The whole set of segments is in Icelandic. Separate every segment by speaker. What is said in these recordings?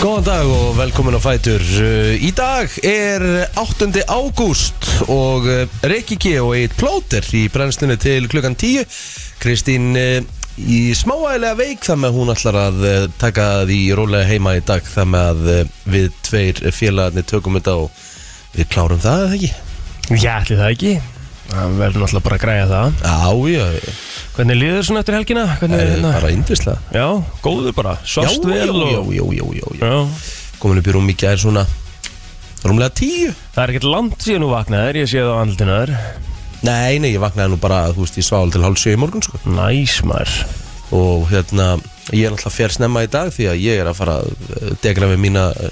Speaker 1: Góðan dag og velkomin á Fætur Uh, Í dag er 8. ágúst og uh, Rikki G og Eitt Plóter í brennstunni til klukkan 10 Kristín uh, í smáægilega veik þar með hún ætlar að uh, taka því rólega heima í dag þar með að uh, við tveir félagarnir tökum þetta og við klárum það eða ekki?
Speaker 2: Já, ætli það ekki Það verður náttúrulega bara að græja það
Speaker 1: Já, já,
Speaker 2: Hvernig líður svona eftir helgina? Hvernig,
Speaker 1: það er
Speaker 2: hérna?
Speaker 1: bara yndislega
Speaker 2: Já, góður bara, svast
Speaker 1: já,
Speaker 2: vel
Speaker 1: já,
Speaker 2: og...
Speaker 1: já, já, já, já, já.
Speaker 2: Já.
Speaker 1: Komin upp í rúm í gær svona rúmlega 10
Speaker 2: Það er ekkert langt síðan þú vaknaðir, ég sé það á andlutinu þar
Speaker 1: Nei, nei, ég vaknaði nú bara, þú veist, ég sváði til hálf 7 í morgun, sko
Speaker 2: Næs maður
Speaker 1: og hérna ég er náttúrulega fér snemma í dag því að ég er að fara að eh, degra við mína eh,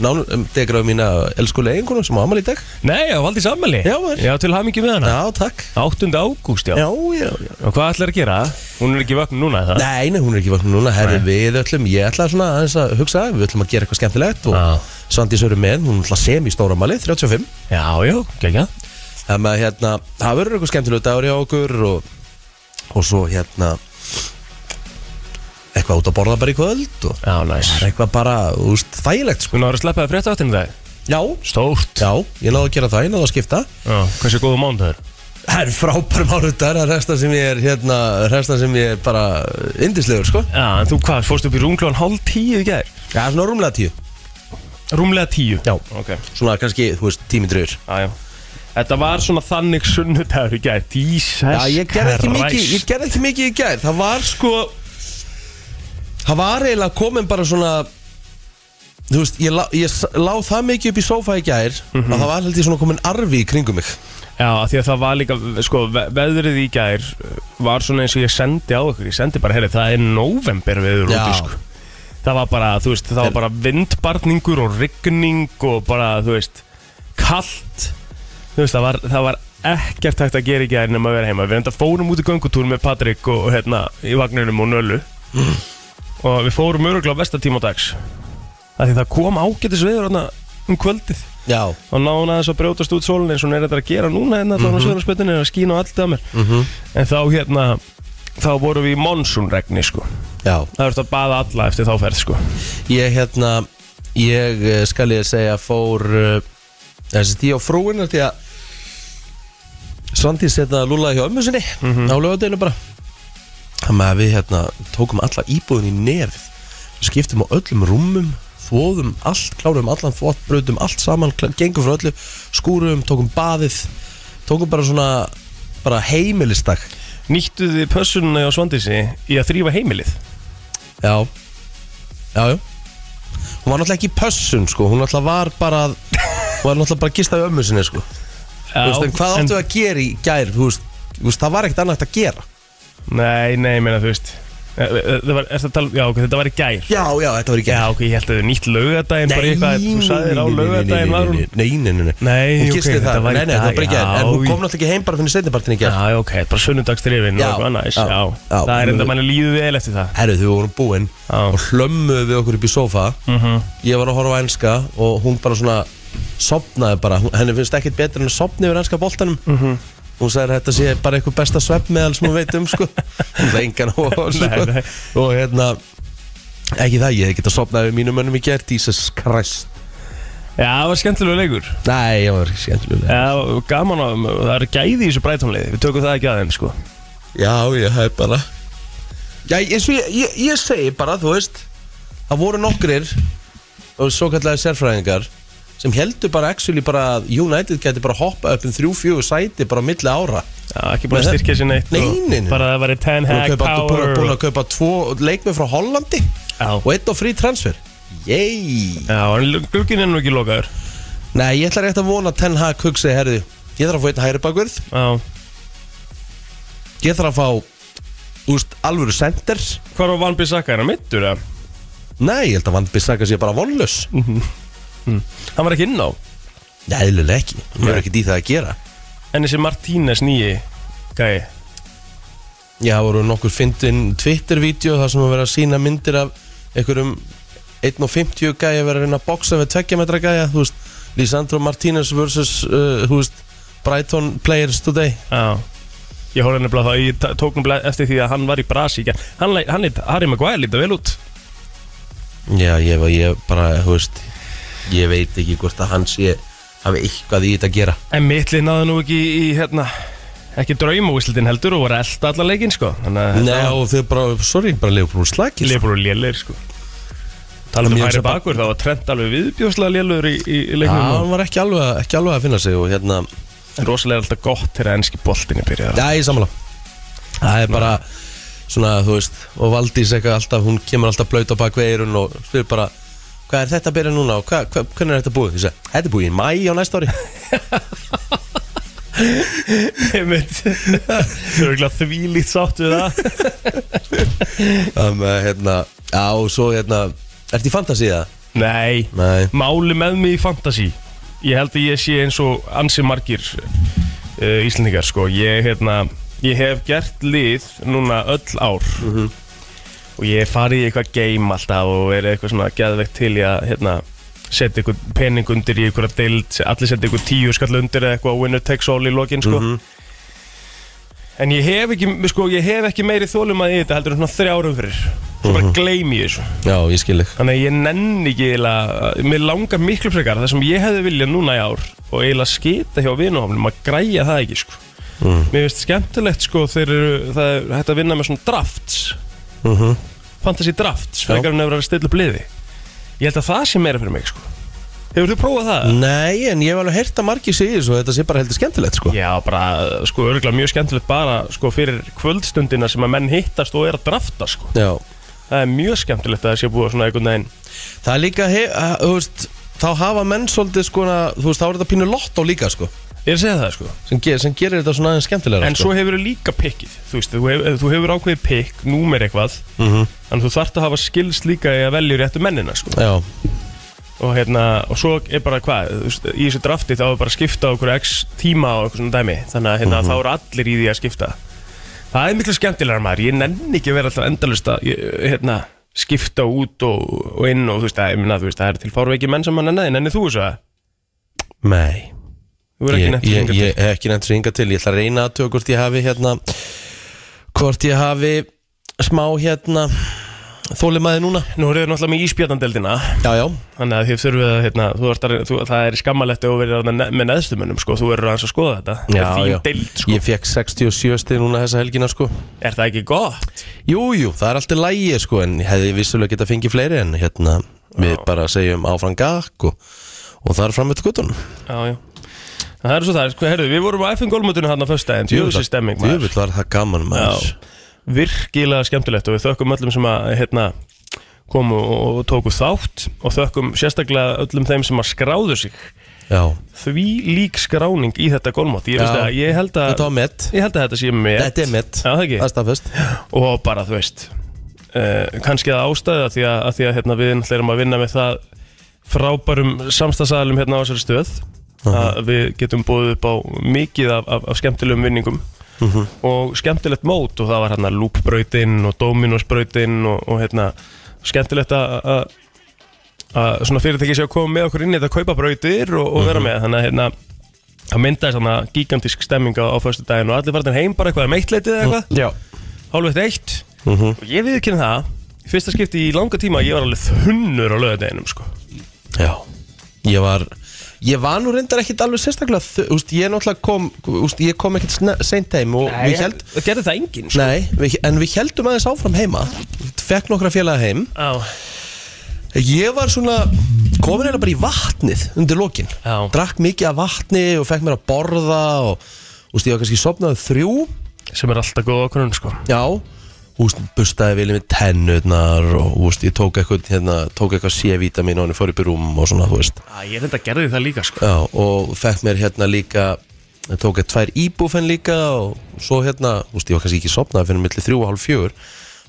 Speaker 1: nánur, eh, degra við mína elskulega eiginkonu sem á amal í dag
Speaker 2: Nei, já, valdi sammæli
Speaker 1: Já, maður.
Speaker 2: Já, til hamingi með hana
Speaker 1: Já, takk
Speaker 2: 8. ágúst, já.
Speaker 1: Já, já, já
Speaker 2: Og hvað ætlar að gera? Hún er ekki vakna núna, er það?
Speaker 1: Nei, nei, hún er ekki vakna núna, herri við öllum ég ætla svona aðeins að hugsa, við ætlum að gera eitthvað skemmtilegt og
Speaker 2: Já.
Speaker 1: Svandís eru með, hún er náttúrulega sem í stóra amali, 35
Speaker 2: Já, já, gegja
Speaker 1: þannig að hérna, það verður eitthvað skemmtilegu dagur hjá okkur og, og svo hérna eitthvað út að borða bara í kvöld og
Speaker 2: Já, næs
Speaker 1: eitthvað bara, úst, þægilegt sko.
Speaker 2: Hún ára að sleppa það frétta áttin í dag
Speaker 1: Já,
Speaker 2: Stórt
Speaker 1: Já, ég náðu að gera það, ég náðu að skipta
Speaker 2: Já, hversu góðu mándagur
Speaker 1: Það er frábær mánudagur, það er resta sem ég er hérna, resta sem ég er bara indislegur, sko
Speaker 2: Já, en þú hvað, fórst upp í rúmklóðan hálf tíu í gær?
Speaker 1: Já, svona rúmlega tíu
Speaker 2: Rúmlega tíu
Speaker 1: Já.
Speaker 2: Ok
Speaker 1: Svona kannski, þú veist, tími dröður
Speaker 2: Jájá Þetta var svona þannig sunnudagur í gær Jesus
Speaker 1: Já, ég gerði ekki mikið, ég gerði ekki mikið í gær Það var sko Það var eiginlega komin bara svona Þú veist, ég lá, ég s- lá það mikið upp í sófa í gær að það var held ég svona komin arfi í kringum mig
Speaker 2: Já, af því að það var líka, sko, ve- veðrið í gær uh, Var svona eins og ég sendi á ykkur Ég sendi bara, herri, það er november veður
Speaker 1: Já.
Speaker 2: úti, sko Það var bara, þú veist, það var bara vindbarningur og rigning Og bara, þú veist, kallt Þú veist, það var, það var ekkert hægt að gera í gær nema að vera heima Við enda fórum út í göngutúr með Patrik og, hérna, í vagninum og nölu Og við fórum öruglega vestatíma dags af Því það kom ágætis veður hérna um kvöldið
Speaker 1: Já,
Speaker 2: og náðun aðeins að brjótast út sólun eins og hún er þetta að gera núna hérna þá er
Speaker 1: Mhm.
Speaker 2: hún söðarspötunni að skína og allt að mér -hmm. en þá hérna þá vorum við í monsunregni sko
Speaker 1: já
Speaker 2: það verður að baða alla eftir þá ferð sko
Speaker 1: Ég hérna Ég eh, skal ég segja fór eh, Þessi tí á frúinu Því að Svandís hérna lúlaði hjá ömmu sinni Á lögadeginu bara Þannig að við hérna tókum alla íbúðin í nefið Skiptum á öllum rúmum Þvóðum allt, klárum allan þvótt Brautum allt saman, kl- gengum frá öllu Skúrum, tókum baðið Tókum bara svona bara heimilistak
Speaker 2: nýttu þið pössununa á Svandísi í að þrýfa heimilið
Speaker 1: Já Já, já Hún var náttúrulega ekki í pössun, sko Hún náttúrulega var bara að Hún var náttúrulega bara að gista við ömmu sinni, sko Þú veist, en hvað áttu að gera í gær, þú veist Þú veist, það var ekkert annað hægt að gera
Speaker 2: nei, nei, ég meina þú veist Eh, eh, það var, ertu að tala, já, ok, þetta var í gær
Speaker 1: Já, já, þetta var í
Speaker 2: já, ok, ég held að þið nýtt lögadaginn bara í eitthvað, þú sagðir á lögadaginn var hún
Speaker 1: nei, nei, nei, nei
Speaker 2: Nei,
Speaker 1: Hún
Speaker 2: ok,
Speaker 1: gisti
Speaker 2: þetta
Speaker 1: það,
Speaker 2: var í
Speaker 1: nei, nei, þetta var bara í
Speaker 2: dag,
Speaker 1: gær En hún
Speaker 2: já,
Speaker 1: kom náttúrulega ekki heim bara fyrir setnipartin í gær
Speaker 2: já, ok, bara sunnudagsdrifin
Speaker 1: Já,
Speaker 2: og eitthvað næs,
Speaker 1: já,
Speaker 2: já,
Speaker 1: já.
Speaker 2: það er enda manni líðu vel eftir það
Speaker 1: Herru, þau voru búinn
Speaker 2: Já. Mhm.
Speaker 1: og hlömmuðu við okkur upp í sófa Ég var að horfa á enska og hún bara svona sopnaði bara, Hún- henni finnst ekkert betur en að sopna yfir enska boltanum
Speaker 2: Mhm.
Speaker 1: Hún sagði að þetta sé bara eitthvað besta sveppmeðal sem hún veit um sko Það er engan og
Speaker 2: Nei, nei.
Speaker 1: Og hérna, ekki það, ég hef getað sopnað við mínum mönnum í gert, Jesus Christ
Speaker 2: já, það var skemmtilegu leikur
Speaker 1: Nei, ég var ekki skemmtilega
Speaker 2: Já, gaman að það eru gæði í þessu breytónliði Við tökum það ekki að þeim sko
Speaker 1: Já, ég hef bara Já, eins og ég, ég, ég segi bara, þú veist Það voru nokkrir og svo kallega sérfræðingar sem heldur bara actually bara að United geti bara hoppa upp um þrjú, fjögur sæti bara á milli ára
Speaker 2: Já, ekki búin að
Speaker 1: Nei,
Speaker 2: styrkja sér neitt
Speaker 1: nei,
Speaker 2: og
Speaker 1: nei, nei.
Speaker 2: Bara að það væri ten
Speaker 1: Búin að
Speaker 2: hack
Speaker 1: kaupa- búin að-
Speaker 2: power
Speaker 1: búin
Speaker 2: og-
Speaker 1: að kaupa tvo leikmið frá Hollandi og
Speaker 2: Já,
Speaker 1: eitt á frí transfer Yey
Speaker 2: já en glugginn er nú ekki lokaður
Speaker 1: Nei, ég ætla rétt að vona að Ten Hag hugsi herði Ég þarf að fá einn hægri bakvörð
Speaker 2: Já,
Speaker 1: Ég þarf að fá úst, alvöru center
Speaker 2: hvað var Van Bissaka, er hann mittur eða?
Speaker 1: Nei, ég held að Van Bissaka sé bara vonlaus
Speaker 2: Hann var ekki inn á
Speaker 1: Nei, eðlilega ekki, hún er ekkert í það að gera
Speaker 2: En þessi Martínez nýji Gæi,
Speaker 1: Já, það voru nokkur fyndin Twitter-vídeó þar sem að vera að sína myndir af einhverjum 1.50 gæja vera að reyna að boksa við 2 metra gæja, þú veist Lisandro Martínez vs. Uh, þú veist Brighton players today
Speaker 2: já Ég horfði nefnilega það, ég ta- tók nefnilega eftir því að hann var í Brasi í gær. Hann, leit- hann, hann, Harry Maguire lítið vel út
Speaker 1: Já, ég, var- ég bara, þú veist Ég veit ekki hvort að hans ég hafi eitthvað í þetta að gera
Speaker 2: En mittlið náðu nú ekki í, hérna, ekki draumúislitinn heldur og voru að elda alla leikinn, sko. Þannig að
Speaker 1: Nei, og þau bara, sorry, bara Leopold slakir sko.
Speaker 2: Leifur og lélir, sko.
Speaker 1: En
Speaker 2: Talum um
Speaker 1: ég
Speaker 2: hæri
Speaker 1: hugsa bara-
Speaker 2: bakur, þá var Trent alveg viðbjóðslega lélur í, í, í
Speaker 1: Já,
Speaker 2: leiknum.
Speaker 1: hann var ekki alveg, að- ekki alveg að finna sig og hérna,
Speaker 2: En rosalega er alltaf gott þegar ennski boltinni byrjaði.
Speaker 1: já, ég samla Það er bara svona, þú veist og Valdís eitthvað alltaf, hún kemur alltaf blöyt á bakveirun og spyr bara hvað er þetta að byrja núna og hva, hva, hvernig er þetta búið? Ég segi, þetta er búið í mæ á næsta ári
Speaker 2: Einmitt. Þú eru ekki þvílít sátt við það.
Speaker 1: um, hérna, Já, og svo hérna Ertu í fantasy það?
Speaker 2: Nei,
Speaker 1: Nei
Speaker 2: máli með mig í fantasy Ég held að ég sé eins og ansi margir uh, Íslendingar sko ég, hérna, ég hef gert lið núna öll ár Og ég hef farið í eitthvað game alltaf og verið eitthvað svona geðveikt til í að hérna, setja eitthvað pening undir í eitthvað deild Allir setja eitthvað tíu skall undir eða eitthvað winner takes all í lokin sko En ég hef ekki, sko, ég hef ekki meiri þólum að þetta heldur en svona þrjárum fyrir Svo bara gleymi ég þessu
Speaker 1: Já, ég skil þig
Speaker 2: Þannig að ég nenni ekki eiginlega, mér langar miklu frekar það sem ég hefði viljað núna í ár og eiginlega skita hjá vinuhofnum að græja það ekki sko. Mér finnst skemmtilegt sko þegar eru- það er hægt að vinna með svona drafts,
Speaker 1: mm
Speaker 2: fantasy drafts, frekar en að vera að stilla upp liði. Ég held að það sé meira fyrir mig sko. Hefur þú prófað það?
Speaker 1: Nei, en ég hef alveg heyrt að margir segja þessu og þetta sé bara heldur skemmtilegt, sko
Speaker 2: Já, bara sko örgulega mjög skemmtilegt bara sko fyrir kvöldstundina sem að menn hittast og er að drafta sko.
Speaker 1: Já
Speaker 2: Það er mjög skemmtilegt að það sé búið svona einhvern veginn
Speaker 1: Það er líka, he, að, þú veist þá hafa menn svolítið sko þú veist, þá er þetta pínu lottó líka sko
Speaker 2: Ég er að segja það sko
Speaker 1: sem, ger, sem gerir þetta svona aðeins skemmtilega
Speaker 2: En
Speaker 1: sko.
Speaker 2: svo hefur þú líka pikkið Þú veist, þú, hef, þú hefur ákveðið pikk, númer eitthvað
Speaker 1: Mhm.
Speaker 2: Þannig þú þarft að hafa skilst líka í að velja réttu mennina sko.
Speaker 1: Já,
Speaker 2: og, hérna, og svo er bara hvað þú veist, Í þessu drafti þá er bara að skipta á okkur x tíma og eitthvað svona dæmi Þannig að
Speaker 1: Mhm.
Speaker 2: hérna, þá eru allir í því að skipta Það er miklu skemmtilegar maður Ég nenni ekki að vera alltaf endalust að ég- hérna, skipta út og, og inn og þú veist, að, ég minna, þú veist, það er til fárveiki menn sem mann ennaði Nenni þú þessu að?
Speaker 1: nei
Speaker 2: Þú er ekki
Speaker 1: Ég,
Speaker 2: nefnt
Speaker 1: ég,
Speaker 2: hingað til.
Speaker 1: ég hef ekki nefnt svo hinga til Ég ætla að reyna að tökast ég hafi hérna Hvort ég hafi smá hérna Þólimaði núna
Speaker 2: Nú eru þið náttúrulega með íspjarnandeldina
Speaker 1: Já, já,
Speaker 2: Þannig að þið þurfið að, hérna, þú ert að, þú, það er skammalegt ef þú verður þarna ne- með neðstumönnum, sko, þú verður aðeins að skoða þetta.
Speaker 1: já,
Speaker 2: það er
Speaker 1: já.
Speaker 2: þín deild, sko.
Speaker 1: Ég fekk 67 stið núna þessa helgina sko
Speaker 2: Er það ekki gott?
Speaker 1: Jú, jú, það er alltaf lægi sko En ég hefði vissulega geta fengið fleiri En hérna, við bara segjum áfram gakk Og, og það er framöld guttunum
Speaker 2: Já, já. Það er svo það, er, sko, herru, við vorum á FM Gólmötunum hann á föstudaginn, djöfusir stemming, maður.
Speaker 1: Djöfull var það gaman maður
Speaker 2: Já, virkilega skemmtilegt og við þökkum öllum sem að, hérna, komu og og tóku þátt og þökkum sérstaklega öllum þeim sem að skráðu sig.
Speaker 1: Já,
Speaker 2: Því lík skráning í þetta gólmöt. Ég, veist
Speaker 1: Já.
Speaker 2: að- ég, held
Speaker 1: þetta
Speaker 2: að-
Speaker 1: var mitt
Speaker 2: ég held að þetta sé með.
Speaker 1: Þetta er mitt,
Speaker 2: Já, það ekki.
Speaker 1: það er staðfest
Speaker 2: og bara þú veist uh, kannski að ástæða því að, að, því að hérna, við náttúrulega erum að vinna með það frábærum samstagsæðalum hérna á þessari stöð að við getum búið upp á mikið af, af, af skemmtilegum vinningum og skemmtilegt mót og það var hérna lúpbrautinn og dominosbrautinn og, og hérna skemmtilegt að að- að svona fyrirtæki séu að koma með okkur inn í þetta að kaupa brautir og, og vera með þannig að hérna það myndaðist hérna gigantísk stemming á, á föstu daginn og allir varðin heim bara eitthvað meitleitið eða eitthvað
Speaker 1: Já
Speaker 2: hálfveitt eitt og ég viðkynna það í fyrsta skipti í langa tíma að ég var alveg þunnur á lögadeginum sko.
Speaker 1: Já, ég var Ég var nú reyndar ekkit alveg sérstaklega þ- Þú veist, ég náttúrulega kom úst, Ég kom ekkit sne- seint heim og við held
Speaker 2: það gerði það enginn sko.
Speaker 1: Nei, við, en við heldum aðeins áfram heima Fekk nokkra félaga heim
Speaker 2: á,
Speaker 1: Ég var svona komin hérna bara í vatnið undir lokin
Speaker 2: Já.
Speaker 1: Drakk mikið af vatni og fekk mér að borða og úst, ég var kannski sopnaði þrjú
Speaker 2: sem er alltaf góð okkur sko.
Speaker 1: Já Úst, bustaði vilja með tennurnar og úst, ég tók eitthvað, hérna, tók eitthvað C-vitamin og hann fór upp í rúm og svona, þú veist
Speaker 2: Æ, ég reynda gerði það líka sko.
Speaker 1: Já, og fekk mér hérna líka ég tók ég tvær íbúfen líka og svo hérna, þú veist, ég var kannski ekki sopnaði fyrir milli þrjú og hálf fjögur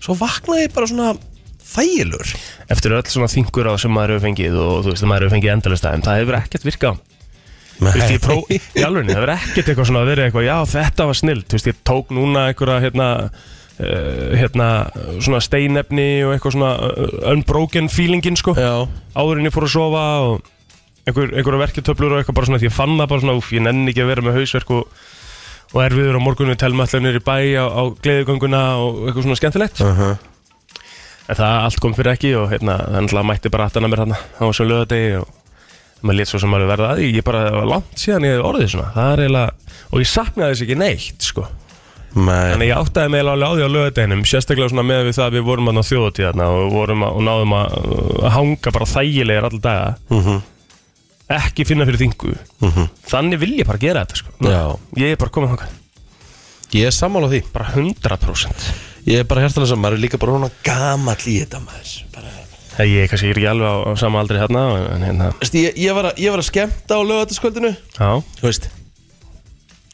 Speaker 1: svo vaknaði ég bara svona þægilur
Speaker 2: eftir öll svona þingur á sem maður hefur fengið og þú veist að maður hefur fengið endalist aðeim það hefur ekkert virkað Þú veist, ég pró, í alveg, það verður ekkert eitthvað svona að vera eitthvað, já þetta var snill, þú veist, ég tók núna einhverja, hérna, uh, hérna, svona steinefni og eitthvað svona uh, unbroken feelingin, sko,
Speaker 1: Já.
Speaker 2: áður en ég fór að sofa og einhver, einhverja verketöflur og eitthvað bara svona, því ég fann það bara svona, úf, ég nenni ekki að vera með hausverk og, og erfiður á morgunu, telma allir nýri bæ á, á gleðugönguna og eitthvað svona skemmtilegt.
Speaker 1: uh -huh.
Speaker 2: En það allt kom fyrir ekki og hérna, þannig að mætti bara aftana mér hérna á þessum lögadegi og maður létt svo sem maður verða að því, ég bara það var langt síðan ég hef orðið svona, það er eiginlega, og ég saknaði þess ekki neitt, sko.
Speaker 1: Nei,
Speaker 2: Þannig ég áttaði mig eiginlega alveg á því á lögadeginum, sérstaklega svona með við það að við vorum að ná þjóðutíðarna og, vorum að, og náðum að, uh, að hanga bara þægilegir alltaf daga,
Speaker 1: Mhm,
Speaker 2: ekki finna fyrir þingu. Þannig vil ég bara gera þetta, sko.
Speaker 1: Já.
Speaker 2: Ég er bara komin þangað,
Speaker 1: ég er sammála því
Speaker 2: bara 100%.
Speaker 1: Ég er bara hjartalega saman, maður er líka bara svona gamall í þetta maður bara...
Speaker 2: Það ég er kannski ekki alveg á, á sama aldri hérna, en- en hérna,
Speaker 1: Vist, ég, ég, var að, ég var að skemmta á lögataskvöldinu
Speaker 2: já.
Speaker 1: Þú veist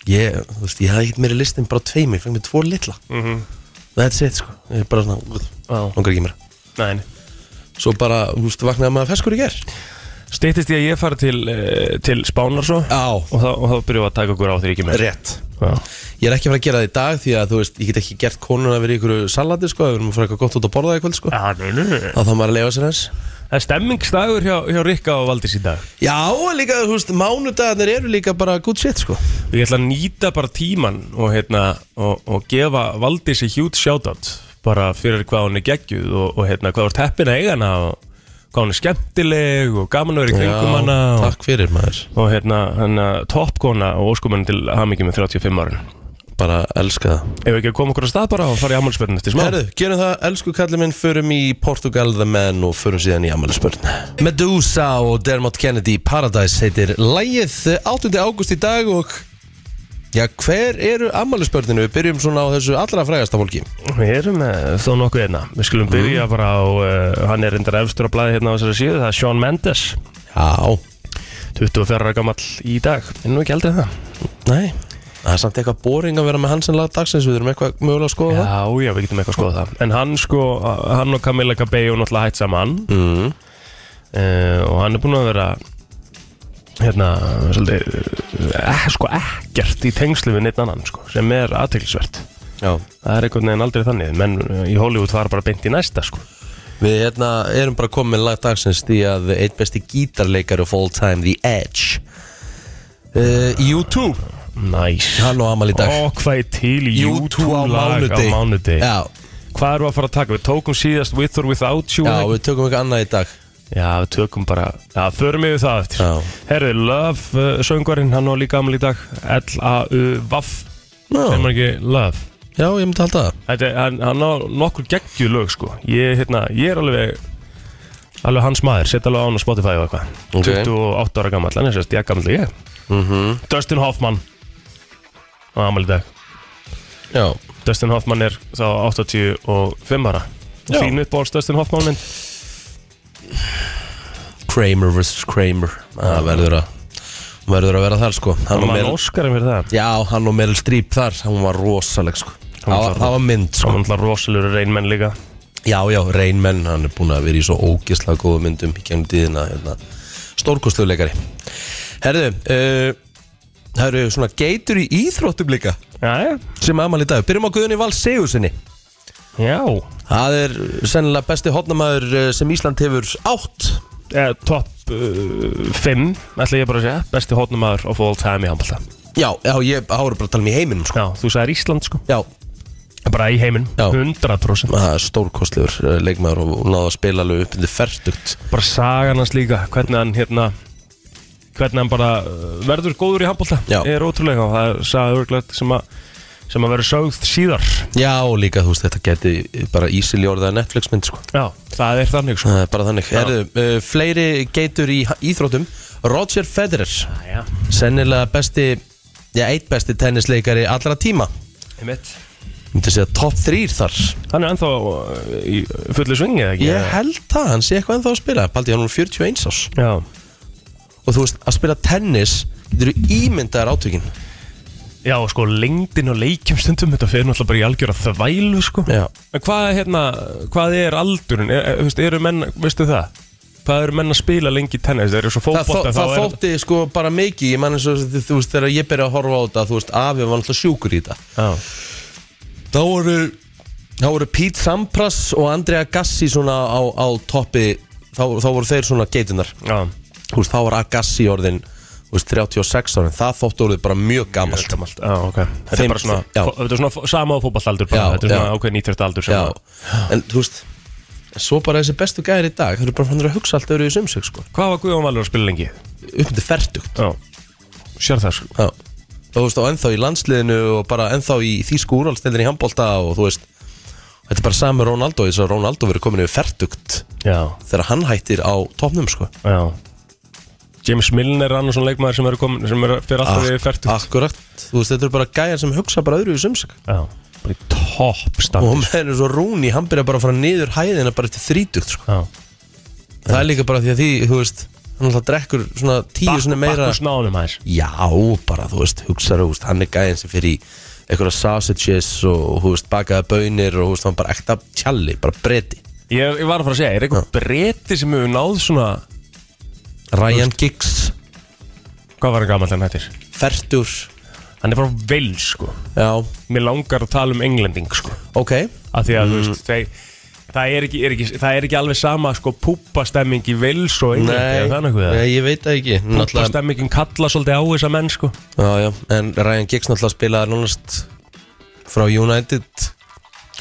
Speaker 1: Ég, þú veist, ég hafði ekkert meiri listin bara tveim Ég fengi mér tvo litla mm -hmm. That's it, sko Ég er bara svona, úr,
Speaker 2: Já.
Speaker 1: langar ekki mér
Speaker 2: Nei, nei.
Speaker 1: Svo bara, þú veist, vaknaði maður feskur í ger
Speaker 2: Stýttist ég að ég fari til, eh, til Spánar svo
Speaker 1: Já,
Speaker 2: og þá, og þá byrjuðum við að taka okkur á því ekki meir
Speaker 1: rétt
Speaker 2: Já.
Speaker 1: Ég er ekki að fara að gera það í dag Því að, þú veist, ég get ekki gert konuna að vera í ykkur salati, sko Ef Við erum að fara eitthvað gott út að borða í kvöld, sko
Speaker 2: Já, nei, nei, nei.
Speaker 1: Þá þá maður að leifa sér hans
Speaker 2: Það er stemmingsdagur hjá, hjá Rikka og Valdís í dag
Speaker 1: Já, og líka, þú veist, mánudagarnir eru líka bara good shit, sko
Speaker 2: Ég ætla að nýta bara tíman og, hérna, og, og gefa Valdísi hjút shoutout bara fyrir hvað hún er geggjuð og, og hérna, hvað þú ert heppin að eiga hana og hvað hún er skemmtileg og gaman að vera í kringum hana og,
Speaker 1: takk fyrir, maður
Speaker 2: og hérna, hérna toppkona og óskumenn til hamingjum með 35 árin
Speaker 1: Bara elska það
Speaker 2: Ef við ekki að koma okkur á stað bara og fara í ammálspörn eftir smá
Speaker 1: Herðu, gerum það, elsku kallið minn, förum í Portugal the Man og förum síðan í Amalspörn Medusa og Dermot Kennedy Paradise heitir lægið 8. ágúst í dag og Já, hver eru ammælisbörninu? Við byrjum svona á þessu allra frægasta fólki
Speaker 2: Við erum með þó nokkuð einna Við skulum byrja bara á uh, Hann er reyndar efstur á blæði hérna á þessari síðu Það er Sean Mendes
Speaker 1: Já,
Speaker 2: 24 ára gamall í dag En nú ekki eldri en það
Speaker 1: nei Það er samt eitthvað boring að vera með hans en lag dagsins Við erum eitthvað mögulega að skoða
Speaker 2: Já, já, við getum eitthvað að skoða það En hann sko, hann og Camilla Cabello Náttúrulega hætt saman
Speaker 1: það mm.
Speaker 2: uh, Og hann er búin að vera Hérna, svolítið eh, Sko ekkert í tengslu við neitt annan sko, Sem er aðteglisvert
Speaker 1: Já
Speaker 2: Það er einhvern veginn aldrei þannig Menn eh, í Hollywood fara bara beint í næsta sko
Speaker 1: Við hérna, erum bara komið með lag dagsins því að eitt besti gítarleikar of all time, The Edge uh, U2
Speaker 2: Næs
Speaker 1: Hann og Amal í dag
Speaker 2: Ó, hvað er til í
Speaker 1: U2 á
Speaker 2: lag
Speaker 1: mánudegi.
Speaker 2: á mánudegi
Speaker 1: Já,
Speaker 2: Hvað erum við að fara að taka? Við tókum síðast With or Without You
Speaker 1: já,
Speaker 2: ekki?
Speaker 1: við tökum eitthvað annað í dag
Speaker 2: já við tökum bara Já, förum við það eftir
Speaker 1: Já.
Speaker 2: Herri, Love uh, söngvarinn, hann var líka gammal í dag L-A-U-V-A-F Þegar
Speaker 1: Já,
Speaker 2: maður ekki Love
Speaker 1: já ég myndi halda það
Speaker 2: Þetta, er- hann, hann á nokkur geggju lög sko ég, hérna, ég er alveg Alveg hans maður, setja alveg á hann á Spotify og eitthvað
Speaker 1: Ok.
Speaker 2: 28 ára gammal, hann er sérst, ég gammal ég
Speaker 1: Mhm.
Speaker 2: -hmm. Dustin Hoffman Á amal í dag
Speaker 1: Já,
Speaker 2: Dustin Hoffman er þá 85 ára
Speaker 1: Já.
Speaker 2: Þín uppbólst Dustin Hoffman mynd
Speaker 1: Kramer vs. Kramer Það verður að verður að vera þar sko hann
Speaker 2: Hann
Speaker 1: og
Speaker 2: var
Speaker 1: Meryl,
Speaker 2: Óskarinn fyrir það
Speaker 1: Já, hann og Meryl Streep þar Hann var rosaleg sko
Speaker 2: Hann
Speaker 1: Það
Speaker 2: var
Speaker 1: var- það var mynd
Speaker 2: Hann
Speaker 1: sko
Speaker 2: var náttúrulega rosalur reynmenn líka
Speaker 1: Já, já, Reynmenn, hann er búin að vera í svo ógislega góðu myndum í gennum tíðina hérna, Stórkostluleikari Herðu, uh, það eru svona geitur í íþróttum líka
Speaker 2: Jæja,
Speaker 1: sem amal í dag Byrjum á Guðunni Val Sigursinni
Speaker 2: já
Speaker 1: Það er sennilega besti hotnamaður sem Ísland hefur átt
Speaker 2: eh, Top 5 ætla ég bara að segja Besti hótnumadur of all time í handbólta
Speaker 1: Já, já, ég ára bara að tala um í heiminum sko.
Speaker 2: Já, þú sagðir Ísland sko
Speaker 1: Já,
Speaker 2: Bara í heiminn,
Speaker 1: Já.
Speaker 2: 100%
Speaker 1: það er stórkostlegur eh, leikmaður og hún náði að spila alveg upp undir ferstugt
Speaker 2: Bara sagan hans líka Hvernig hann hérna Hvernig hann bara eh, verður góður í handbólta
Speaker 1: Já.
Speaker 2: Er ótrúlega og það er saga örglætt sem að sem að vera sögð síðar
Speaker 1: Já, og líka, þú veist, þetta geti bara ísili orðið að Netflix mynd sko.
Speaker 2: Já, það er þannig sko. svo
Speaker 1: Það er bara þannig Erðu, uh, fleiri geitur í ha- íþróttum Roger Federer
Speaker 2: Jæja,
Speaker 1: Sennilega besti, já, eitt besti tennisleikari allra tíma
Speaker 2: einmitt
Speaker 1: Myndi segja top 3 þar
Speaker 2: Hann er ennþá eh, í fullu svingi, eða ekki?
Speaker 1: Ég held það, hann sé eitthvað ennþá að spila Paldi, hann er nú 41 árs
Speaker 2: Já,
Speaker 1: Og þú veist, að spila tennis Getur þú ímyndaðar átökin
Speaker 2: já og sko lengdin og leikjum stundum þetta fer náttúrulega bara í algjör að þvælu sko
Speaker 1: Já.
Speaker 2: En hvað, hérna, hvað er aldurinn? Er, er, veist, eru menn, veistu það? Hvað eru menn að spila lengi í tennis? Þeir eru svo
Speaker 1: Það, þó,
Speaker 2: fótbolta
Speaker 1: það
Speaker 2: er
Speaker 1: þótti sko bara mikið Ég man eins og þú veist þegar ég byrja að horfa á þetta Þú veist afi var alltaf sjúkur í þetta
Speaker 2: Já,
Speaker 1: Þá voru, þá voru Pete Sampras og Andrea Gassi svona á, á toppi þá, þá voru þeir svona geitunar
Speaker 2: já
Speaker 1: Þú veist þá var Agassi orðin þú veist, 36 árin Það þótti orðið bara mjög gamalt
Speaker 2: Allt, já, ok Þetta
Speaker 1: Þeim-
Speaker 2: er bara svona,
Speaker 1: já.
Speaker 2: fó- þetta er svona fó- sama á fótboltaldur bara
Speaker 1: Já,
Speaker 2: Þetta er svona
Speaker 1: já.
Speaker 2: ákveðin ítverta aldur sem
Speaker 1: Já,
Speaker 2: að-
Speaker 1: en þú veist Svo bara þessi bestu gæðir í dag Þeir eru bara fannir að hugsa allt öðru í sumsök sko
Speaker 2: Hvað var Guðjón Valur að spila lengi?
Speaker 1: Upp til ferdugt
Speaker 2: Já, sér það sko
Speaker 1: Já Og þú veist, og ennþá í landsliðinu og bara ennþá í þýsku úrvalstildinu í handbólta og þú veist Þetta er bara sami Rónaldó þess að Rónaldó verið komin yfir ferdugt
Speaker 2: Já,
Speaker 1: þegar hann hættir á topnum sko
Speaker 2: já James Milner er annars svona leikmaður sem er komin sem er fyrir
Speaker 1: Ah,
Speaker 2: alltaf við fært
Speaker 1: Akkurat Þú veist, þetta eru bara gæjar sem hugsa bara öðru í sumsök
Speaker 2: Já, bara í topp
Speaker 1: Og
Speaker 2: standi
Speaker 1: með er svo Rúni, hann byrja bara að fara niður hæðina bara til þrítugt sko
Speaker 2: Já,
Speaker 1: Það er líka bara því að því, þú veist Hann alltaf drekkur svona tíu
Speaker 2: bakk
Speaker 1: svona meira
Speaker 2: úr snánum aðeins
Speaker 1: Já, bara, þú veist, hugsaður, þú veist, hann er gæðin sem fyrir í einhverja sausages og, þú veist, bakaða bönir og, þú veist, hann bara ekta tjalli, bara breti
Speaker 2: Ég, ég var að fara að segja, er eitthvað breyti sem hefur náð svona
Speaker 1: Ryan Giggs,
Speaker 2: Hvað var hann gamall hann hættir?
Speaker 1: Fertur,
Speaker 2: Hann er frá Wales sko
Speaker 1: já,
Speaker 2: Mér langar að tala um englending sko
Speaker 1: ok,
Speaker 2: Af því að
Speaker 1: Mm.
Speaker 2: þú veist, þeir Það er, ekki, er ekki, það er ekki alveg sama sko púpastemming í Vils og Englandi eða það nokkuð, eða?
Speaker 1: nei, ég veit það ekki Náttúrulega,
Speaker 2: Púpastemmingin kalla svolítið á þessa menn sko
Speaker 1: já, já, en Ryan Giggs náttúrulega spilaði nánast frá United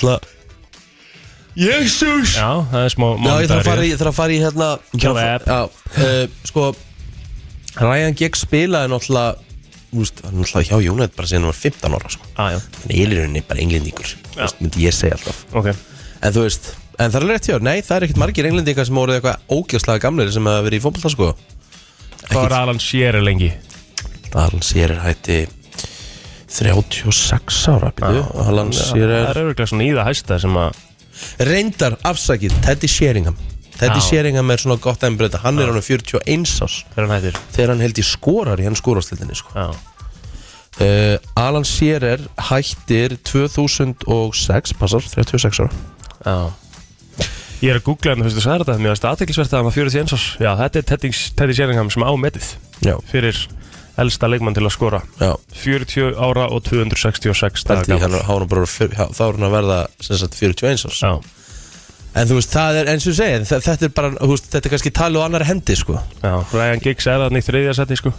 Speaker 1: Hla. Jesus!
Speaker 2: Já, það er smá
Speaker 1: Já, ég þarf að fara
Speaker 2: mánudagur í
Speaker 1: í, þarf að fara í hérna ég þarf að fara- Já, uh, sko Ryan Giggs spilaði náttúrulega þú veist, hann er náttúrulega hjá United bara síðan hann var 15 ára sko.
Speaker 2: það. Á, Ah, já,
Speaker 1: en eilirunni bara englendingur þú veist, myndi ég segja alltaf
Speaker 2: ok
Speaker 1: en þú veist, en það er rétt hjá, nei það er ekkert margir englendingar sem voru eitthvað ógjörslega gamlir sem hafa verið í fótbolta sko
Speaker 2: Hvað var Alan Shearer lengi?
Speaker 1: Alan Sér er hætti 36 ára byrju, Alan Sér
Speaker 2: Það er örgulega svona í það hæsta sem að
Speaker 1: reyndar afsakið, Teddy Sheringham Teddy
Speaker 2: Já.
Speaker 1: Sheringham er svona gott ennbreyta hann er hann 41 ás
Speaker 2: Þegar hann hættir
Speaker 1: þegar hann held í skorar í hann skorastildinni sko.
Speaker 2: Já,
Speaker 1: uh, Alan Shearer hættir 2006 passar, 36 ára
Speaker 2: já Ég er að googla hérna, hann, þú veist þú sagði þetta Mér veist aðteklisvert að hann var 41 árs Já, þetta er Teddy, Teddy Sheringham sem á metið
Speaker 1: já,
Speaker 2: Fyrir elsta leikmann til að skora
Speaker 1: já
Speaker 2: 40 ára og 266 daga
Speaker 1: Þannig, hann,
Speaker 2: gamall.
Speaker 1: hann, hann bara, fjör- já, þá er hann að verða sem sagt 41 árs
Speaker 2: Já,
Speaker 1: en þú veist, það er eins og ég segi þa- þetta er bara, þú veist, þetta er kannski talið á annari hendi sko.
Speaker 2: já, Ryan Giggs er þarna í þriðja seti sko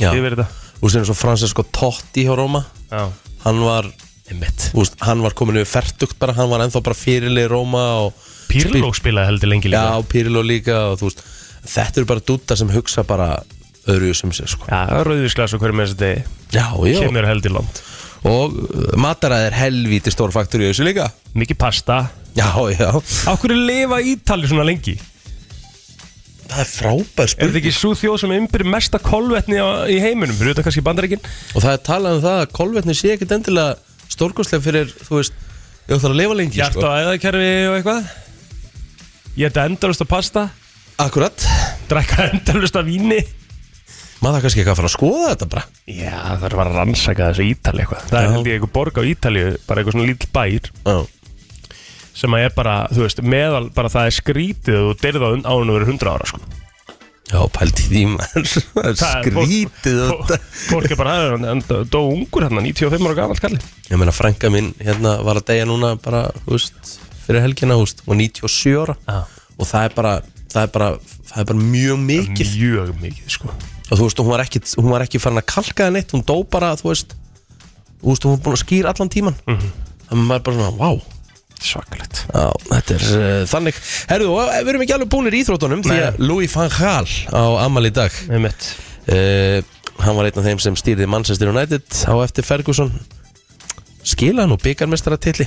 Speaker 1: já, þú
Speaker 2: Yfir þetta
Speaker 1: veist, eins og Francesco Totti hjá Róma,
Speaker 2: Já,
Speaker 1: hann var Einmitt. Úst, hann var komin yfir fertugt bara, hann var ennþá bara fyrirlið í Róma og
Speaker 2: Pirlo spilaði heldur lengi líka
Speaker 1: já, Pirlo líka og, þú veist, þetta eru bara dúta sem hugsa bara öðru sem sér sko.
Speaker 2: Já, rauðvísglas og hverju með þessi degi
Speaker 1: já, já,
Speaker 2: Kemur heldur langt
Speaker 1: Og uh, mataræði er helvíti stór faktur í þessu líka
Speaker 2: Mikið pasta
Speaker 1: Já, já
Speaker 2: Af hverju lifa Ítali svona lengi?
Speaker 1: Það er frábær
Speaker 2: Er þetta
Speaker 1: spurning
Speaker 2: ekki svo þjóð sem ymbir mesta kolvetni á, í heiminum? Fyrir þetta kannski bandarækin?
Speaker 1: Og það er talað um það að kolvetni sé ekkit endilega stórkostlega fyrir, þú veist Ég ætla að lifa lengi,
Speaker 2: Hjart
Speaker 1: sko
Speaker 2: og æðakerfi og eitthvað? Ég ætta endalust af pasta
Speaker 1: Akkurat
Speaker 2: Drekka endalust af víni
Speaker 1: Maður það kannski eitthvað að fara að skoða þetta bara
Speaker 2: Já, það er bara að rannsaka þessu Ítali eitthvað Það
Speaker 1: Já.
Speaker 2: er held ég einhver borg á Ítali Bara eitthvað svona lítill bær
Speaker 1: Já,
Speaker 2: Sem að er bara, þú veist, meðal Bara það er skrítið og þú deyrið á án og verið 100 ára sko.
Speaker 1: já pælt í því maður Það er
Speaker 2: Það er fólk-
Speaker 1: Skrítið
Speaker 2: Fó-
Speaker 1: þetta
Speaker 2: Fólk er bara aðeins, en það dó ungur hérna, 95 ára gamall kalli
Speaker 1: Ég meina, frænka minn hérna var að deyja núna bara, þú veist, fyrir helgina, þú veist Og 97 ára
Speaker 2: Já.
Speaker 1: Og það er bara, það er bara, það er bara mjög mikið
Speaker 2: Mjög mikið, sko
Speaker 1: og þú veist, hún var ekki, hún var ekki farin að kalka það neitt, hún dó bara, þú veist þú veist, hún var búin að skýra allan tíman mm -hmm. þannig að maður er bara svona, wow
Speaker 2: Svakalegt
Speaker 1: Já, þetta er uh, þannig Herðu, og eh, við erum ekki alveg búinir í íþróttunum því að Louis van Gaal á Amal í dag
Speaker 2: Með mitt
Speaker 1: uh, hann var einn af þeim sem stýrði Manchester United á eftir Ferguson skila hann og byggarmestaratilli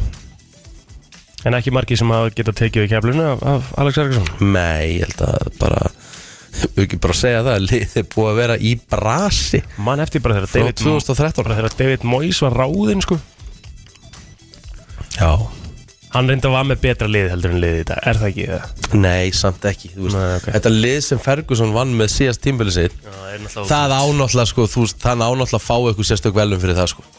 Speaker 2: En ekki margið sem hafa getað tekið í keflinu af, af Alex Ergesson
Speaker 1: Nei, ég held að bara við ekki bara segja það, liðið er búið að vera í brasi
Speaker 2: Mann eftir bara þegar
Speaker 1: frá
Speaker 2: David
Speaker 1: 2013
Speaker 2: Bara þegar David Moyes var ráðinn, sko
Speaker 1: Já,
Speaker 2: Hann reynda að var með betra lið heldur en liðið í dag Er það ekki það?
Speaker 1: Nei, samt ekki þú veist,
Speaker 2: Nei, ok.
Speaker 1: Þetta lið sem Ferguson vann með síðast tímbili sitt
Speaker 2: Það er náttúrulega
Speaker 1: Það ánáttúrulega sko, þú veist, það ánáttúrulega að fá eitthvað sérstök velum fyrir það sko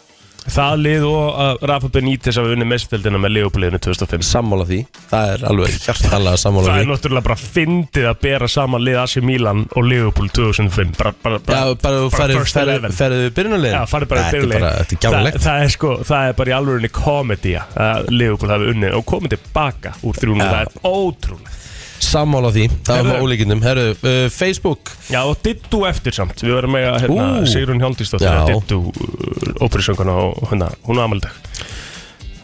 Speaker 2: Það lið og að Rafa Benítez hafa unni mestveldina með liðupaliðinu 2005
Speaker 1: Sammála því, það er alveg hjartalega sammála
Speaker 2: Það er
Speaker 1: því
Speaker 2: náttúrulega bara fyndið að bera saman lið AC Milan og Liverpool 2005 bara, bara, bara,
Speaker 1: Já, bara þú ferðu-
Speaker 2: first
Speaker 1: ferðu
Speaker 2: 11.
Speaker 1: ferðu við byrjunarlegin
Speaker 2: Já, farið bara í
Speaker 1: Þetta er
Speaker 2: byrjulegin
Speaker 1: bara, þetta er gjálulegt
Speaker 2: það er sko, það er bara í alvörinni komedi að Liverpool hafi unnið og komið tilbaka úr 300
Speaker 1: Já.
Speaker 2: Það er ótrúlega
Speaker 1: Sammála því, það var
Speaker 2: Herðu.
Speaker 1: með ólíkindum Herru, uh, Facebook
Speaker 2: Já, og dittu eftir samt Við verðum með hérna,
Speaker 1: Ú.
Speaker 2: Sigrun Hjóldísdóttir
Speaker 1: Já.
Speaker 2: dittu óperisönguna og hérna, hún á amaldag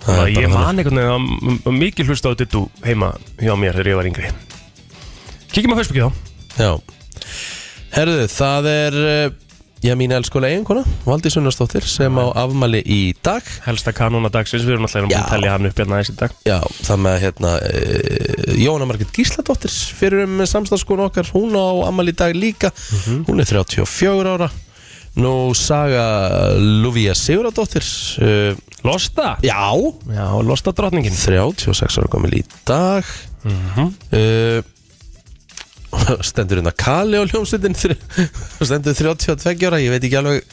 Speaker 1: Það er
Speaker 2: Þannig að
Speaker 1: bara
Speaker 2: ég man einhvern veginn að m- m- mikið hlusta á dittu heima hjá mér þegar ég var yngri Kíkjum á Facebooki þá
Speaker 1: Já Herðu, það er eh, Já, mín elskulega eiginkona Valdi Sunnarsdóttir sem á afmæli í dag
Speaker 2: Helsta kanóna dagsins, við erum alltaf
Speaker 1: Já.
Speaker 2: að telja hann upp hérna aðeins í dag
Speaker 1: Já, það með hérna e, Jóna Margrét Gísladóttir fyrir um samstagskona okkar, hún á afmæli í dag líka hún er 34 ára Nú Saga Lúfía Siguradóttir e,
Speaker 2: Losta?
Speaker 1: Já,
Speaker 2: Já, losta drottningin
Speaker 1: 36 ára komil í dag uh, Stendur hérna Kali á hljómsveitin Stendur 32 ára, ég veit ekki alveg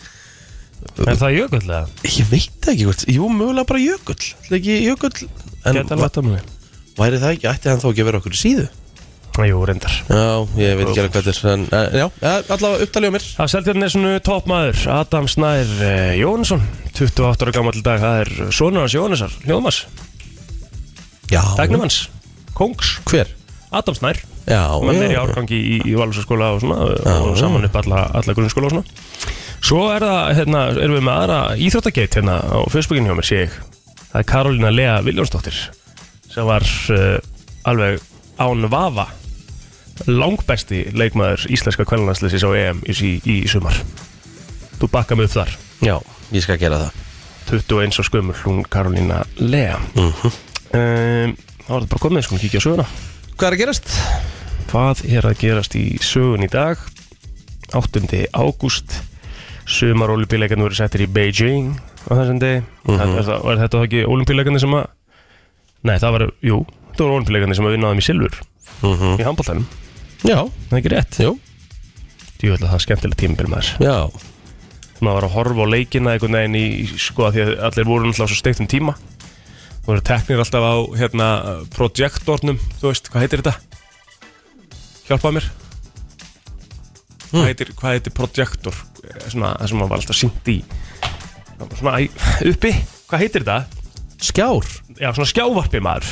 Speaker 2: Er það jökullega?
Speaker 1: Ég veit ekki hvort, jú mögulega bara jökull Það er ekki jökull En
Speaker 2: Geta alveg þetta með
Speaker 1: væri það ekki, ætti hann þá ekki að vera okkur í síðu
Speaker 2: því Jú, reyndar
Speaker 1: Já, ég veit ekki alveg hvað þetta er En eh, já, eh, allavega upptalið á mér
Speaker 2: Það seltjarni er svona toppmaður Adam Snær eh, Jónsson 28 ára gammal dag, það er sonur hans Jónasar Hljóðmas,
Speaker 1: Já,
Speaker 2: tegnum hans Kongs,
Speaker 1: hver?
Speaker 2: Adam Snær
Speaker 1: Já,
Speaker 2: Menn er í
Speaker 1: já,
Speaker 2: árgangi í, í Valursaskóla og svona og saman upp alla, alla grunnskóla og svona Svo er það, hérna, erum við með aðra íþróttageit hérna á Facebookin hjá mér, sé ég Það er Karolina Lea Viljónsdóttir sem var uh, alveg án vafa langbesti leikmaður íslenska kvælunanslissis á EM í, í, í sumar Þú bakka mig upp þar
Speaker 1: já, ég skal gera það
Speaker 2: 21 og skumul, hún Karolina Lea mm um, Þá er það bara komið, skulum kíkja á söguna
Speaker 1: Hvað er að gerast?
Speaker 2: Hvað er að gerast í sögun í dag? 8. ágúst Sumarolimpíleikarnir voru settir í Beijing á þessum degi mm er, það- er þetta þá ekki olimpíleikarnir sem að Nei, það var, jú, þetta voru olimpíleikarnir sem að vinna þeim í silfur í handbóltanum
Speaker 1: Já,
Speaker 2: Það er ekki rétt
Speaker 1: jú,
Speaker 2: Jú, ætla það er skemmtilega tímabil maður
Speaker 1: já,
Speaker 2: Maður var að horfa á leikina einhvern veginn í, sko, af því að allir voru náttúrulega á svo steiktum tíma Það voru teknir alltaf á, hérna, projektornum, þú veist, hvað heitir þetta? Hjálpaðu mér hvað heitir, hvað heitir projektor Eh, svona, það sem maður var alltaf sýnt í svona æ, uppi hvað heitir þetta?
Speaker 1: skjár
Speaker 2: Já, svona skjávarpi maður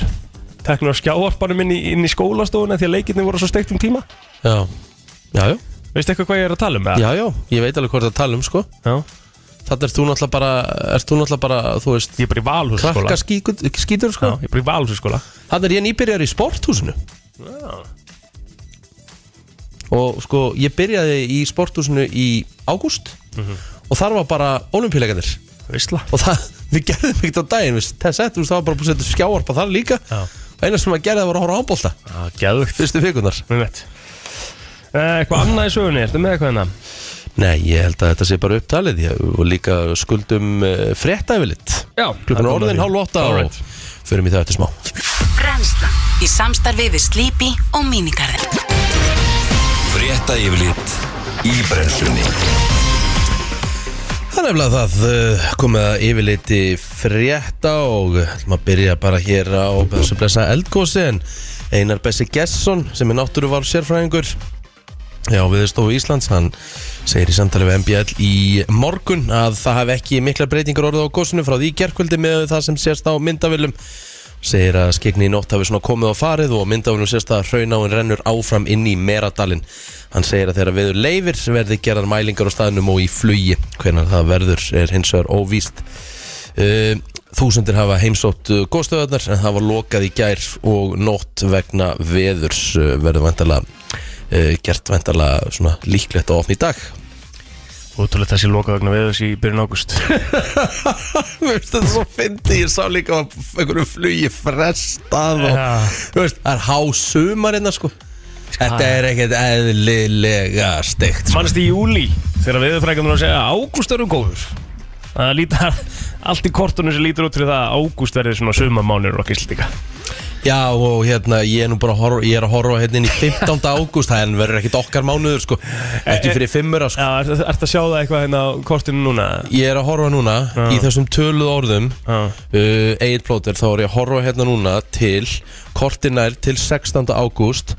Speaker 2: teknur á skjávarpanum inn í, inn í skólastofuna því að leikinni voru á svo steikt um tíma
Speaker 1: Já, já, já,
Speaker 2: veistu eitthvað hvað ég er að tala um? eða?
Speaker 1: já, já, ég veit alveg hvað það tala um sko
Speaker 2: Já.
Speaker 1: Þannig ert þú náttúrulega bara, ert þú náttúrulega bara, þú veist,
Speaker 2: ég er bara í valhússkóla
Speaker 1: krakka skítur
Speaker 2: Já,
Speaker 1: sko.
Speaker 2: ég er bara í valhússkóla
Speaker 1: Þannig er ég nýbyrjar í sporthúsinu. Og sko, ég byrjaði í sporthúsinu í ágúst og þar var bara olimpíuleikandir.
Speaker 2: veistla
Speaker 1: Og það, við gerðum ekkert á daginn, við sett, þú veist, það var bara búin að setja skjáarpa þar líka.
Speaker 2: Já.
Speaker 1: Og eina sem maður gerði var að horfa á handbólta,
Speaker 2: geðugt
Speaker 1: fyrstu fíkunar.
Speaker 2: Eh, eitthvað annað í sögunni, ertu með eitthvað hérna?
Speaker 1: Nei, ég held að þetta sé bara upptalið, ég, og líka skuldum uh, fréttaefilitt.
Speaker 2: Já,
Speaker 1: Klukkan er orðin hálf ótta
Speaker 2: All
Speaker 1: og
Speaker 2: right.
Speaker 1: förum í það eftir smá.
Speaker 3: Brenslan í samstarfi við Sleepy og Minigarðin
Speaker 4: Frétta yfirlit í brennslunni
Speaker 1: Það er nefnilega það uh, komið að yfirleiti frétta og uh, ætlum að byrja bara hér á þessu blessa eldgósi en Einar Bessi Gesson sem er náttúruvar sérfræðingur Já, viðstofu Íslands, hann segir í samtali við MBL í morgun að það hafi ekki mikla breytingar orðið á gósinu frá því gerkvöldi með það sem sést á myndavillum segir að skegni í nótt hafi svona komið á farið og myndaflunum sérst að hraunáin rennur áfram inn í Meradalinn. Hann segir að þegar viður leifir verði gerðar mælingar á staðnum og í flugi. Hvenar það verður er hins vegar óvíst. Uh, þúsundir hafa heimsótt góðstöðarnar en það var lokað í gær og nótt vegna veðurs uh, verður vantala uh, gert vantala svona líklegt á ofn í dag.
Speaker 2: Ótrúlegt þessi loka vegna við þessi í byrjun águst
Speaker 1: Mér finnst þetta svo fyndi, ég sá líka að einhverju flugi frestað og
Speaker 2: Já.
Speaker 1: Þú veist, það er há sumarinn sko. Þetta er ekkert eðlilega steikt sko.
Speaker 2: Mannst í júli þegar viðurfrækjandur að segja ágúst eru góður Það lítar allt í kortunum sem lítur út fyrir það að ágúst verði svona sumamánir og gíslíka
Speaker 1: Já og hérna ég er nú bara að horfa, ég er að horfa hérna inn í 15. ágúst Það er- verður ekkert okkar mánuður sko Ekki fyrir fimmura sko
Speaker 2: Já, ert er, að sjá það eitthvað hérna á kortinu núna?
Speaker 1: Ég er að horfa núna í þessum töluð orðum
Speaker 2: Já.
Speaker 1: uh, Egil plóter þá er ég að horfa hérna núna til Kortinær til 16. ágúst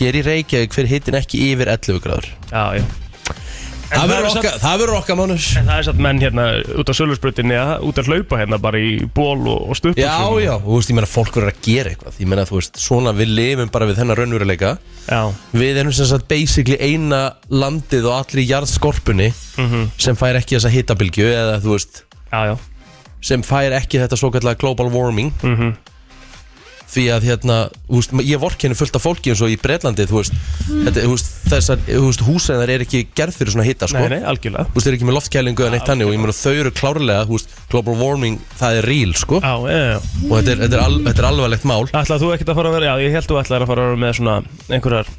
Speaker 1: Hér í Reykjavík fyrir hittin ekki yfir 11 gráður
Speaker 2: Já, já
Speaker 1: Það
Speaker 2: það er
Speaker 1: verður
Speaker 2: samt-
Speaker 1: okkar, það verður okkar mánuður
Speaker 2: En það er satt menn hérna út á sölusbrutinni að út að hlaupa hérna bara í ból og, og stupp
Speaker 1: Já, já, þú veist, ég meina fólk verður að gera eitthvað Ég meina, þú veist, svona við lifum bara við þennan raunveruleika
Speaker 2: já
Speaker 1: Við erum sem sagt basically eina landið Mhm. og allir í jarðskorpunni sem fær ekki þessa hitabilgju eða þú veist
Speaker 2: Já, já
Speaker 1: sem fær ekki þetta svo kallega global warming því að hérna, þú veist, ég vorkenni fullt af fólki eins og í Breitlandi, þú veist, þetta, þú veist þessar, þú veist, húsæðar er ekki gerð fyrir svona hitta, sko
Speaker 2: Nei, nei, algjörlega
Speaker 1: þú veist, þeir eru ekki með loftkælingu en eitt þannig og ég meina þau eru klárlega, þú veist, global warming það er real, sko,
Speaker 2: Já, já, já
Speaker 1: og þetta er, þetta er, al, þetta er alvarlegt mál
Speaker 2: Ætlaðu þú ekkert að fara að vera Já, ég held þú ætlaði að fara að vera með svona einhverjar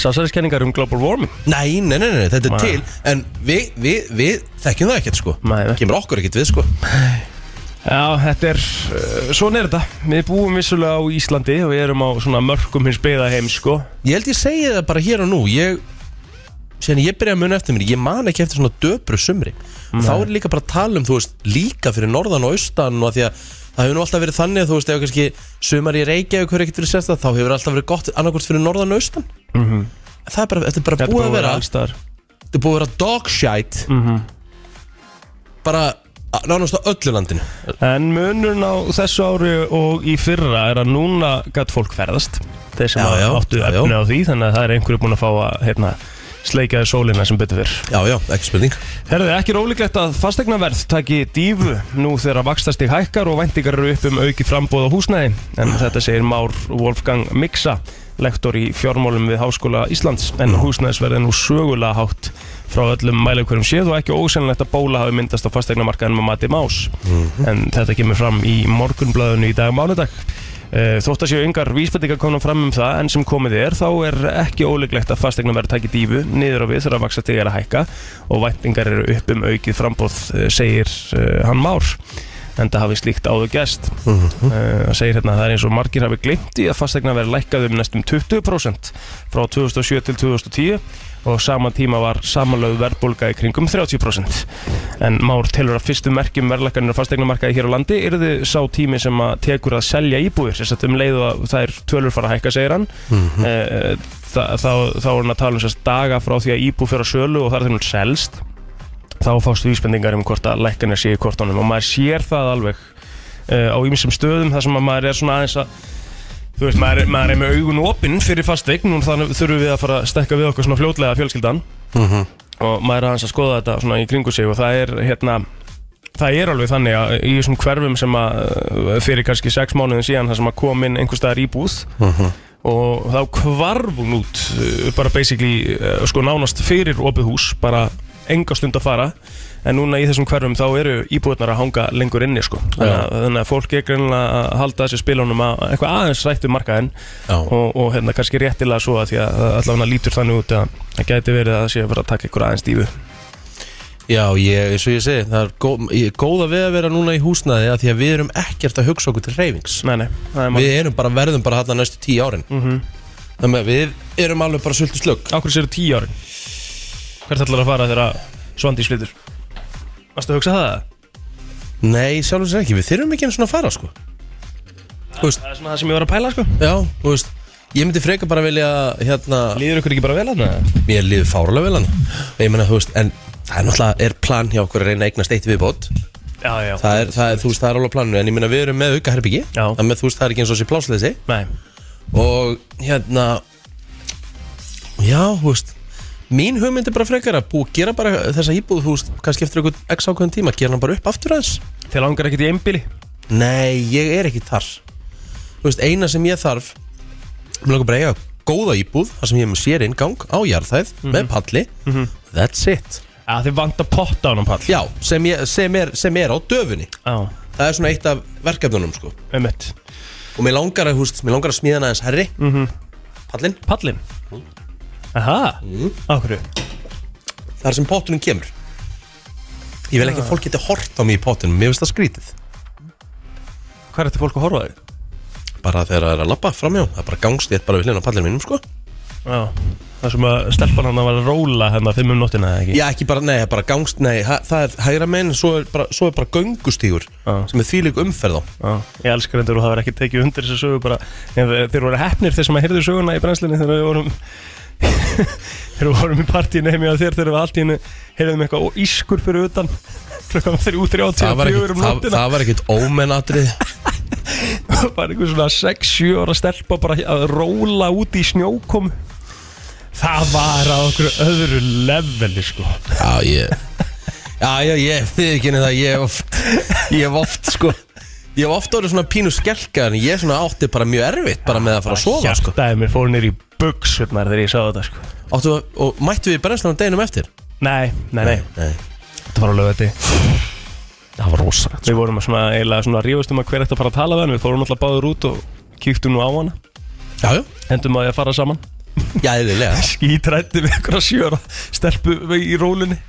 Speaker 2: sásæðiskenningar um global warming
Speaker 1: nei, nei, nei, nei, þetta er
Speaker 2: Nei.
Speaker 1: til en við, við, við þekkjum það ekkert, sko
Speaker 2: Nei, nei.
Speaker 1: kemur okkur ekkert við, sko
Speaker 2: Já, þetta er, uh, svona er þetta Við búum vissulega á Íslandi og við erum á svona mörkum hins beða heim, sko
Speaker 1: ég held ég segi það bara hér og nú ég, síðan ég byrja að muna eftir mér ég man ekki eftir svona döpru sumri þá er líka bara að tala um, þú veist, líka fyrir norðan og austan og af því að það hefur nú alltaf verið þannig, þú veist, ef kannski sumar í Reykjavík hefur ekkert verið sérstæð, þá hefur alltaf verið gott annarkvort fyrir norðan og austan En það er bara, Mhm. þetta er bara
Speaker 2: Þetta
Speaker 1: búið að vera
Speaker 2: alls staðar.
Speaker 1: þetta er búið að vera dog shite bara að- nánast á öllu landinu
Speaker 2: En munurinn á þessu ári og í fyrra er að núna gætt fólk ferðast Þeir sem
Speaker 1: Já, já,
Speaker 2: áttu
Speaker 1: já, já.
Speaker 2: efni á því Þannig að það er einhverju búin að fá að hérna, sleika þér sólina sem betur fyrr
Speaker 1: já, já, ekki spurning
Speaker 2: Herðu, ekki er ólíklegt að fastegnaverð taki dífu nú þegar vakstastig hækkar og væntingar eru upp um auki frambóð á húsnæði en þetta segir Már Wolfgang Miksa lektor í fjármálum við Háskóla Íslands en húsnæðisverð er nú sögulega hátt frá öllum mæleikurum séð og ekki ósennilegt að bóla hafi myndast á fastegnamarkaðin með mati más en þetta kemur fram í morgunblæðinu í dag mánudag Eh, Þótt að séu yngar vísbendingar komna fram um það en sem komið er þá er ekki óleiklegt að fastegna verið takið dífu niður á við þegar að vaksa til er að hækka og væntingar eru upp um aukið frambóð eh, segir uh, hann Már en það hafi slíkt áður gest mm segir hérna að það er eins og margir hafi glimt í að fastegna verið lækkað um næstum 20% frá 2007 til 2010 og sama tíma var samanlöðu verðbólga í kringum 30% en Már telur að fyrstu merkjum verðlækkanir á fastegnumarkaði hér á landi yrði sá tími sem að tekur að selja íbúðir sem sagt um leið og að það er tölur fara að hækka segir hann mm þá, þá, þá er hann að tala um sérst daga frá því að íbúð fyrir að sölu og þar þegar hún selst þá fást vísbendingar um hvort að lækkanir séu í kortunum og maður sér það alveg uh, á ýmsum stöðum þar sem að maður er svona aðeins að þú veist, maður, er- maður er með augun opinn fyrir fasteign og þannig þurfum við að fara að stekka við okkur svona fljótlega fjölskyldan og maður er aðeins að skoða þetta svona í kringu sig og það er hérna það er alveg þannig að í þessum hverfum sem að uh, fyrir kannski sex mánuðin síðan það sem að kom inn einhver staðar íbúð og þá kvarf hún út uh, bara basically uh, sko nánast fyrir opið hús bara enga stund að fara en núna í þessum hverfum þá eru íbúðnar að hanga lengur inni sko þannig að, þannig að fólk er greinlega að halda þessi spilunum að eitthvað aðeins rættu markaðinn
Speaker 1: Já.
Speaker 2: og, og hérna kannski réttilega svo að því að að allavega lítur þannig út að það gæti verið að það sé að vera að taka ykkur aðeins dífu
Speaker 1: já, ég, eins og ég segi, það er góð, ég, góða við að vera núna í húsnaði að því að við erum ekkert að hugsa okkur til reyfings
Speaker 2: Nei, nei, það er
Speaker 1: við
Speaker 2: maður
Speaker 1: erum bara, verðum bara þarna næstu tíu árin þannig að við erum alveg bara sultu slögg
Speaker 2: Akkur sér tíu árin Hvert ætlar að fara þegar að Svandi slítur? Varstu að hugsa það?
Speaker 1: nei, sjálfur sér ekki, við þurfum ekki eins og að fara sko. þú veist,
Speaker 2: Það er svona það sem ég var að pæla sko
Speaker 1: já, þú veist ég myndi freka bara vilja hérna,
Speaker 2: Líður ykkur ekki bara vel aðna?
Speaker 1: mér líður fárlega vel hann ég meina, þú veist, en það er náttúrulega er plan hjá okkur að reyna að eignast eitt viðbót
Speaker 2: Já, já
Speaker 1: það er, það er, þú veist, það er alveg á planinu en ég meina við erum með auka herbyggi
Speaker 2: Já.
Speaker 1: þannig að þú veist, það er ekki eins og sé plásleysi
Speaker 2: Nei,
Speaker 1: og hérna já, þú veist mín hugmynd er bara frekar að bú gera bara þessa íbúð, þú veist, kannski eftir einhvern x ákveðin tíma, gera hann bara upp aftur aðeins
Speaker 2: þeir langar ekkert í einbili
Speaker 1: nei, ég er ekki þar þú veist, eina sem ég þarf mér langar bara að eiga góða íbúð þar sem ég er með sér ingang á jarðhæð með palli, that's it
Speaker 2: Já, þeir vantar potta á hann pall
Speaker 1: já, sem, ég, sem, er, sem er á döfunni
Speaker 2: Já,
Speaker 1: það er svona eitt af verkefnunum sko.
Speaker 2: einmitt
Speaker 1: og mér langar að, húst, mér langar að smíða hann aðeins herri
Speaker 2: Mhm.
Speaker 1: pallinn,
Speaker 2: Pallin Aha, okkur
Speaker 1: þar sem pottunum kemur ég vil ekki að fólk geti hort á mig í pottunum mér finnst það skrítið
Speaker 2: Hvað er þetta fólk að horfa á þig?
Speaker 1: bara þegar það er að lappa framjá það er bara gangst ég bara við hlina á pallinum mínum sko.
Speaker 2: Já, það sem að stelpan hann var að róla hérna fimm um nóttina eða ekki
Speaker 1: já ekki bara, nei, það er bara gangst nei, það, það er hægra megin, svo er bara, svo er bara göngustígur
Speaker 2: Já.
Speaker 1: sem er þýlik umferð á
Speaker 2: Já, ég elskar hendur og það var ekki tekið undir þessu sögu bara, en þeir voru hefnir þeir sem að heyrðu söguna í brennslinni þegar við vorum þegar við vorum í partíinu heim hjá þér þegar við allt í hennu heyrðum eitthvað og ískur fyrir utan klukkan 3.30
Speaker 1: það var
Speaker 2: og 4
Speaker 1: ekkit,
Speaker 2: um
Speaker 1: það,
Speaker 2: nóttina
Speaker 1: það var ekkit ómennatrið
Speaker 2: það var einhver svona 6-7 ára stelpa bara að róla út í snjókom það var á okkur öðru leveli sko
Speaker 1: já ég já já ég, þið ekki það ég oft Ég hef oft sko Ég hef oft orðið svona pínu skelka En ég svona átti bara mjög erfitt Bara með að fara að sofa sko
Speaker 2: Hjartaði mér fór nýr í buksurnar þegar ég sá þetta sko
Speaker 1: Áttu, að- Og mættu við brennslan deginum eftir?
Speaker 2: Nei, nei, nei,
Speaker 1: Nei
Speaker 2: þetta var á lögati
Speaker 1: Það var rosalegt sko.
Speaker 2: Við vorum að svona, eiginlega svona rífast um að hver eftir að fara að tala við hann Við fórum alltaf báður út og kíktum nú á hana
Speaker 1: Jájú,
Speaker 2: Endum á því að fara saman
Speaker 1: já, eðlilega
Speaker 2: Skítrætti við einhverja sjöra stelpu í rólinni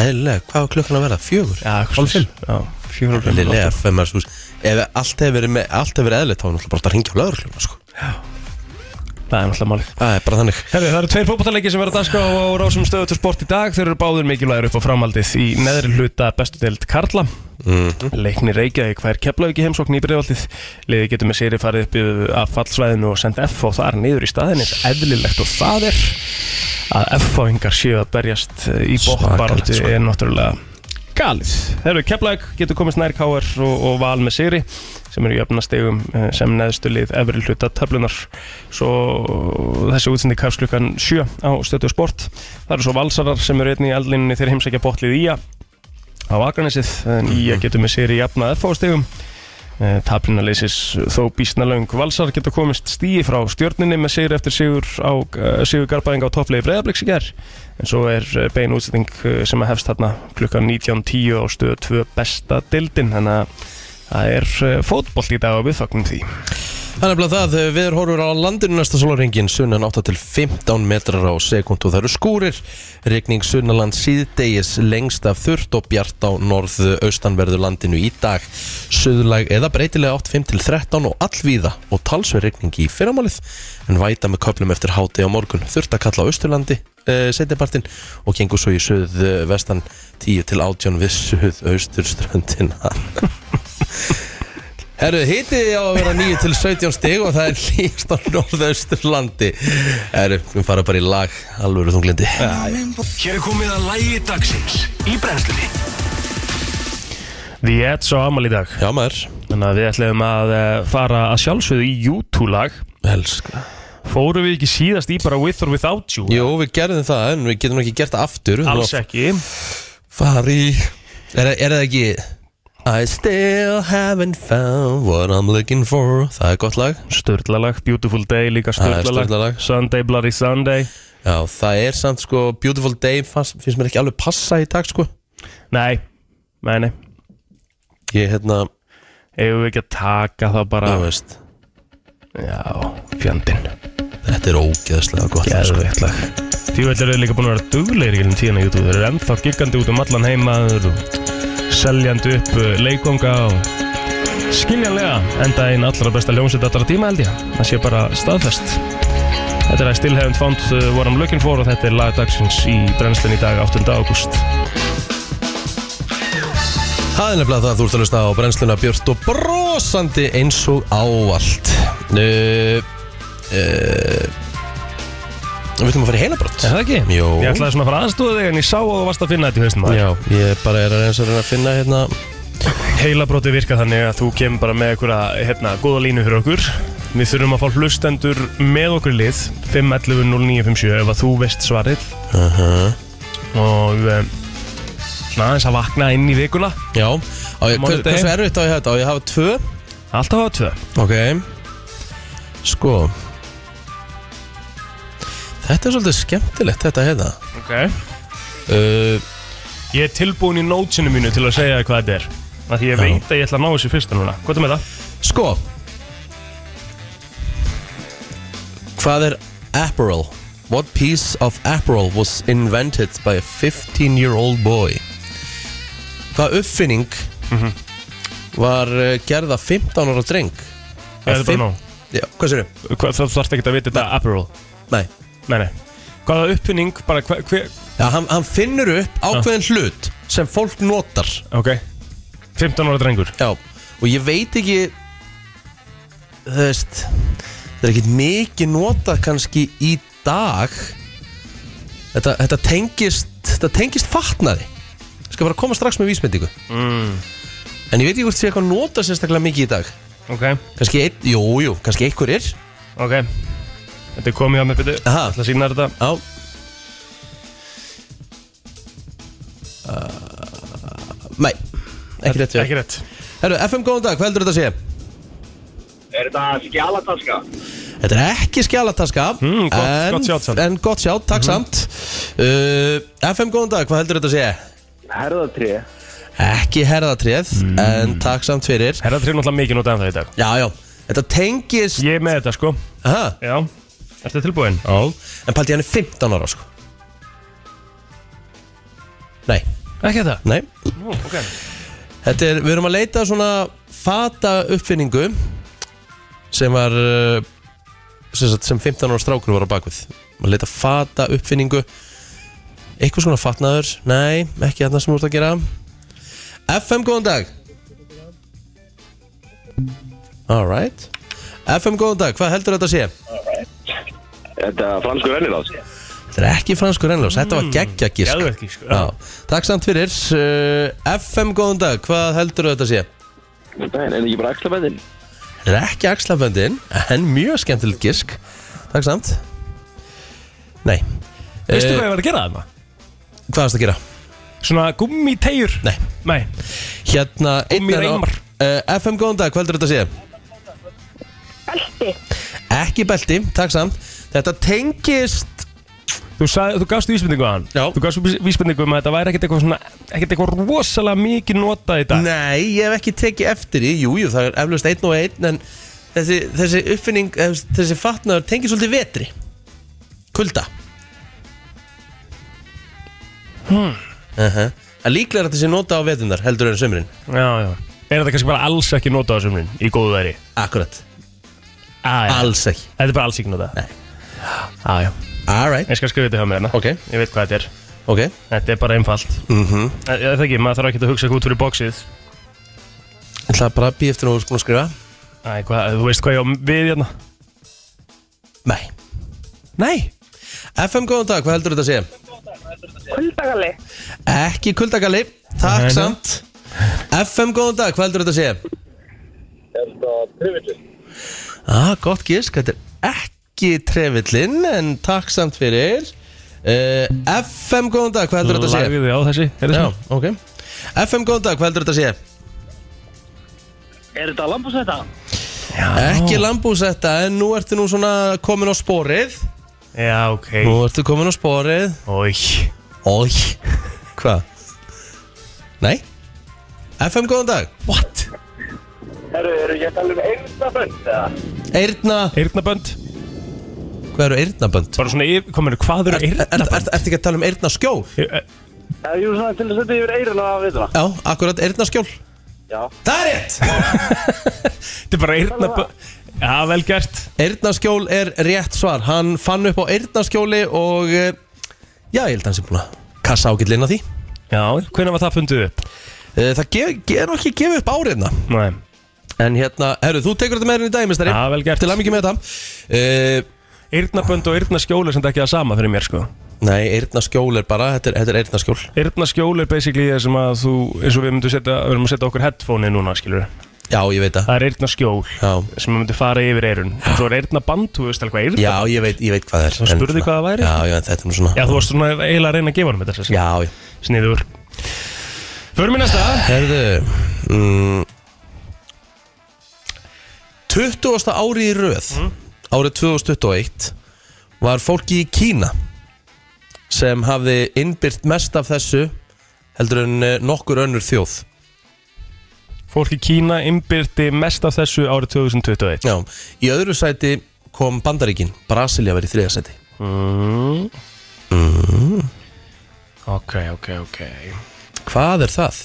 Speaker 1: Eðlilega, hvað var klukkan að verða? Fjögur?
Speaker 2: Já,
Speaker 1: Hálf fimm?
Speaker 2: Já, fjóra
Speaker 1: Eðlilega, fem að sús Ef allt hefur verið, með- allt hefur verið eðlilegt Þá var náttúrulega bara að ringja á lögurkljóna sko
Speaker 2: Það er náttúrulega málið
Speaker 1: Það er bara þannig
Speaker 2: Herri, það eru tveir fótballtaleiki sem verða dagská á rásum stöðu til sport í dag. Þeir eru báðir mikilvægir upp á framhaldið í neðri hluta bestu deild Karla. Leikni Reykjavík fær keflavík í heimsókn í breyfaldið. Liðið getur með séri farið upp í- af fallsvæðinu og sendt F og þar niður í staðin. Eins eðlilegt og það er að F-fáingar séu að berjast eh, í
Speaker 1: Svakalegt,
Speaker 2: bóttbaraldi
Speaker 1: sko.
Speaker 2: er náttúrulega galið. Herru, keflavík getur komist nær K.R. og, og val með séri sem eru jöfnastegum eh, sem neðstu lið efri hluta töflunar svo þessi útsendi kafsklukkan 7 á stötu sport það eru svo valsarar sem eru einnig í eldlinni þeir heimsækja botlið í að á Akranesið en í að getur með séri jafna F-fástegum Tablina leysis Eh, þó býstna laung Valsar getur komist stíi frá stjórninni með sigur eftir sigur, á, eh, sigur garbaðing á topplegi breyðabliks í ger en svo er eh, bein útsetting eh, sem að hefst þarna klukkan 19.10 á stöðu 2 besta dildin þannig að það er eh, fótbollt í dag og við þögnum því
Speaker 1: Það er nefnilega það, eh, við horfum á landinu næsta sólaringin sunnan 8 til 15 metrar á sekund og það eru skúrir regning sunnaland síðdegis lengst af þurft og bjart á norðaustanverðu landinu í dag suðlag eða breytilega 8, 5 til 13 og allvíða og talsverð regning í fyrramálið en væta með köplum eftir háti á morgun þurft að kalla á austurlandi eh, setjapartin og gengur svo í suð vestan 10 til 18 við suð austurströndina Herru, hitið á að vera 9 til 17 stig og það er hlýst á norðausturlandi Herru, við fara bara í lag, alvöru þunglindi
Speaker 4: Hér er komið að lægi dagsins í brennslunni
Speaker 2: Því ég er svo amal í dag
Speaker 1: Já maður,
Speaker 2: þannig að við ætlum að eh, fara að sjálfsögðu í YouTube-lag
Speaker 1: helska
Speaker 2: fórum við ekki síðast í bara With or Without You
Speaker 1: Jú, við gerðum það en við getum ekki gert það aftur
Speaker 2: alls ekki
Speaker 1: Fari er, er það ekki I still haven't found what I'm looking for Það er gott lag
Speaker 2: Sturlalag, Beautiful Day
Speaker 1: Það
Speaker 2: líka
Speaker 1: er
Speaker 2: Sturlalag
Speaker 1: Ah, sturlalag.
Speaker 2: Sunday Bloody Sunday
Speaker 1: Já, það er samt sko Beautiful Day fannst, finnst mér ekki alveg passa í dag sko
Speaker 2: Nei, nei, nei
Speaker 1: Ég hérna,
Speaker 2: Eigum við ekki að taka það bara
Speaker 1: þú veist
Speaker 2: Já, fjandinn
Speaker 1: Þetta er ógeðslega gott lag, sko.
Speaker 2: Geðveitt lag Því vel eru þeir líka búin að vera duglegir í gegnum tíðan á YouTube Þeir eru ennþá giggandi út um allan heimaður og seljandi upp uh, leikonga og skiljanlega enda einn allra besta ljónsett allra tíma held ég Það sé bara staðfest Þetta er að Still Haven't Found uh, What I'm Looking For og þetta er lagdagsins í brennslinn í dag 8. ágúst
Speaker 1: Það er nefnilega það að þú ert að hlusta á brennsluna Björst og brosandi eins og ávallt uh, uh, Við ætlum að fara í heilabrott
Speaker 2: Er það ekki?
Speaker 1: Jó.
Speaker 2: Ég ætlaði svona að fara aðstofa þig en ég sá að þú varst að finna þetta í haustum
Speaker 1: Já, ég bara er að reyna að reyna að finna hérna
Speaker 2: Heilabróti virka þannig að þú kemur bara með einhverja hérna, góða línu fyrir okkur Við þurfum að fá hlustendur með okkur í lið 511-0957 ef að þú veist svarið Uh-huh. -huh. Og eh, svona aðeins að vakna inn í vikuna
Speaker 1: Já, á, ég, hver,
Speaker 2: Mánudegi.
Speaker 1: hversu erfitt á ég þetta? Á ég að hafa tvö?
Speaker 2: Alltaf á tvö
Speaker 1: Ok Sko Þetta er svolítið skemmtilegt þetta hérna
Speaker 2: okay.
Speaker 1: uh,
Speaker 2: Ég er tilbúin í nótsinu mínu til að segja þér hvað þetta er Af Því ég
Speaker 1: Já.
Speaker 2: veit að ég ætla að ná þessu fyrsta núna Hvað er með það?
Speaker 1: Sko Hvað er apparel? What piece of apparel was invented by a 15 year old boy? Hvað uppfinning
Speaker 2: Mhm.
Speaker 1: var uh, gerð af 15 ára dreng?
Speaker 2: Ég er
Speaker 1: Fimm-
Speaker 2: bara nóg
Speaker 1: Já, hvað sér þau?
Speaker 2: Hvað- Þú þarft ekki að vita þetta Aperol
Speaker 1: Nei,
Speaker 2: Nei, nei Hvaða uppfinning, bara hver, hver
Speaker 1: Já, hann, hann finnur upp ákveðin hlut sem fólk notar
Speaker 2: Ok 15 ára drengur
Speaker 1: Já, og ég veit ekki Þú veist Það er ekkit mikið notað kannski í dag Þetta, þetta tengist Þetta tengist fatnaði Ég skal bara koma strax með vísmyndingu mm. En ég veit ekki hvort sé eitthvað notað sérstaklega mikið í dag
Speaker 2: Ok
Speaker 1: Kannski einn, jú, jú, kannski einhver er Já,
Speaker 2: Ok Þetta er komið á mig byrju
Speaker 1: Aha.
Speaker 2: Það sína þér þetta
Speaker 1: nei ekki rétt hjá
Speaker 2: Ekki rétt
Speaker 1: Herru, FM góðan dag, hvað heldur þetta að segja?
Speaker 5: Er þetta skjálataska?
Speaker 1: Þetta er ekki skjálataska
Speaker 2: Mm, gott-
Speaker 1: en,
Speaker 2: gott sjátt samt. Hmm.
Speaker 1: En gott sjátt, takk samt uh, FM góðan dag, hvað heldur þetta að segja?
Speaker 5: Herðatré
Speaker 1: Ekki herðatrið,
Speaker 2: Hmm.
Speaker 1: en takk samt fyrir
Speaker 2: Herra trefn alltaf mikið notað en það í dag
Speaker 1: Já, já, þetta tengist
Speaker 2: Ég er með þetta sko
Speaker 1: Aha,
Speaker 2: Já Ertu tilbúin?
Speaker 1: Já En paldi hann er 15 ára sko Nei,
Speaker 2: Ekki þetta?
Speaker 1: nei
Speaker 2: Nú, ok
Speaker 1: Þetta er, við erum að leita að svona fata uppfinningu sem var uh, sem, sagt, sem 15 ára strákur var á bakvið að leita að fata uppfinningu eitthvað svona fatnaður nei, ekki þarna sem þú ert að gera FM, góðan dag Alright FM, góðan dag, hvað heldur þetta að sé?
Speaker 5: Þetta er franskur ennilás
Speaker 1: Þetta er ekki franskur ennljós, þetta var geggja gísk
Speaker 2: Hmm, Geðveikt gísk, sko. já.
Speaker 1: Já, Takk samt fyrir uh, FM, góðan dag, hvað heldur þetta að sé?
Speaker 5: Þetta er ekki bara axlabæðin
Speaker 1: Þetta er ekki axlaböndin, en mjög skemmtilegt gísk Takk samt Nei
Speaker 2: Veistu hvað
Speaker 1: Eh,
Speaker 2: ég var að gera þarna?
Speaker 1: Hvað varst að gera?
Speaker 2: Svona gummi tegjur
Speaker 1: Nei,
Speaker 2: Nei
Speaker 1: hérna
Speaker 2: Gummi
Speaker 1: einn er á-
Speaker 2: reimar.
Speaker 1: Eh, FM, góðan dag, hvað heldur þetta að sé?
Speaker 6: Belti.
Speaker 1: Ekki belti, takk samt Þetta tengist
Speaker 2: Þú, sag, þú gafst vísbendingu að hann
Speaker 1: Já.
Speaker 2: Þú gafst vís- vísbendingu um að þetta væri ekkert eitthvað svona Ekkert eitthvað rosalega mikið notað í dag
Speaker 1: Nei, ég hef ekki tekið eftir í Jújú, jú, það er eflaust einn og einn En þessi, þessi uppfinning, eh, þessi fatnaður tengist svolítið vetri Kulda hmm. uh -huh. En líklega er þetta sé nota á vetunar, heldur en sömurinn
Speaker 2: Já, já Er þetta kannski bara alls ekki notað á sumrin Í góðu veri
Speaker 1: Akkurat,
Speaker 2: ah, já.
Speaker 1: alls ekki
Speaker 2: Þetta er bara alls ekki notað
Speaker 1: Nei.
Speaker 2: Já, já
Speaker 1: Alright,
Speaker 2: Ég skal skrifa þetta hjá mér hérna
Speaker 1: Ok.
Speaker 2: Ég veit hvað þetta er
Speaker 1: ok
Speaker 2: Þetta er bara einfalt
Speaker 1: mm -hmm.
Speaker 2: Eh, Ég veit ekki, maður þarf ekki að hugsa út fyrir bóksið
Speaker 1: Ég ætla bara að býja eftir að þú sko að skrifa
Speaker 2: Æ, hvað, eh, þú veist hvað ég á við hérna
Speaker 1: Nei
Speaker 2: Nei
Speaker 1: FM góðan dag, hvað heldur þetta að segja?
Speaker 6: Kuldagalli.
Speaker 1: Ekki kuldagalli, takk
Speaker 2: Nei, nei.
Speaker 1: samt FM góðan dag, hvað heldur þetta að segja? Ah, gott gísk, þetta er ekki trefillin En takk samt fyrir uh, FM góðan dag, hvað heldur þetta að segja?
Speaker 2: Lagði þið á þessi Er
Speaker 1: Já,
Speaker 2: það
Speaker 1: ok FM góðan dag, hvað heldur þetta að segja?
Speaker 5: Er þetta lambúsetta?
Speaker 1: Ekki lambúsetta, en nú ertu nú svona komin á sporið
Speaker 2: Já, ok
Speaker 1: Nú ertu komin á sporið
Speaker 2: Ói
Speaker 1: Ói Hvað? Nei? FM góðan dag
Speaker 2: What?
Speaker 5: Herru, eru ég að tala um eyrnabönd eða?
Speaker 1: Eyrna
Speaker 2: Eyrnabönd
Speaker 1: Hvað eru eyrnabönd?
Speaker 2: Bara svona yfir Kominu, hvað eru
Speaker 1: Er- er- er-
Speaker 2: eyrnabönd?
Speaker 1: Ertu ekki að tala um eyrnaskjól?
Speaker 2: Eh,
Speaker 5: Já, jú, svona til að setja yfir eyrun að við það
Speaker 1: Já, akkurat eyrnaskjól
Speaker 5: Já.
Speaker 1: Það er rétt!
Speaker 2: Þetta er bara eyrnabönd Já, vel gert
Speaker 1: Eyrnaskjól er rétt svar Hann fann upp á eyrnaskjóli og eh, Já, ég held að hann sem búin að kassa ágætt lina því
Speaker 2: Já, hvernig var það fundið upp?
Speaker 1: Eh, Það ge- ge- er nú ekki að gefa upp áriðna
Speaker 2: Nei
Speaker 1: En hérna, herru, þú tekur þetta með henni í dag, mistari
Speaker 2: Já, vel gert
Speaker 1: Til að mikið með þetta uh,
Speaker 2: Eyrnabönd og eyrnaskjól er sem ekki það sama fyrir mér, sko
Speaker 1: Nei, eyrnaskjól er bara, þetta er, þetta er eyrnaskjól
Speaker 2: Eyrnaskjól er basically það sem að þú eins og við myndum setja, við erum að setja okkur headphone í núna, skilur
Speaker 1: Já, ég veit það
Speaker 2: Það er eyrnaskjól
Speaker 1: Já.
Speaker 2: sem myndi fara yfir eyrun En Svo er eyrnaband, þú veist alveg hvað eyrnaband
Speaker 1: Já, ég veit, ég veit hvað það er
Speaker 2: Þú
Speaker 1: en
Speaker 2: spurði
Speaker 1: svona-
Speaker 2: hvað það væri?
Speaker 1: Já, já, en þetta er nú svona
Speaker 2: Já, þú varst svona eiginlega að reyna að gefa hann með þessu
Speaker 1: Já, já
Speaker 2: Sniður Förum í næsta
Speaker 1: Herðu mm, 20. ári í röð
Speaker 2: Mm.
Speaker 1: árið 2021 var fólki í Kína sem hafði innbyrt mest af þessu heldur en eh, nokkur önnur þjóð
Speaker 2: Fólk í Kína innbyrti mest af þessu árið 2021
Speaker 1: Já, í öðru sæti kom Bandaríkin Brasilia verið í þriða sæti
Speaker 2: Ok, ok, ok
Speaker 1: Hvað er það?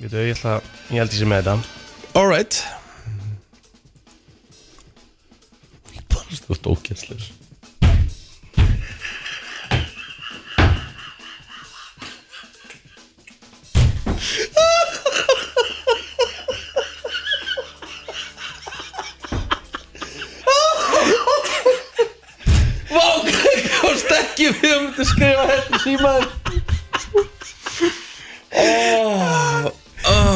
Speaker 2: Við þau, ég ætla Ég held ég sé með þetta
Speaker 1: Alright Þú ert ókjenslir Vá, hvað komst ekki við um þetta skrifa þetta símaður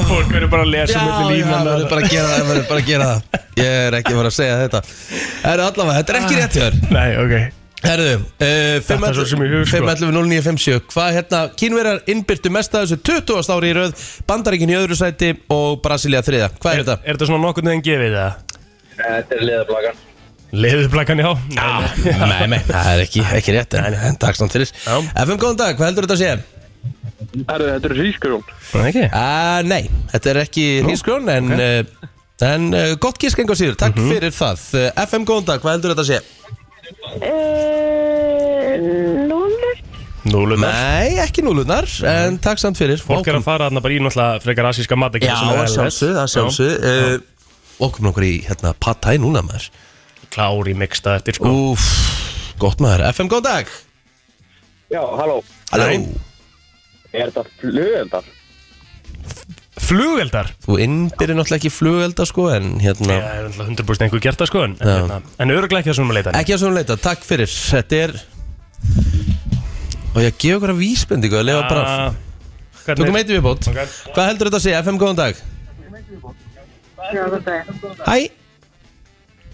Speaker 2: Fólk verður bara að lesa
Speaker 1: Já,
Speaker 2: milli
Speaker 1: já,
Speaker 2: línan
Speaker 1: verður bara að gera það, verður bara að gera það Ég er ekki að vera að segja þetta Það er allavega, þetta er ekki rétt hjá þér
Speaker 2: Nei, ok
Speaker 1: Herðu, uh,
Speaker 2: Þetta er svo sem ég hugsa, sko.
Speaker 1: 5.11.09.57 Hvað hérna, kínverjar innbyrtu mest að þessu 20. ári í röð Bandaríkin í öðru sæti og Brasilia þriða Hvað er þetta?
Speaker 2: Er þetta svona nokkurn veginn gefið það?
Speaker 5: Eh, Þetta er liðablagan.
Speaker 2: Leðurblækan, já
Speaker 1: Ah, Nei, nei, það er ekki, ekki rétt En, en takk samt fyrir
Speaker 2: Já.
Speaker 1: FM, góðan dag, hvað heldur þetta að sé?
Speaker 5: Herru, þetta er hrískurjón.
Speaker 2: Það ekki?
Speaker 1: Uh, nei, þetta er ekki hrísgrón En, okay. en uh, gott gísk engu að síður Takk
Speaker 2: Mhm.
Speaker 1: fyrir það uh, FM, góðan dag, hvað heldur þetta að sé?
Speaker 6: Númer
Speaker 2: Núlunar
Speaker 1: Nei, ekki núlunar, en takk samt fyrir
Speaker 2: Fólk er að fara þarna bara í náttúrulega frekar asíska matakjæð
Speaker 1: Já, að sjálfsög, að sjálfsög uh, Okkur nokkur í hérna patæ núna maður
Speaker 2: Klári miksta eftir sko
Speaker 1: Úf, gott maður FM, góðan dag
Speaker 5: Já, halló.
Speaker 1: Halló
Speaker 5: Er þetta flugöldar?
Speaker 2: Flugeldar
Speaker 1: Þú innbyrðir náttúrulega ekki flugelda sko En hérna
Speaker 2: Já, það er náttúrulega 100% einhver gert það sko En, hérna, en öruglega ekki það svona með leita
Speaker 1: Ekki að svona leita, takk fyrir Þetta er Og ég að gefa ykkur að vísbendingu að lefa bara Tökum eitt viðbót
Speaker 2: Ah, Ok.
Speaker 1: Hvað heldur þetta að segja? FM góðan dag
Speaker 6: Já, þetta er
Speaker 1: Hæ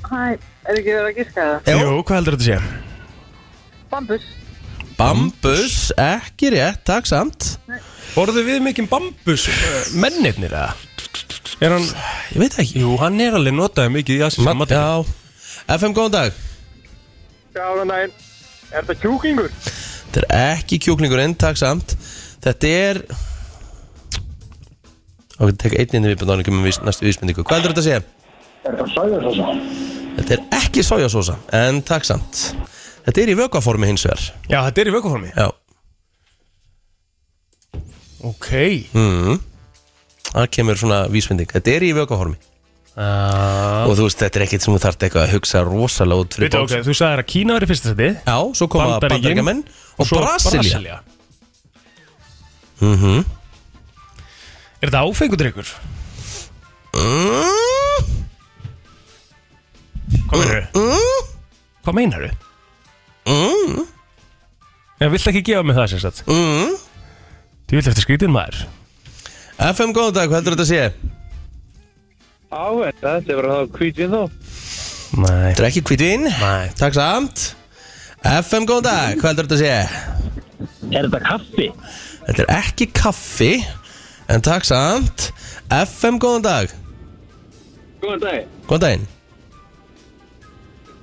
Speaker 6: Hæ, er ekki verið að gíska það?
Speaker 2: Jú, hvað heldur þetta sé?
Speaker 6: Bambus
Speaker 1: Bambus, ekki rétt, takk samt
Speaker 2: Borðu við mikið bambus eh, mennirnir eða? Er hann
Speaker 1: Ég veit það ekki
Speaker 2: Jú, hann er alveg notaði mikið í asíska
Speaker 1: Mat,
Speaker 2: matakjæð
Speaker 1: já FM góðan dag
Speaker 5: Já, næn. Er þetta kjúkingur?
Speaker 1: Þetta er ekki kjúklingurinn, takk samt Þetta er Ok, þetta tek einn inn í viðbót áningum um vís, næstu vísbendingu Hvað heldur þetta að segja?
Speaker 5: Er þetta sæðarsósa?
Speaker 1: Þetta er ekki sojasósa En takk samt Þetta er í vökvaformi hins vegar
Speaker 2: Já, þetta er í vökuformi
Speaker 1: Já
Speaker 2: Ok
Speaker 1: mm. Það kemur svona vísbending Þetta er í vökahormi
Speaker 2: Veitu,
Speaker 1: Og þú veist, þetta er ekkert sem þú þarft eitthvað að hugsa rosalega út fyrir
Speaker 2: ok,
Speaker 1: bóks
Speaker 2: þú sagðir að Kína er í fyrsta seti
Speaker 1: Já, svo koma
Speaker 2: Bandaríkin,
Speaker 1: bandaríkjamenn Og Brasilia
Speaker 2: Mhm. Er þetta áfengudrykkur?
Speaker 1: Mm,
Speaker 2: Hvað meinar þau? Hvað meinar þau? Ég vill ekki gefa mig það sem sagt
Speaker 1: mm.
Speaker 2: Þú vill eftir skrítin maður
Speaker 1: FM, góðan dag, hvað heldur þetta að sé?
Speaker 5: Á, þetta er bara það kvítvinn þá.
Speaker 2: Nei
Speaker 1: Þetta er ekki hvítvin
Speaker 2: Nei.
Speaker 1: Takk samt FM, góðan dag, hvað heldur þetta að sé?
Speaker 5: Er þetta kaffi?
Speaker 1: Þetta er ekki kaffi En takk samt FM, góðan dag
Speaker 5: Góðan dag.
Speaker 1: Góðan daginn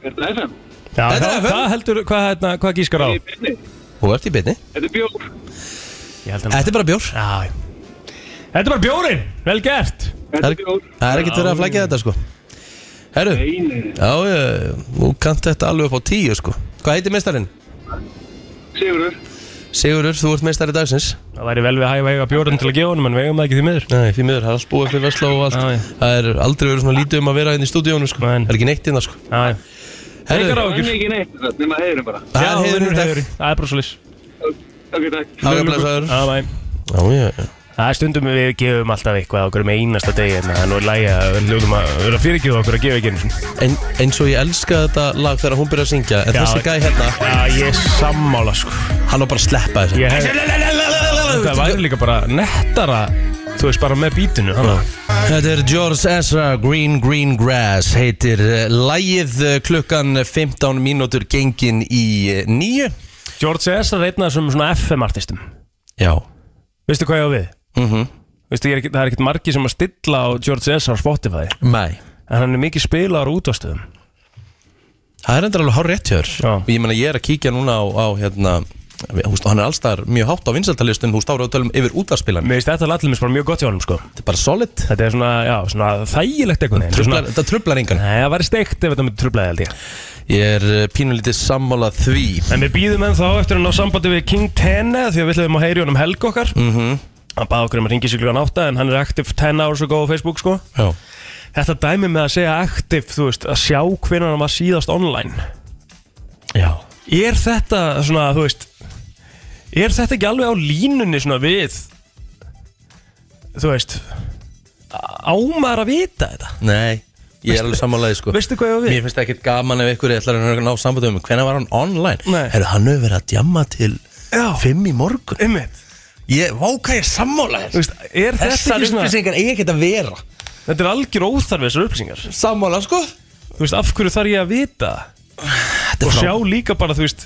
Speaker 5: Er þetta FM?
Speaker 2: Já,
Speaker 1: Þetta er
Speaker 2: hvað-
Speaker 1: FM.
Speaker 2: Hvað heldur, hvað, hérna, hvað gískar á?
Speaker 5: byrni.
Speaker 1: Þú ert í byrni
Speaker 5: Þetta er bjór.
Speaker 2: Ég held
Speaker 1: Þetta er bara bjór
Speaker 2: Já já. Þetta er bara bjórin, vel gert
Speaker 1: Það er- það er ekkert verið að flækja þetta sko Herru
Speaker 5: Einir.
Speaker 1: Já, já, já, þú kannt þetta alveg upp á tíu sko Hvað heitir meistarinn?
Speaker 5: Sigurur.
Speaker 1: Sigurur, þú ert meistari dagsins
Speaker 2: Það væri vel við að hæfa eiga bjórin til að gefa honum En við eigum það ekki því miður
Speaker 1: Nei, því miður, það er allt búið fyrir Vesla og allt
Speaker 2: Já, já.
Speaker 1: Það er aldrei verið svona lítið um að vera hérna í stúdíónu sko
Speaker 2: Nei.
Speaker 1: Það er ekki neitt innan sko
Speaker 2: Já, já. Engar
Speaker 1: Herru,
Speaker 2: áhyggjur.
Speaker 5: Það er ekki neitt þetta, nema heiðurinn bara.
Speaker 1: það
Speaker 2: Já,
Speaker 1: er heiðurinn
Speaker 2: vinur
Speaker 1: í dag
Speaker 2: heiðurinn. Það er bara svolítið
Speaker 5: Ok, takk.
Speaker 1: Háka blæsaður
Speaker 2: Já, bæ.
Speaker 1: Já, já, já
Speaker 2: Það er stundum við gefum alltaf eitthvað á okkur með einasta degi en það er nú í lagi að við hljóðum að vera fyrirgjöð okkur að gefa ekki einu sinni.
Speaker 1: en, Eins og ég elska þetta lag þegar hún byrjar að syngja En
Speaker 2: Já.
Speaker 1: þessi gæði hérna,
Speaker 2: Já, ég er sammála sko.
Speaker 1: hann á bara að sleppa þessu
Speaker 2: Ég hef, það væri líka bara nettara, þú veist, bara með bítinu. hana.
Speaker 1: Þetta er George Ezra, Green Green Grass heitir uh, lægið uh, klukkan 15 mínútur gengin í uh, nýju
Speaker 2: George S. er einn af þessum svona FM-artistum.
Speaker 1: Já
Speaker 2: Veistu hvað ég á við?
Speaker 1: Mhm.
Speaker 2: Veistu, ég er, ekkert- það er ekkert margi sem að stilla á George S. á Spotify,
Speaker 1: Mæ
Speaker 2: en hann er mikið spilaður útastöðum.
Speaker 1: Það er endur alveg hár rétt hjör
Speaker 2: Já.
Speaker 1: Og ég meina ég er að kíkja núna á, á hérna Húst, hann er allstaðar mjög hátt á vinsaltalistum Húst ára og tölum yfir útvarspilan
Speaker 2: Mér veist þetta lallumis bara mjög gott hjá honum, sko.
Speaker 1: Þetta er bara solid
Speaker 2: Þetta er svona, já, svona þægilegt einhvern veginn. Þetta er
Speaker 1: trublar,
Speaker 2: svona-
Speaker 1: Þetta trublar engan
Speaker 2: Nei, það væri steikt ef þetta myndi trublaði, held ég.
Speaker 1: Ég er eh, pínulítið sammála því
Speaker 2: En við býðum ennþá eftir að ná sambandi við King Tenne því að við ætlum að heyri honum helg okkar -hmm. Hann baði okkur um að ringi sig klukkan átta en hann er aktiv 10 hours ago á Facebook sko
Speaker 1: Já
Speaker 2: Þetta dæmi með að segja aktiv, þú veist, að sjá hvernig hann var síðast online
Speaker 1: Já
Speaker 2: Er þetta svona, þú veist, er þetta ekki alveg á línunni svona við, þú veist, ámar að vita þetta?
Speaker 1: Nei Ég er alveg sammálaði sko
Speaker 2: Veistu hvað ég á við?
Speaker 1: Mér finnst það ekkert gaman ef ykkur ætlar að ná sambandum Hvenær var hann online?
Speaker 2: Nei.
Speaker 1: Herru, hann hefur verið að djamma til
Speaker 2: Já.
Speaker 1: Fimm í morgun
Speaker 2: Einmitt,
Speaker 1: Ég, váka ég er sammála þér
Speaker 2: þú veist, er þetta
Speaker 1: Þessar
Speaker 2: ekki svona,
Speaker 1: upplýsingar eigi ekkert að vera
Speaker 2: þetta er algjör óþarfi þessar upplýsingar
Speaker 1: Sammála sko
Speaker 2: Þú veist, af hverju þarf ég að vita? það?
Speaker 1: Þetta
Speaker 2: og
Speaker 1: er
Speaker 2: sjá
Speaker 1: frá
Speaker 2: líka bara, þú veist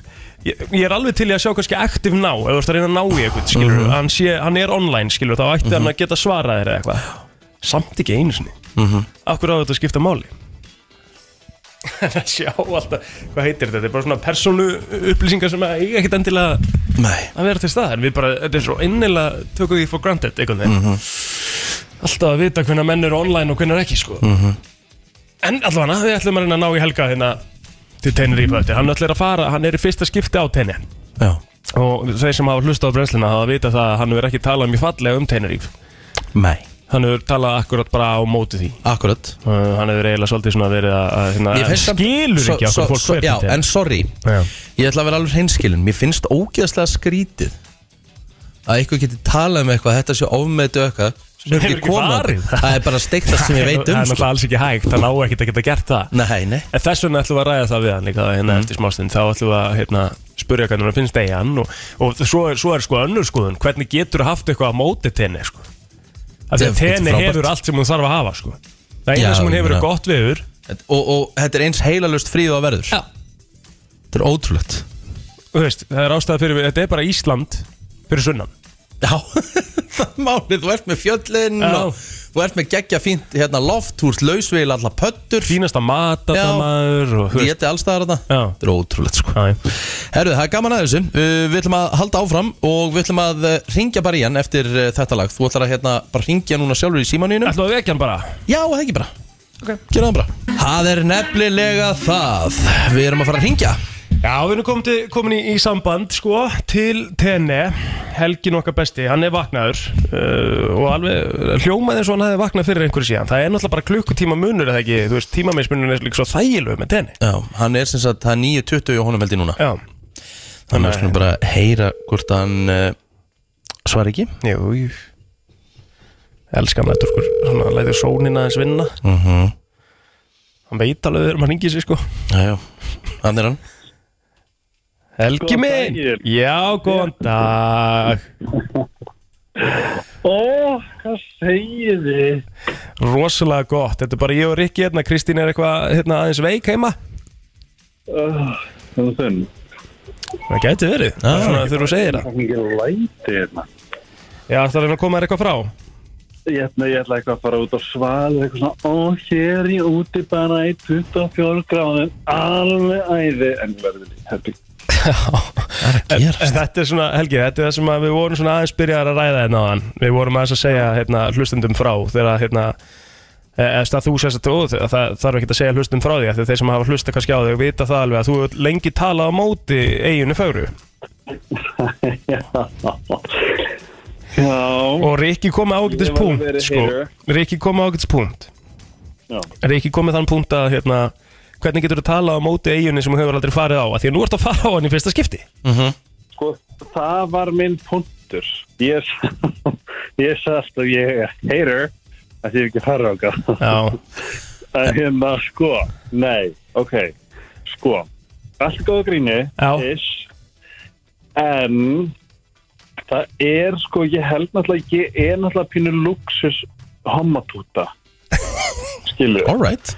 Speaker 2: ég, ég er alveg til í að sjá kannski active now ef þú ert að reyna að ná í eitthvað, skilur
Speaker 1: Mhm.
Speaker 2: hann, sé, hann er online, skilur, þá ætti hann að geta svarað þér eða eitthvað, samt ekki einu sinni
Speaker 1: Mhm.
Speaker 2: akkur á þetta að skipta máli að sjá alltaf hvað heitir þetta, þetta er bara svona persónu upplýsingar sem að eiga ekkit endilega
Speaker 1: Nei
Speaker 2: að vera til staðar, við bara, þetta er svo innilega tökum því for granted, einhvern veginn
Speaker 1: Mhm.
Speaker 2: alltaf að vita hvernig menn eru online og hvernig ekki,
Speaker 1: Mhm.
Speaker 2: sko en allavega, við ætlum að reyna að ná í helga hérna til
Speaker 1: Mm.
Speaker 2: Tenerife eftir, hann ætlar að fara hann er í fyrsta skipti á Tenerife
Speaker 1: Já
Speaker 2: og þeir sem hafa hlustað á brennsluna hafa vita það að hann hefur ekki talað mjög fallega um Tenerife
Speaker 1: Nei
Speaker 2: hann hefur talað akkurat bara á móti því
Speaker 1: Akkurat
Speaker 2: uh, hann hefur eiginlega svolítið svona verið að, að hérna,
Speaker 1: Mér finnst samt-
Speaker 2: hann skilur
Speaker 1: svo-
Speaker 2: ekki
Speaker 1: svo-
Speaker 2: okkur fólk
Speaker 1: svo-
Speaker 2: hver
Speaker 1: Já, en sorry
Speaker 2: Já.
Speaker 1: Ég ætla að vera alveg hreinskilin Mér finnst ógeðslega skrítið að eitthvað geti talað um eitthvað þetta sé ofmetu eitthvað sem hefur
Speaker 2: hefur
Speaker 1: ekki
Speaker 2: ekki
Speaker 1: komað
Speaker 2: farið.
Speaker 1: það er bara steiktast sem ég veit um
Speaker 2: það er
Speaker 1: sko.
Speaker 2: náttúrulega alls ekki hægt, hann á ekkert að geta gert það
Speaker 1: Nei, nei
Speaker 2: en þess vegna ætlum við að ræða það við hann líka
Speaker 1: Mhm.
Speaker 2: hérna eftir smástund, þá ætlum við að hérna, spurja hvernig hann finnst eigi hann og, og svo, er, svo er sko önnur skoðun, hvernig getur haft eitthvað á móti tenni sko af því
Speaker 1: Þetta
Speaker 2: að
Speaker 1: er
Speaker 2: tenni
Speaker 1: frábært.
Speaker 2: hefur allt sem hún þarf að hafa sko það
Speaker 1: Já,
Speaker 2: eina sem hún
Speaker 1: ég
Speaker 2: hefur
Speaker 1: meina-
Speaker 2: er gott viður
Speaker 1: Þetta- og, og þetta er eins heilalust fríð og verður
Speaker 2: Já.
Speaker 1: Þetta er ótrúlegt
Speaker 2: Þú veist, það er ástæða fyrir, þetta er bara Ísland fyrir sunnan
Speaker 1: Já, það er málið, þú ert með fjöllin
Speaker 2: Já.
Speaker 1: og þú ert með geggja fínt hérna loft, þú ert lausvegil allar pöttur
Speaker 2: Fínasta mat að
Speaker 1: Já.
Speaker 2: það maður og, þú veist,
Speaker 1: Dieti allstaðar þarna
Speaker 2: Já.
Speaker 1: Þetta er ótrúlegt sko
Speaker 2: já, já.
Speaker 1: Herðu, það er gaman að þessu Uh, Við ætlum að halda áfram og við ætlum að ringja bara í hann eftir uh, þetta lag Þú ætlar að hérna bara ringja núna sjálfur í símanuðinu
Speaker 2: Ætlum við ekki hann bara
Speaker 1: Já, það ekki bara okay. Gerðu það bara Það er nefnilega það Við erum að fara að ringja
Speaker 2: Já, við erum komin, til, komin í, í samband sko, til Tene Helgin okkar besti, hann er vaknaður uh, og alveg hljómaði eins og hann hefði vaknað fyrir einhverju síðan það er náttúrulega bara klukkutíma munur eða ekki, þú veist, tímamismunur er líka svo þægilegu með Tene
Speaker 1: Já, hann er sem sagt, það er 9.20 og honum held ég núna
Speaker 2: Já,
Speaker 1: Þannig að við skulum bara heyra hvort hann uh, svar ekki
Speaker 2: jú, jú Elskan þetta okkur, svona lætur sónina aðeins vinna
Speaker 1: mm
Speaker 5: Mhm.
Speaker 2: Hann veit alveg þegar maður hringir sig sko
Speaker 1: Já, já, hann er hann
Speaker 2: Helgi
Speaker 5: Góðan
Speaker 2: minn!
Speaker 5: daginn.
Speaker 2: Já, góðan dag!
Speaker 5: Ó, hvað segir þið?
Speaker 2: Rosalega gott, þetta er bara ég og Rikki hérna, Kristín er eitthvað hérna, aðeins veik heima
Speaker 5: Það er þunn.
Speaker 2: Það gæti verið, það
Speaker 5: Ah.
Speaker 2: er svona þegar þú segir það
Speaker 5: Það er ekki læti hérna.
Speaker 2: Já, það er að reyna að koma þér eitthvað frá
Speaker 5: Ég ætla, ég ætla eitthvað að fara út á sval eitthvað svona, ó, hér í úti bara í 24 gráðum alveg æði en verður í herbyggd.
Speaker 2: en, en þetta er svona, Helgi, þetta er það sem að við vorum svona aðeins byrjaðar að ræða hérna á hann Við vorum aðeins að segja hérna, hlustendum frá þegar að, hérna e- eða það þú sérst að það, það þarf ekki að segja hlustendum frá því af því að þeir sem hafa hlusta kannski á þig vita það alveg að þú hefur lengi talað á móti eiginu fögru
Speaker 5: Mm. Já,
Speaker 2: og Rikki kom með ágætis
Speaker 5: Ég var
Speaker 2: punkt
Speaker 5: verið
Speaker 2: sko.
Speaker 5: heyru.
Speaker 2: Rikki kom með ágætis punkt
Speaker 5: Já.
Speaker 2: Rikki kom með þann punkt að hérna, hvernig getur þú talað á móti eiginni sem þú hefur aldrei farið á að því að nú ertu að fara á hann í fyrsta skipti
Speaker 5: sko, það var minn punktur. Ég, ég sagði alltaf, ég er hater, að ég hef ekki fara á gaf.
Speaker 2: Já,
Speaker 5: að hérna sko nei, ok sko, allt góða gríni
Speaker 2: Já.
Speaker 5: ish, en það er sko ég held náttúrulega, ég er náttúrulega pínu luxus hommatúta skilu
Speaker 1: Alright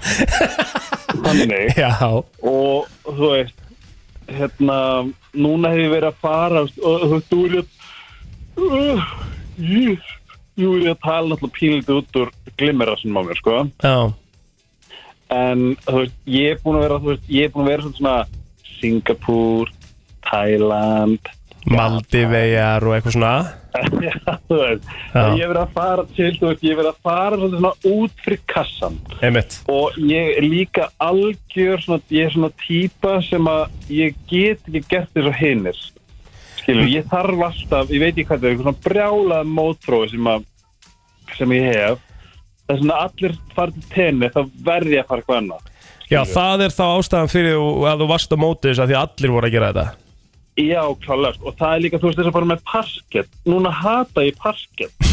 Speaker 5: þannig
Speaker 2: já,
Speaker 5: og þú veist hérna, núna hef ég verið að fara og og þú veist, þú er uh, ég Jú, ég er að tala náttúrulega pílítið út úr glimmerassum á mér, sko
Speaker 2: já
Speaker 5: en þú veist, ég er búin að vera þú veist, ég er búin að vera svolítið svona Singapúr, Thailand
Speaker 2: Maldivegar og eitthvað svona
Speaker 5: þú veist,
Speaker 2: Já.
Speaker 5: ég er verið að fara til þú veist, ég er verið að fara svolítið svona út fyrir kassan
Speaker 2: einmitt,
Speaker 5: og ég er líka algjör svona, ég er svona típa sem að ég get ekki gert þess að hinnir skilur, ég þarf alltaf ég veit ekki hvað það er, eitthvað svona brjálað mótrói sem að, sem ég hef það er svona allir farið til tenni þá verð ég að fara eitthvað annað
Speaker 2: já, það er þá ástæðan fyrir þú- að þú varst á móti þess að því að allir voru að gera þetta
Speaker 5: Já, klálega, sko. og það er líka, þú veist, þess að bara með parkett, núna hata ég parkett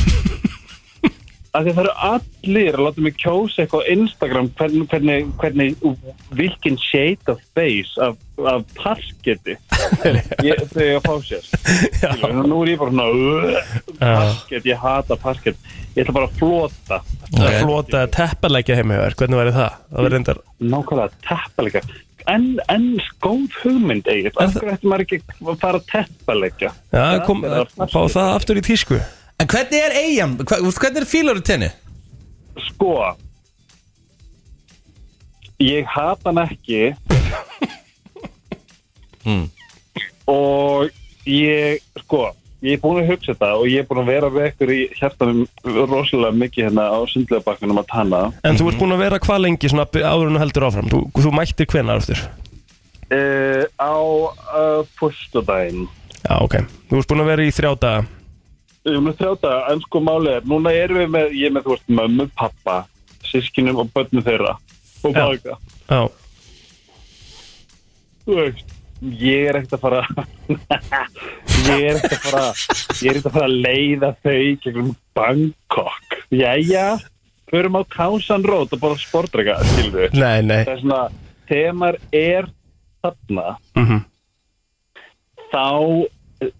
Speaker 5: af því að það eru allir að láta mig kjósa eitthvað á Instagram hvernig, hvernig, hvernig vilkin shade of face af, af parketti ég, þegar ég að fá sér Skilurðu, og nú er ég bara svona "Ugh, parkett, ég hata parkett ég ætla bara að flota
Speaker 2: okay. að flota teppalækja heimauður, hvernig væri það? það var reyndar,
Speaker 5: nákvæmlega teppalega enn en góð hugmynd eigið
Speaker 2: Er
Speaker 5: af
Speaker 2: það-
Speaker 5: hverju ætti maður ekki að fara að teppaleggja
Speaker 2: Já, kom,
Speaker 5: eða
Speaker 2: fá það aftur í tísku
Speaker 1: En hvernig er eigin, hvernig er fílar í tenni?
Speaker 5: sko ég hata hann ekki og ég sko ég er búin að hugsa þetta og ég er búin að vera við ykkur í hjartanum rosalega mikið hérna á sundlega bakkanum að tanna
Speaker 2: En þú ert búin að vera hvað lengi svona by- áður en þú heldur áfram Þú, þú mættir hvenar aftur
Speaker 5: uh, á uh, fyrstudaginn
Speaker 2: Já, ok Þú ert búin að vera í þrjá daga
Speaker 5: Við erum að þrjáta, en sko málið er, núna erum við með, ég er með, þú veist, mömmu, pappa, sískinum og börnum þeirra og
Speaker 2: Já.
Speaker 5: baka.
Speaker 2: Já,
Speaker 5: Þú veist, ég er ekkert að fara, ég er ekkert að fara, ég er ekkert að fara að leiða þau í gegnum Bangkok. Jæja, förum á Kásan Road og bara sportreika, skilðu.
Speaker 2: nei, nei
Speaker 5: Það er svona, þegar maður er þarna,
Speaker 2: Mhm.
Speaker 5: þá eh,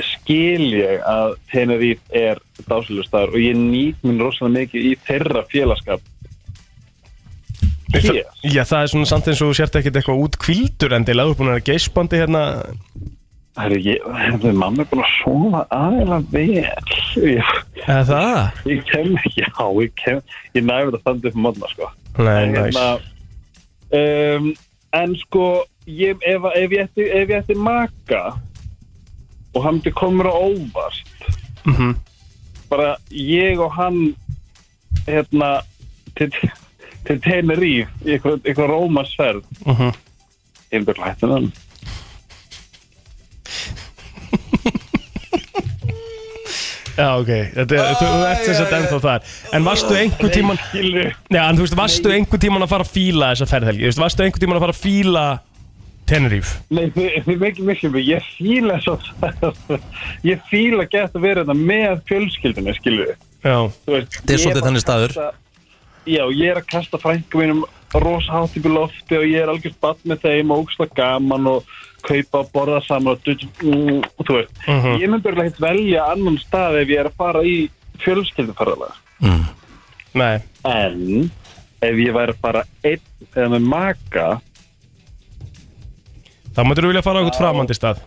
Speaker 5: skil ég að Tenerife er dásalustæður og ég nýt minn rosalega mikið í þeirra félagskap hér
Speaker 2: Já, það er svona samt eins og þú sért ekkert eitthvað út kvildur endilega Þú ert búin að vera geisbandi hérna
Speaker 5: Herru, ég, herru, mamma er búin að sofa aðeina vel ég,
Speaker 2: Eða það?
Speaker 5: ég kem ekki á, ég kem ég næfði að standa upp á mótna, sko
Speaker 2: Nei, hérna-
Speaker 5: en,
Speaker 2: næs
Speaker 5: um, en sko ég, ef, ef, ég ætti, ef ég ætti maka og hann myndi komur á óvart
Speaker 2: Mhm.
Speaker 5: bara ég og hann hérna til, til Teneríf í eitthvað, eitthvað rómasferð
Speaker 2: Mhm.
Speaker 5: ég myndi að hætta hann
Speaker 2: Já, ok, þetta, er, þú, þú ert þess að ennþá þar En varstu einhver tíman
Speaker 5: Skilur,
Speaker 2: Já, en þú veist, varstu einhver tíman að fara að fíla þessa ferðhelgi Þú veist, varstu einhver tíman að fara að fíla Tenerife
Speaker 5: nei, þið, þið mikið mikið mikið, ég fíla svo ég fíla gett að vera þetta með fjölskyldinu, skilur við
Speaker 2: Já,
Speaker 5: Þetta
Speaker 1: er svolítið þannig staður.
Speaker 5: Já, ég er að kasta frængum mínum rosa hátt upp í lofti og ég er algjörst bann með þeim og ógslag gaman og kaupa og borða saman og dutt, mm, þú veist,
Speaker 1: Mhm.
Speaker 5: ég myndi bara hitt velja annan stað ef ég er að fara í fjölskylduferðalega
Speaker 2: nei
Speaker 5: en ef ég væri að fara einn eða með maka
Speaker 2: Þá mættur þú vilja fara á eitthvað framandi stað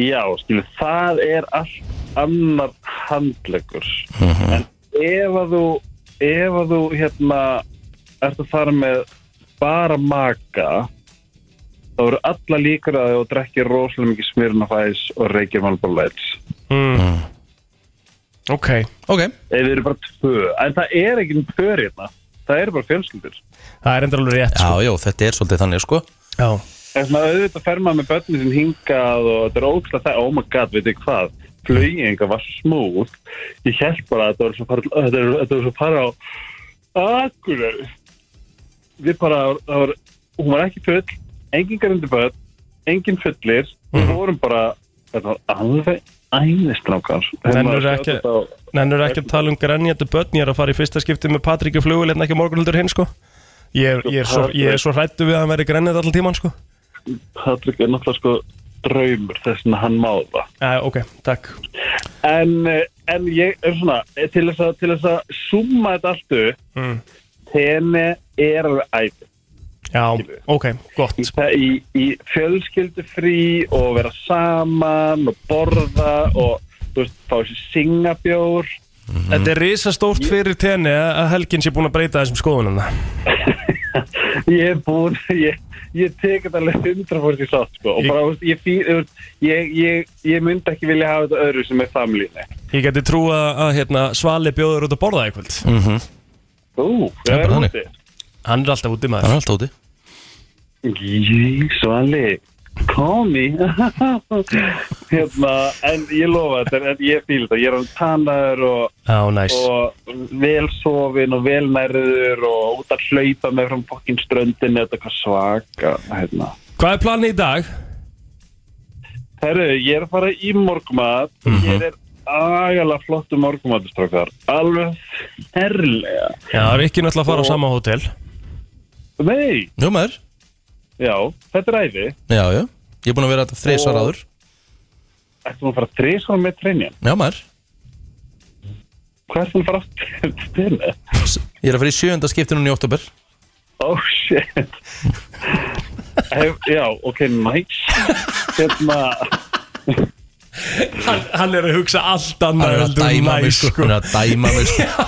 Speaker 5: já, skilu, það er allt annar handlegur en ef að þú ef að þú hérna ert að fara með bara maka þá eru alla líkur að þú drekkir rosalega mikið smirnafæs og reykir malbólæts
Speaker 2: mm. Ok,
Speaker 1: Ok,
Speaker 5: ef þið eru bara tvö en það er ekki pör hérna það eru bara fjölskyldur
Speaker 2: það er endur alveg rétt
Speaker 1: já, já, þetta er svolítið þannig, sko
Speaker 2: Já,
Speaker 5: En svona auðvitað fer maður með börnum sem hingað og þetta er ógæslega það, oh my god, veit ég hvað, flugjengar var smúð. Ég held bara að þetta var svo fara, þetta er, þetta var svo fara á Akureyri. Við bara, það var, hún var ekki full, engin garindu börn, engin fullir, við vorum bara, þetta var alveg æðistrákar.
Speaker 2: Nennirðu ekki- nennur ekki að tala um grenjandi börn Ég er að fara í fyrsta skipti með Patrik og flugul Hérna ekki morgunhildur hinn, sko Ég er, ég er svo, ég er svo hrættu við að hann veri grenjandi allan tíman, sko
Speaker 5: Patrik er náttúrulega sko draumur þess að hann má það.
Speaker 2: Já, ok, takk
Speaker 5: en, eh, en ég er svona eh, til þess að, til þess að summa þetta allt upp
Speaker 2: Mm.
Speaker 5: þenni er alveg ætt
Speaker 2: Já, ok, gott
Speaker 5: í, í fjölskyldufrí og vera saman og borða og þú veist, fá þessi singabjór
Speaker 1: Mhm.
Speaker 2: Þetta er risastórt fyrir tenni að helgin sé búin að breyta þessum skoðunum
Speaker 5: ég er búinn, ég, ég tek þetta alveg 100% í sátt sko og
Speaker 2: Ég-
Speaker 5: bara, þú veist, ég, fí, þú veist, ég, ég, ég myndi ekki vilja hafa þetta öðru sem er famlíni
Speaker 2: Ég geti trú að, að hérna, Svali bjóður út að borða í kvöld
Speaker 1: Mm.
Speaker 5: Ú,
Speaker 1: er
Speaker 5: það er
Speaker 1: bara þannig.
Speaker 5: úti
Speaker 2: Hann er alltaf úti
Speaker 1: Það
Speaker 2: maður
Speaker 1: er allt úti
Speaker 5: Jísvali Komi hérna, En ég lofa þetta en Ég fýl þetta, ég er alveg tannaður og,
Speaker 2: Já, næs
Speaker 5: og vel sofin og vel nærður og út að hlaupa með frá fokkin ströndin þetta er hvað svaka hérna.
Speaker 2: Hvað er planið í dag?
Speaker 5: Herru, ég er að fara í morgumat og hér er agalega flottu morgumatistrókar alveg herrlega
Speaker 2: Já, það er ekki náttúrulega að fara á sama hótel
Speaker 5: Nei,
Speaker 1: Jú, maður,
Speaker 5: já, þetta er æði
Speaker 1: já, já Ég er búin að vera þreysvar
Speaker 5: Og-
Speaker 1: áður
Speaker 5: Ættum að fara þrísvara með treinjan
Speaker 1: Já, maður,
Speaker 5: Hvað er það að fara aftur til þetta?
Speaker 1: ég er að fara í sjönda skiptinum í oktober
Speaker 5: Oh shit Hef, Já, ok, nice Hérna
Speaker 2: hann, hann er að hugsa allt
Speaker 1: Hann er
Speaker 2: annað
Speaker 1: að
Speaker 2: heldur en
Speaker 1: dæma
Speaker 2: næs,
Speaker 1: mig sko Hann er að dæma mig sko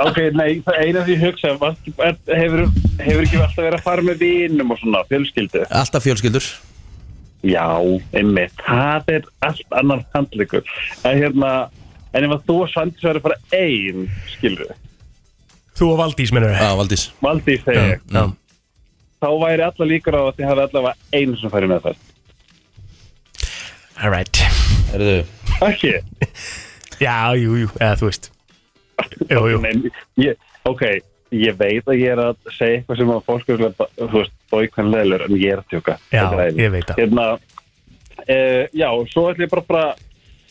Speaker 5: Ok, nei, það eina því ég hugsa var- er- hefur, hefur ekki alltaf verið að fara með vinum og svona, fjölskyldu
Speaker 1: Alltaf fjölskyldur
Speaker 5: Já, einmitt, það er allt annar handleikur En hérna, en ef að þú og Svandís verður bara ein, skilur
Speaker 2: Þú og Valdís mennur
Speaker 1: Já, Valdís
Speaker 5: Valdi í þegar,
Speaker 1: Já
Speaker 5: þá væri allar líkur á að þið hafi allavega einu sem færi með það
Speaker 2: Alright
Speaker 1: Herðu
Speaker 5: Ekki?
Speaker 2: Já, jú, jú, eða þú veist Jú, jú,
Speaker 5: Nei, ég, ok, ég veit að ég er að segja eitthvað sem að fólk er að, þú veist, bóikvæm leðlur, en ég er að tjóka.
Speaker 2: Já,
Speaker 5: Þetta er æði.
Speaker 2: ég veit það.
Speaker 5: Hérna, e, já, svo ætlum ég bara bara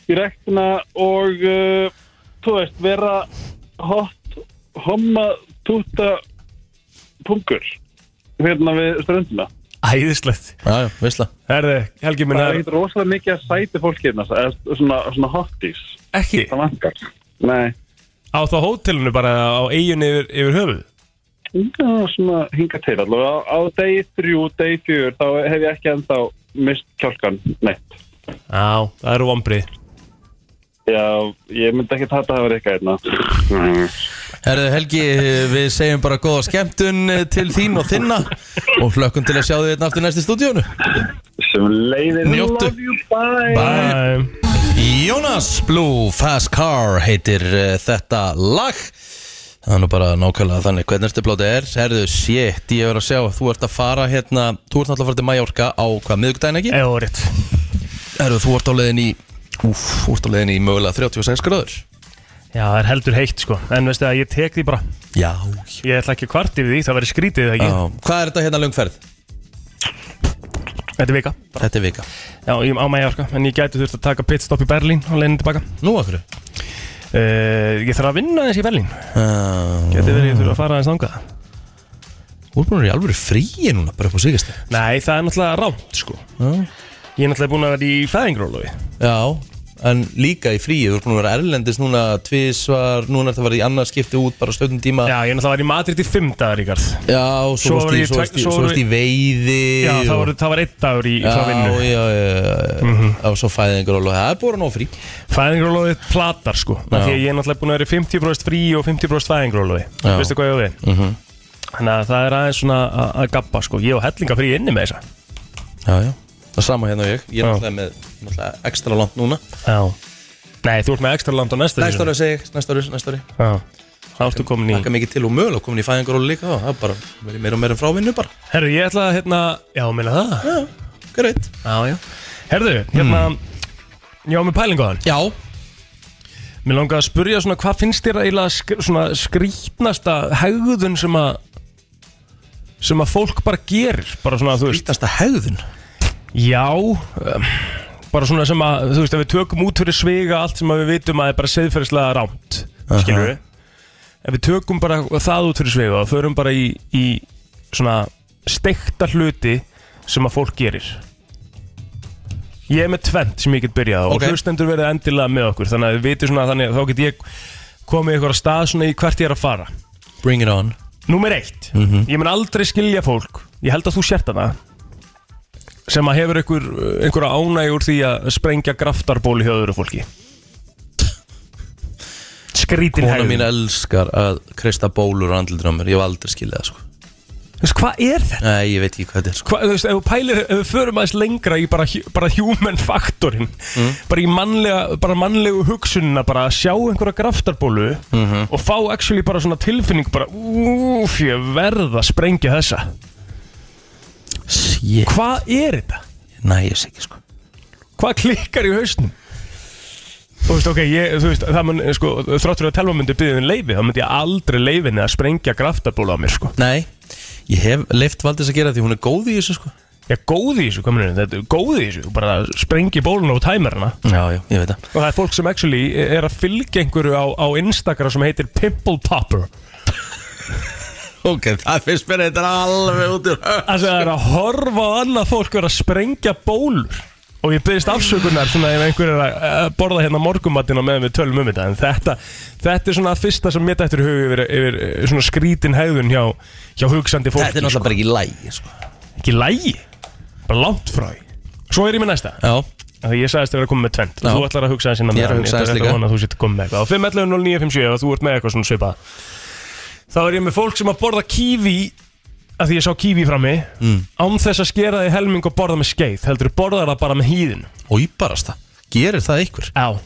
Speaker 5: í rektina og, uh, þú veist, vera hot, homma, tuta, pungur, hérna við ströndina.
Speaker 2: æðislegt
Speaker 1: Já, já, veistla
Speaker 2: Herðu, Helgi minn,
Speaker 5: Það er
Speaker 2: það
Speaker 5: ekkert rosalega mikið að sæti fólk hérna, eða svona, svona hotties,
Speaker 2: er ekki
Speaker 5: það vangar. Nei,
Speaker 2: á þá hótelinu bara á eiginni yfir, yfir höfuð
Speaker 5: Já, svona hinga til allavega á, á degi þrjú, degi fjör þá hef ég ekki ennþá mist kjálkan neitt
Speaker 2: Já, það eru vombrið
Speaker 5: Já, ég myndi ekki tata að hérna. vera eitthvað einna
Speaker 1: Herðu Helgi, við segjum bara góða skemmtun eh, til þín og þinna og hlökkum til að sjá þig einn aftur næst í stúdíónu
Speaker 5: sem leiðir
Speaker 1: Njóttu.
Speaker 5: Love you, bye,
Speaker 1: Bye Jonas Blue Fast Car heitir uh, þetta lag Það er nú bara nákvæmlega þannig hvernig næstu blóti er Herðu, shit, ég er að sjá Þú ert að fara hérna Þú ert náttúrulega að fara til Mallorca á hvað, miðvikudaginn ekki?
Speaker 2: Eða rétt
Speaker 1: Herðu, þú ert á leiðin í Úf, þú ert á leiðin í mögulega 36 gráður
Speaker 2: Já, það er heldur heitt sko En veistu að ég tek því bara
Speaker 1: Já,
Speaker 2: Ég ætla ekki að kvart yfir því, það verður skrítið eða
Speaker 1: já
Speaker 2: ekki
Speaker 1: Hvað er þetta hérna löngferð?
Speaker 2: Þetta er vika
Speaker 1: Þetta er vika
Speaker 2: Já, ég er á Mallorca En ég gæti þurft að taka pitstop í Berlín og leiðin tilbaka
Speaker 1: Nú okkur
Speaker 2: uh, Ég þarf að vinna aðeins í Berlín
Speaker 1: uh,
Speaker 2: Gæti verið ég þurfa að fara aðeins þangað
Speaker 1: Úrbúinur í alvöru fríi núna, bara upp á síkast
Speaker 2: Nei, það er náttúrulega rámt sko
Speaker 1: Já.
Speaker 2: Ég er náttúrulega búin að vera í fæðingrólofi
Speaker 1: Já, en líka í fríi, þú ert búin að vera erlendis núna tvísvar, núna ert að vera í annað skipti út bara stöðnum tíma
Speaker 2: Já, ég er náttúrulega var í Madrid í fimm dagar ykkar
Speaker 1: Já,
Speaker 2: Svo
Speaker 1: svo, svo,
Speaker 2: var
Speaker 1: í,
Speaker 2: ég
Speaker 1: svo,
Speaker 2: tvek-
Speaker 1: varst í,
Speaker 2: svo
Speaker 1: svo, svo
Speaker 2: var
Speaker 1: í
Speaker 2: ég-
Speaker 1: veiði
Speaker 2: Já, það
Speaker 1: og-
Speaker 2: var, það var einn dagur í,
Speaker 1: Já,
Speaker 2: frá vinnu
Speaker 1: Já, já, já, já, svo fæðingur og það er búin á frí
Speaker 2: Fæðingrólofi platar sko Af
Speaker 1: Já.
Speaker 2: Því að ég er náttúrulega búin að vera í 50% frí og 50% fæðingrólofi
Speaker 1: Já.
Speaker 2: Veistu hvað ég á við? -hmm. Þannig að það er aðeins svona að- að gappa sko Ég og hellinga frí inni með þessa
Speaker 1: Já, já, það er sama hérna og ég Ég er
Speaker 2: Já.
Speaker 1: náttúrulega með náttúrulega ekstra langt núna
Speaker 2: Já Nei, þú ert með ekstra land á næsta sko.
Speaker 1: Næsta ári segi ég, næsta ári, næsta ári
Speaker 2: Já Þá ertu komin í
Speaker 1: Takka mikið til og mögulega komin í fæðingur og líka og það er bara verið meira og meira frávinnu bara
Speaker 2: Herru, ég ætla að hérna Já, meina það
Speaker 1: Já, greitt
Speaker 2: Já, já Herðu, hérna Ég á með pælingu á hann
Speaker 1: Já,
Speaker 2: Mér langaði að spurja svona hvað finnst þér eiginlega sk svona skrítnasta hegðun sem að sem að fólk bara gerir bara svona þú veist,
Speaker 1: grítasta hegðun
Speaker 2: já um, bara svona sem að, þú veist, ef við tökum út fyrir sviga allt sem að við vitum að er bara seðferðislega rámt, skilur við ef við tökum bara það út fyrir sviga og förum bara í, í svona steikta hluti sem að fólk gerir Ég er með tvent sem ég get byrjað á
Speaker 1: Ok.
Speaker 2: og hlustendur verið endilega með okkur þannig að við vitum svona þannig að þá get ég komið ykkur á stað svona í hvert ég er að fara
Speaker 1: Bring it on
Speaker 2: Númer eitt,
Speaker 1: Mhm.
Speaker 2: ég mun aldrei skilja fólk ég held að þú sért hana sem að hefur ykkur einhverja ánægjur því að sprengja graftarból í höfður fólki Skrítin
Speaker 1: Kona
Speaker 2: hegðun
Speaker 1: mín elskar að kreista bólur og andlutur á mér, ég hef aldrei skiljað það sko
Speaker 2: Þú veist, Hvað er þetta?
Speaker 1: Nei, ég veit ekki hvað þetta er sko
Speaker 2: Hva, þú veist, ef við pælir, ef við förum aðeins lengra í bara, hu- bara human factorin
Speaker 1: Mm.
Speaker 2: bara í mannlega, bara mannlegu hugsunina bara að sjá einhverja graftarbólu
Speaker 1: Mhm.
Speaker 2: og fá actually bara svona tilfinning bara, úf, ég verð að sprengja þessa
Speaker 1: Sjétt,
Speaker 2: Hvað er þetta?
Speaker 1: næ, ég sé ekki sko
Speaker 2: Hvað klikkar í hausnum? Þú veist, ok, ég, þú veist, það mun, sko, þráttur að telma myndi byggðin leifi, þá myndi ég aldrei leifinni að sprengja graftarbólu á mér, sko.
Speaker 1: Nei, ég hef leift Valdís að gera því hún er góð í þessu sko
Speaker 2: Ég er góð í þessu, komin inn, þetta er góð í þessu, bara sprengi bóluna og tæmir hana.
Speaker 1: Já, já, ég veit það
Speaker 2: Og það er fólk sem actually er að fylgja einhverju á, á Instagram sem heitir Pimple Popper.
Speaker 1: Ok, það finnst mér þetta alveg út úr
Speaker 2: Það er að horfa á annað fólk vera að sprengja bólur. og ég byrðist afsökunar svona ef einhver er að eh, borða hérna morgumattina meðan við tölum um þetta en þetta, þetta er svona að fyrsta sem mér dættur í hug yfir, yfir eh, svona skrítin hegðun hjá, hjá hugsandi fólki
Speaker 1: Þetta er náttúrulega bara ekki læg sko.
Speaker 2: sko. ekki lægi, bara langt frá því. svo er ég með næsta
Speaker 1: Já,
Speaker 2: Af Því ég sagðist að vera komið með tvent
Speaker 1: Já.
Speaker 2: Þú ætlar að hugsa þessi
Speaker 1: Ég er að hugsa aðeins líka.
Speaker 2: Þú sétt komið með eitthvað Á 511-0957 ef Þú ert með eitthvað svona svipað Þá er ég með fólk sem að borða kífi að Því ég sá kífi frammi mm. Án þess að skera því helming og borða með skeið Heldur borðar það bara með hýðin
Speaker 1: og íbarasta Gerir það einhver
Speaker 2: Já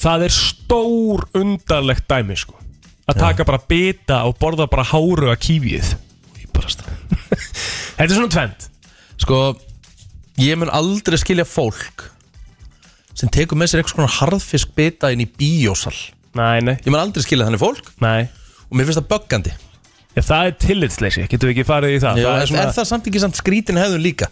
Speaker 2: Það er stór undarlegt dæmi sko Að taka bara bita og borða bara háru að kífið
Speaker 1: Íbarasta
Speaker 2: Þetta er svona tvent
Speaker 1: Sko, ég mun aldrei skilja fólk sem tekur með sér eitthvað svona harðfisk bita inn í bíósal
Speaker 2: Nei, nei,
Speaker 1: Ég mun aldrei skilja þannig fólk
Speaker 2: nei
Speaker 1: og mér finnst það böggandi
Speaker 2: Ef það er tillitsleysi, getum við ekki farið í það
Speaker 1: Já,
Speaker 2: það
Speaker 1: er, er það samt ekki samt skrítin hefðun líka?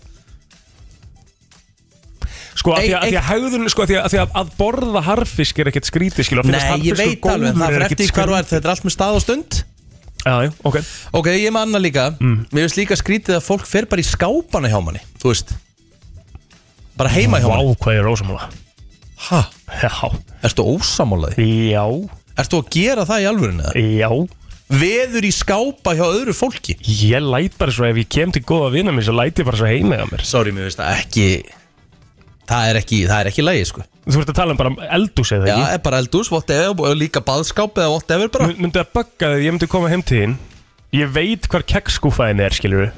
Speaker 2: Sko, af því að,
Speaker 1: Ei-
Speaker 2: að, að hegðun, sko, af því að, að, því að, að borða harfisk er ekkert skrítið, skilur, að finnast
Speaker 1: Nei, ég
Speaker 2: harðfiskur
Speaker 1: veit alveg, um
Speaker 2: góður
Speaker 1: það
Speaker 2: er
Speaker 1: fyrir
Speaker 2: ekkert
Speaker 1: eftir hvað þú
Speaker 2: skrítið.
Speaker 1: ert, þetta er allt með stað og stund
Speaker 2: Já, já, ok.
Speaker 1: Ok, ég er með annað líka
Speaker 2: Mm.
Speaker 1: Mér finnst líka skrítið að fólk fer bara í skápana hjá manni Þú veist Bara heima hjá
Speaker 2: Vá,
Speaker 1: manni
Speaker 2: hvað ég er ósamála.
Speaker 1: Hæ?
Speaker 2: Já,
Speaker 1: Ertu ósamálaði?
Speaker 2: já,
Speaker 1: Ertu að gera það í alvörinu? eða?
Speaker 2: já,
Speaker 1: Veður í skápa hjá öðru fólki?
Speaker 2: ég læt bara svo, ef ég kem til góða vina mér, svo læt ég bara svo heima hjá mér.
Speaker 1: Sorry, mér finnst það ekki Það er ekki, það er ekki lægi, sko
Speaker 2: Þú ert að tala um bara eldús eða
Speaker 1: Já,
Speaker 2: ekki?
Speaker 1: er bara eldús, whatever, og líka baðskáp eða whatever bara
Speaker 2: M- myndi að bugga þig, ég myndi koma heim til þín, ég veit hvar kekkskúfaðin er, skilur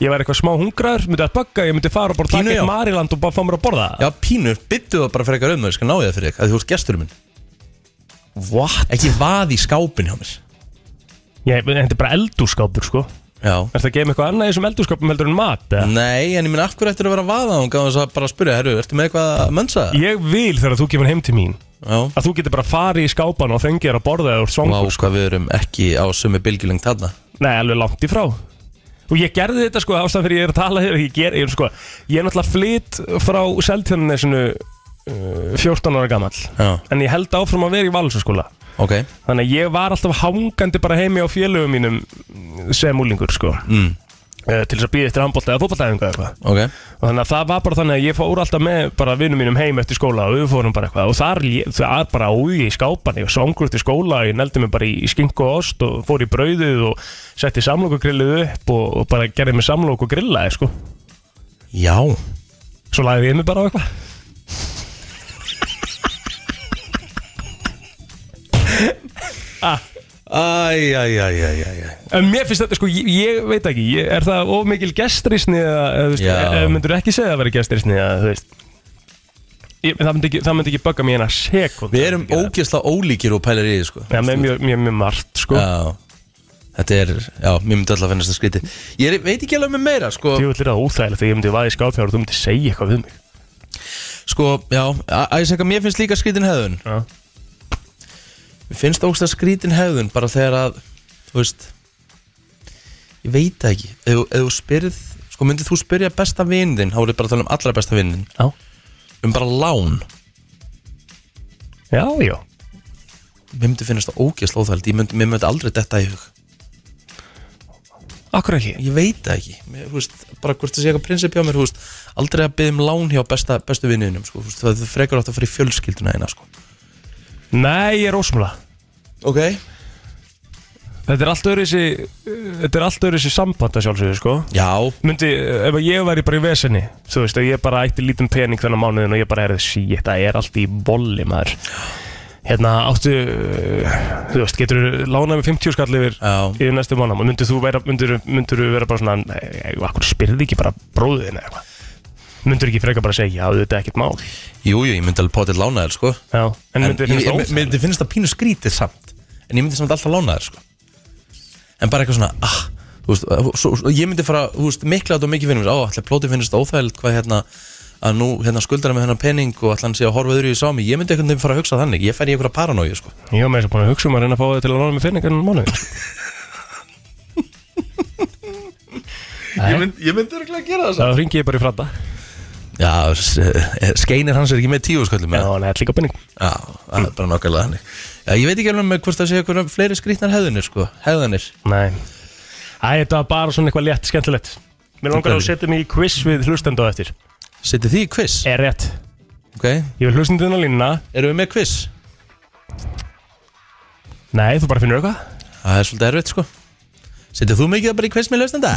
Speaker 2: Ég var eitthvað smá hungraður, myndi að bugga, ég myndi fara og bara
Speaker 1: Pínu,
Speaker 2: taka
Speaker 1: já.
Speaker 2: eitt Mariland og bara fá mér að borða það.
Speaker 1: Já, pínur, byttu það bara fyrir eitthvað um það, ég skal ná ég það fyrir þig, að þú ert gesturinn minn
Speaker 2: What?
Speaker 1: Ekki vað í skápin hjá mér
Speaker 2: Ég, en þetta er bara eldússkápur, sko.
Speaker 1: Já
Speaker 2: Er það að geyma eitthvað annað í þessum eldurskapum heldur en mat? Mm.
Speaker 1: Nei, en ég minn, af hverju ættir að vera vaða hún gaf þess að bara spyrja, herru, ertu með eitthvað að mönsa það?
Speaker 2: Ég vil þegar þú kemur heim til mín
Speaker 1: Já
Speaker 2: að þú getur bara farið í skápan og fengið þér að borða eða úr
Speaker 1: Vá,
Speaker 2: svangur.
Speaker 1: hvað við erum ekki á sömu bylgjulengt þarna
Speaker 2: Nei, alveg langt í frá. Og ég gerði þetta sko ástæðan fyrir ég er að tala hér, ég ger, ég er sko, ég er náttúrulega flytt frá Seltjarnesinu uh, 14 ára gamall.
Speaker 1: Já.
Speaker 2: En ég held áfram að vera í valsaskóla.
Speaker 1: Ok
Speaker 2: Þannig að ég var alltaf hangandi bara heimi á félögum mínum sem úlingur sko. Mm. til þess að býða eftir handbólta eða fótballtæðingu eða eitthvað.
Speaker 1: Ok
Speaker 2: og þannig að það var bara þannig að ég fór alltaf með bara vinnum mínum heim eftir skóla og við fórum bara eitthvað og þar lé- það er bara úi í skápan ég var svangur eftir skóla, ég neldi mig bara í skinko og ost og fór í brauðið og setti samlokugrillið upp og, og bara gerði mig samlok og grillaði sko
Speaker 1: Já
Speaker 2: svo lagði ég mig bara á eitthvað
Speaker 1: Æj, æj, æj, æj, æj
Speaker 2: en mér finnst þetta sko, ég, ég veit ekki ég, er það of mikil gestrisni eða, eða þú veist,
Speaker 1: Já.
Speaker 2: eða myndur ekki segja að vera gestrisni eða þú veist ég, það, myndi ekki, það myndi ekki bögga mér eina sekund
Speaker 1: Við erum ógeðslega ólíkir og pælar í því, sko
Speaker 2: Já, með mjög, mjög, mjög margt sko
Speaker 1: Já Þetta er, já, mér myndi alltaf að finnast það skríti Ég er- veit ekki alveg með meira, sko
Speaker 2: Djúvill er það óþægilegt að ég myndi vaða í skáfjár og þú myndi segja eitthvað við mig
Speaker 1: Sko, já, að ég segja, mér finnst líka skrítin hefðun
Speaker 2: Já.
Speaker 1: Mér finnst ógeðslega skrítin hefðun bara þegar að, þú veist Ég veit það ekki Ef þú- ef þú spyrð, sko, myndið þú spyrja besta vinn þinn Hárið bara að tala um allra besta vinn þinn
Speaker 2: Já.
Speaker 1: Um bara lán
Speaker 2: Já, já
Speaker 1: Mér myndi finnast það ógeðslega óþæld Ég myndi, mér myndi aldrei detta í hug
Speaker 2: Akkur ekki
Speaker 1: Ég veit það ekki mér, þú veist, Bara hvort það sé eitthvað prinsip hjá mér þú veist, Aldrei að byggja um lán hjá besta, bestu vinninum sko, þú veist, Það er frekar átt að fara í fjölskylduna eina sko.
Speaker 2: Nei, ég er ósumla
Speaker 1: Ok
Speaker 2: Þetta er allt öðru Þetta er allt öðru samband að sjálfsögðu sko
Speaker 1: Já
Speaker 2: Myndi, ef að ég væri bara í vesenni Þú veist, ef ég bara ætti lítinn pening þennan mánuðin og ég bara herði sí, þetta er allt í bolli maður Hérna, áttu uh, Þú veist, getur þú lánað með 50 skall yfir,
Speaker 1: Já.
Speaker 2: yfir næstu mánum Myndir þú vera, myndir, myndir vera bara svona Nei, akkur spyrði ekki bara bróðin eða eitthvað Myndir ekki freka bara segja, já, þetta er ekkert mál
Speaker 1: Jú, jú, ég myndi alveg potið lána þér sko.
Speaker 2: Já, en myndi
Speaker 1: ég,
Speaker 2: finnst
Speaker 1: ég,
Speaker 2: það
Speaker 1: mér
Speaker 2: óþægilegt
Speaker 1: myndi finnast það pínu skrítið samt En ég myndi samt alltaf lána þér sko. En bara eitthvað svona ah, þú veist, svo, svo, Ég myndi fara, þú veist, mikla átt og mikið finnum Ó, ætla plótið finnast það óþægilegt Hvað hérna, að nú hérna skuldar hann með hennar pening Og ætla hann sé að horfa öðru í sámi Ég myndi eitthvað fara að hugsa þannig Ég fær í eitthvað paranói sko.
Speaker 2: Ég var með þess að búin að hugsa um að reyna að fá það til að lána mig finning enn mánuðin Nei,
Speaker 1: mynd, ég myndi örgulega að gera
Speaker 2: þá ringi ég bara í fradda Já,
Speaker 1: Já, s- eh, skeinir hans er ekki með tíu sköllum eða?
Speaker 2: hann er líka penning
Speaker 1: Já, það er bara nokkarlega þannig Já, ég veit ekki alveg með hvort það sé eitthvað fleiri skrýtnar hefðunir sko, hefðunir
Speaker 2: Nei Æ, þetta var bara svona eitthvað létt, skemmtilegt Mér langar að setja mig í quiz við hlustendu á eftir
Speaker 1: Setið því í quiz
Speaker 2: Er rétt
Speaker 1: Ok,
Speaker 2: Ég vil hlusta þetta línuna
Speaker 1: eru við með quiz?
Speaker 2: Nei, þú bara finnur eitthvað
Speaker 1: Það er svolítið erfitt sko Setið þú mikið bara í quiz með lausnenda?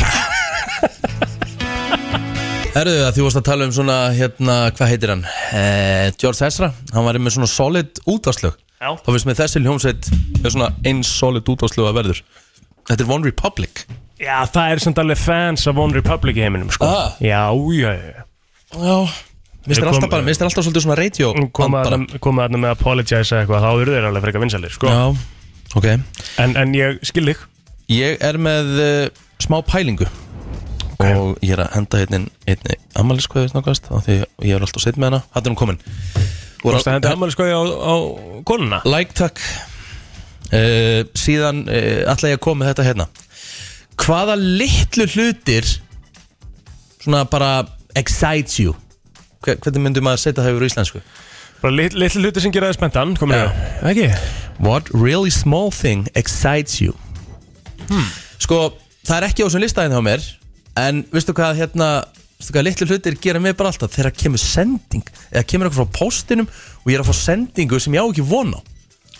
Speaker 1: Herðu að því varst að tala um svona hérna, hvað heitir hann? Eh, George Ezra, hann var með svona solid útvarslög
Speaker 2: Já.
Speaker 1: Þá finnst með þessi hljómsveit með svona eins solid útvarslög að verður Þetta er One Republic
Speaker 2: Já, það er samt alveg fans af One Republic í heiminum sko
Speaker 1: Ah.
Speaker 2: Já, já, já
Speaker 1: Já Mér
Speaker 2: Ég
Speaker 1: finnst
Speaker 2: kom-
Speaker 1: alltaf bara, mér finnst alltaf svolítið svona radio
Speaker 2: Komið
Speaker 1: band bara.
Speaker 2: þarna- komið þarna með Apologize eða eitthvað Þá eru þeir alveg frekar vinsalir sko
Speaker 1: Já, ok
Speaker 2: en, en ég skil þig
Speaker 1: Ég er með uh, smá pælingu og ég er að henda hérna inn einni ammæliskveði snakast á því ég er alltaf sitt með hana Þetta er hún komin
Speaker 2: Þú veist að henda ammali skoði á, á konuna
Speaker 1: Like takk uh, Síðan uh, ætla ég að koma með þetta hérna Hvaða litlu hlutir svona bara excites you Hve- Hvernig myndum maður setja það yfir á íslensku?
Speaker 2: Bara lit, litlu hluti sem geraði spenntan Komið
Speaker 1: Já.
Speaker 2: þig Ekki
Speaker 1: What really small thing excites you
Speaker 2: Hmm.
Speaker 1: Sko, það er ekki á þessum listaðin hjá mér En veistu hvað, hérna Veistu hvað, litlu hlutir gera mig bara alltaf Þegar kemur sending Eða kemur eitthvað frá postinum Og ég er að fá sendingu sem ég á ekki von á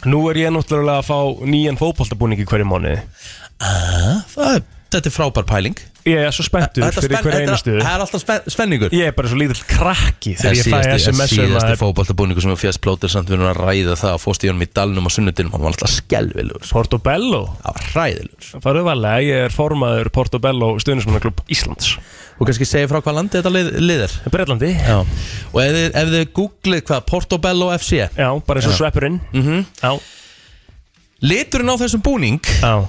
Speaker 2: Nú er ég náttúrulega að fá nýjan fótboltabúning í hverju mánuði
Speaker 1: ah, það, er- Þetta er frábær pæling
Speaker 2: Ég er svo spenntur
Speaker 1: Þetta
Speaker 2: fyrir
Speaker 1: spenn-
Speaker 2: hverju einustu
Speaker 1: þetta- það er alltaf spen, spenningur
Speaker 2: Ég er bara svo lítill krakki
Speaker 1: Það
Speaker 2: Þegar ég fæ
Speaker 1: síðasti-
Speaker 2: SMS um
Speaker 1: síðasti
Speaker 2: að
Speaker 1: fótboltabúningu sem ég fjast plótir samt við erum að ræða það að fóst í honum í dalnum á sunnudinum hann var alltaf skelvilegur sko.
Speaker 2: Portobello
Speaker 1: það var hræðilegur
Speaker 2: Farðu valega, ég er formaður Portobello stuðnismannaklub Íslands
Speaker 1: og kannski segja frá hvað landi þetta lið, lið er
Speaker 2: Breitlandi
Speaker 1: Já. og ef þið, ef þið googlið hvað Portobello FC
Speaker 2: Já, bara eins og sveppurinn -hmm. Já,
Speaker 1: liturinn á þessum búning
Speaker 2: já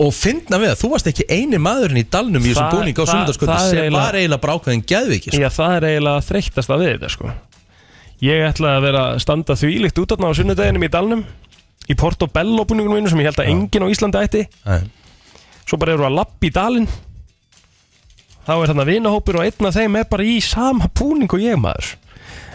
Speaker 1: og fyndna við að þú varst ekki eini maðurinn í dalnum í þessum
Speaker 2: Það-
Speaker 1: búning á
Speaker 2: það-
Speaker 1: sundarskvöldu
Speaker 2: það er
Speaker 1: sem
Speaker 2: eiginlega-
Speaker 1: var eiginlega bara ákveðin geðviki sko.
Speaker 2: Já, það er eiginlega þreyttast að við þetta sko Ég ætla að vera að standa þvílíkt út á sunnudeginum í dalnum Í Portobello búningunum mínu sem ég held að enginn á Íslandi ætti
Speaker 1: Nei.
Speaker 2: Svo bara eru að lappa í dalinn Þá er þarna vinahópur og einn af þeim er bara í sama búning og ég maður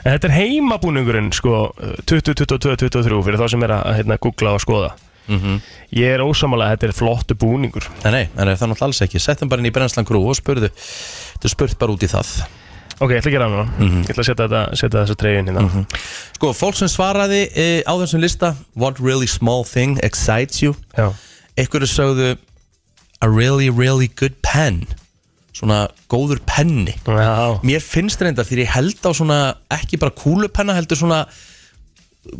Speaker 2: En þetta er heimabúningurinn sko 2022-2023 fyrir þá sem er að hérna, googla og skoða Ég er ósamalega að þetta er flottu búningur
Speaker 1: Nei, nei, nei, það er náttúrulega alls ekki Settum bara inn í brennslan grú og spurðu Þetta er spurt bara út í það
Speaker 2: Ok, ég ætla að gera það núna Ég ætla að setja, þetta, setja þessa treyjun hérna
Speaker 1: Sko, fólk sem svaraði e, á þessum lista What really small thing excites you
Speaker 2: Já
Speaker 1: Einhverju sögðu A really, really good pen Svona góður penni
Speaker 2: Já
Speaker 1: Mér finnst reynda því ég held á svona Ekki bara kúlupenna, heldur svona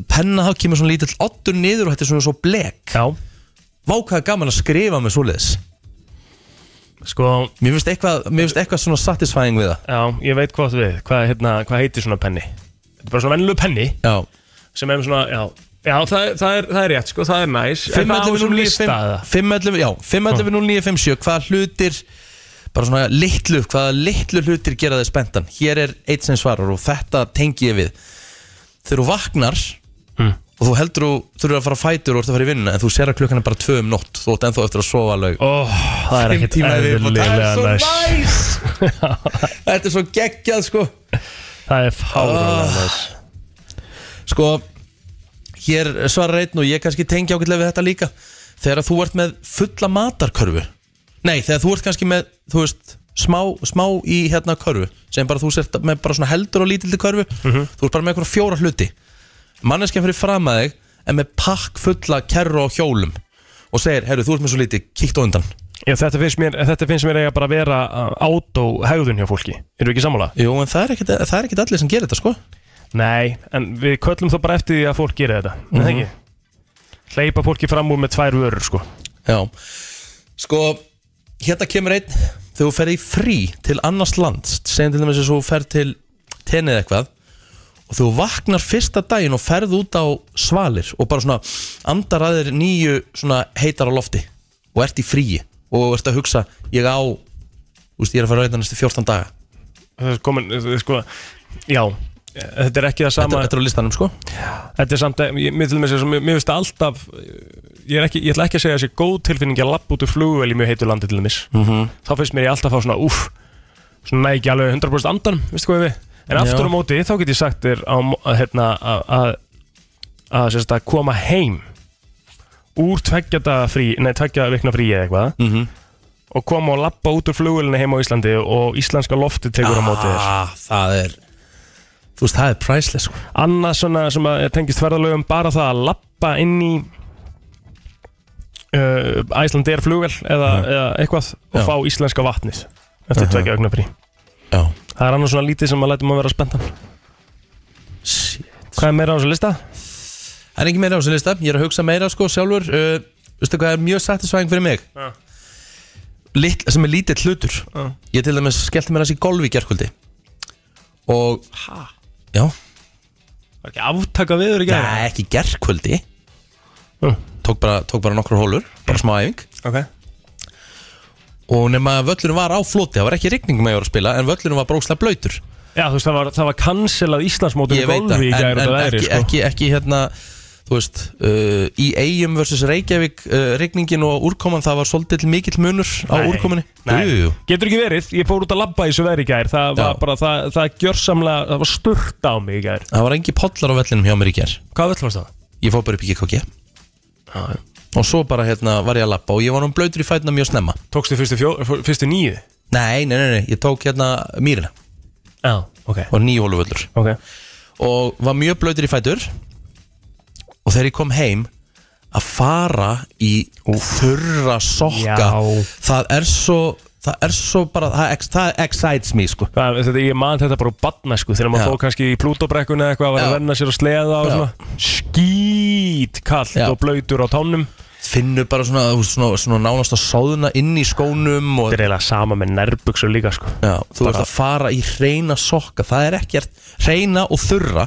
Speaker 1: Penna þá kemur svona lítill Ottur niður og þetta er svona svo blek
Speaker 2: Já,
Speaker 1: Vá hvað er gaman að skrifa með svoleiðis
Speaker 2: sko,
Speaker 1: Mér finnst eitthvað, mér finnst eitthvað svona satisfying við það
Speaker 2: já, ég veit hvað þú átt við Hvað, hérna, hvað heitir svona penni? Þetta er bara svona venlu penni
Speaker 1: Já,
Speaker 2: sem er með svona, já, já það, er- það, er, það er rétt sko, það er næs En það á þessum lista eða?
Speaker 1: 511 já, 511-0957 Hvaða hlutir bara svona litlu, hvaða litlu hlutir gera þig spenntan Hér er eitt sem svarar og þetta tengi ég við Þegar þú vaknar
Speaker 2: Hmm.
Speaker 1: og þú heldur þú þú eru að fara á fætur og ert að fara í vinnuna en þú sér að klukkan er bara tvö um nótt þú ert ennþá eftir að sofa alveg
Speaker 2: Ó, það er ekkert eðlilega næs
Speaker 1: næs Þetta er svo geggjað sko
Speaker 2: Það er fárulega næs
Speaker 1: Sko, hér svarar einn og ég kannski tengi ágætlega við þetta líka Þegar þú ert með fulla matarkörfu Nei, þegar þú ert kannski með, þú veist, smá, smá í hérna körfu Sem bara þú sért með bara svona heldur og lítildi körfu Þú ert bara með eitthvað fjóra hluti Manneskja fyrir fram að þig En með pakk fulla kerru á hjólum Og segir, herru, þú ert með svo lítið, kíkt á undan
Speaker 2: Já, þetta finnst mér, þetta finnst mér eiga bara að vera átó-hegðun hjá fólki Eru ekki sammála?
Speaker 1: Jú, en það er ekkit, það er ekkit allir sem gerir þetta, sko
Speaker 2: Nei, en við köllum þá bara eftir því að fólk gerir þetta Nei, ekki? Hleypa fólki fram úr með tvær vörur sko
Speaker 1: Já, sko hérna kemur einn þegar þú ferð í frí til annars lands segjum til dæmis að þú ferð til tennið eitthvað og þú vaknar fyrsta daginn og ferð út á svalir og bara svona andar að þér nýju svona heitar á lofti og ert í fríi og ert að hugsa ég á, þú veist, ég er að fara að reyna næstu 14 daga
Speaker 2: Það er komin, sko, já Þetta er ekki
Speaker 1: þetta,
Speaker 2: það sama
Speaker 1: þetta er á listanum sko
Speaker 2: Þetta er samt, ég, mér til dæmis er svo, mér mér finnst það alltaf ég, er ekki, ég ætla ekki að segja að það sé góð tilfinning að lappa út úr flugvel í mjög heitu landi til dæmis -hmm. þá finnst mér ég alltaf að fá svona úff svona næ ekki alveg 100% andan veistu hvað ég við, en aftur á móti þá get ég sagt þér á mó- að hérna, að að- að sem sagt, að koma heim úr tveggja daga frí, nei tveggja vikna frí eða eitthvað -hmm. og koma og lappa út úr flugulina heima á Íslandi og íslenska lofti tekur á móti þér
Speaker 1: ah, Það er Þú veist, það er priceless sko.
Speaker 2: annað svona sem að tengist ferðalögum bara það að lappa inn í uh, Æslandir flugvel eða, eða eitthvað og
Speaker 1: Já.
Speaker 2: fá íslenska vatnið eftir uh -huh. tvekja augnabri
Speaker 1: Já
Speaker 2: það er annað svona lítið sem að lætum að vera spenntan hvað er meira á þessu lista?
Speaker 1: Það er ekki meira á þessu lista, ég er að hugsa meira sko sjálfur uh, Veistu hvað er mjög satisfæðing fyrir mig?
Speaker 2: Ja.
Speaker 1: Litt, sem er lítill hlutur
Speaker 2: Ja.
Speaker 1: Ég til dæmis skellti mér þessi í golfi í gerkvöldi Og
Speaker 2: Ha?
Speaker 1: Já,
Speaker 2: það er ekki aftaka viður í
Speaker 1: það er ekki gerkvöldi
Speaker 2: Ja.
Speaker 1: tók, bara, tók bara nokkur hólur, bara smá æfing
Speaker 2: ok
Speaker 1: Og nema að völlurinn var á floti, það var ekki rigning með ég var að spila En völlurinn var brókslega blöytur
Speaker 2: Já, þú veist, það var, það var cancelað Íslandsmótum í
Speaker 1: Ég veit
Speaker 2: golfi
Speaker 1: það,
Speaker 2: í
Speaker 1: en,
Speaker 2: gæri
Speaker 1: en
Speaker 2: út af veðri,
Speaker 1: ekki,
Speaker 2: sko.
Speaker 1: ekki, ekki hérna Þú veist, uh, í Eyjum versus Reykjavík uh, Rigningin og úrkoman, það var svolítið mikill munur á
Speaker 2: Nei,
Speaker 1: úrkominni
Speaker 2: nei.
Speaker 1: Jú, jú, jú.
Speaker 2: Getur ekki verið, ég fór út að labba í þessu veðri í gæri, það var
Speaker 1: Já.
Speaker 2: bara, það, það gjörsamlega, það var sturt á mig í gæri.
Speaker 1: Það var engi pollar á vellinum hjá mér í ger
Speaker 2: Hvað völl varst það?
Speaker 1: Ég fór bara upp í KKG Og svo bara hérna var ég að lappa Og ég var nú blöytur í fætina mjög snemma
Speaker 2: Tókstu fyrstu, fjó, fyrstu nýju?
Speaker 1: Nei, nei, nei, nei, ég tók hérna mýrina
Speaker 2: Já, ok.
Speaker 1: Og nýjóluvöllur
Speaker 2: Ok,
Speaker 1: Og var mjög blöytur í fætur Og þegar ég kom heim Að fara í þurra sokka
Speaker 2: Já.
Speaker 1: Það er svo Það er svo bara, það, ex- það excites me sko
Speaker 2: það, þetta, ég man þetta bara úr badna, sko, þegar
Speaker 1: Já.
Speaker 2: maður fór kannski í Plútóbrekkunni eða eitthvað, var
Speaker 1: Já.
Speaker 2: að renna sér og sleða og
Speaker 1: Já.
Speaker 2: svona, skýt kallt
Speaker 1: Já.
Speaker 2: og blöytur á tánum.
Speaker 1: Finnur bara svona, þú veist, svona, svona nánast að sáðuna inn í skónum og
Speaker 2: Þetta er eiginlega sama með nærbuxur líka, sko.
Speaker 1: Já, þú ert
Speaker 2: Bara-
Speaker 1: að fara í reyna sokka Það er ekkert reyna og þurra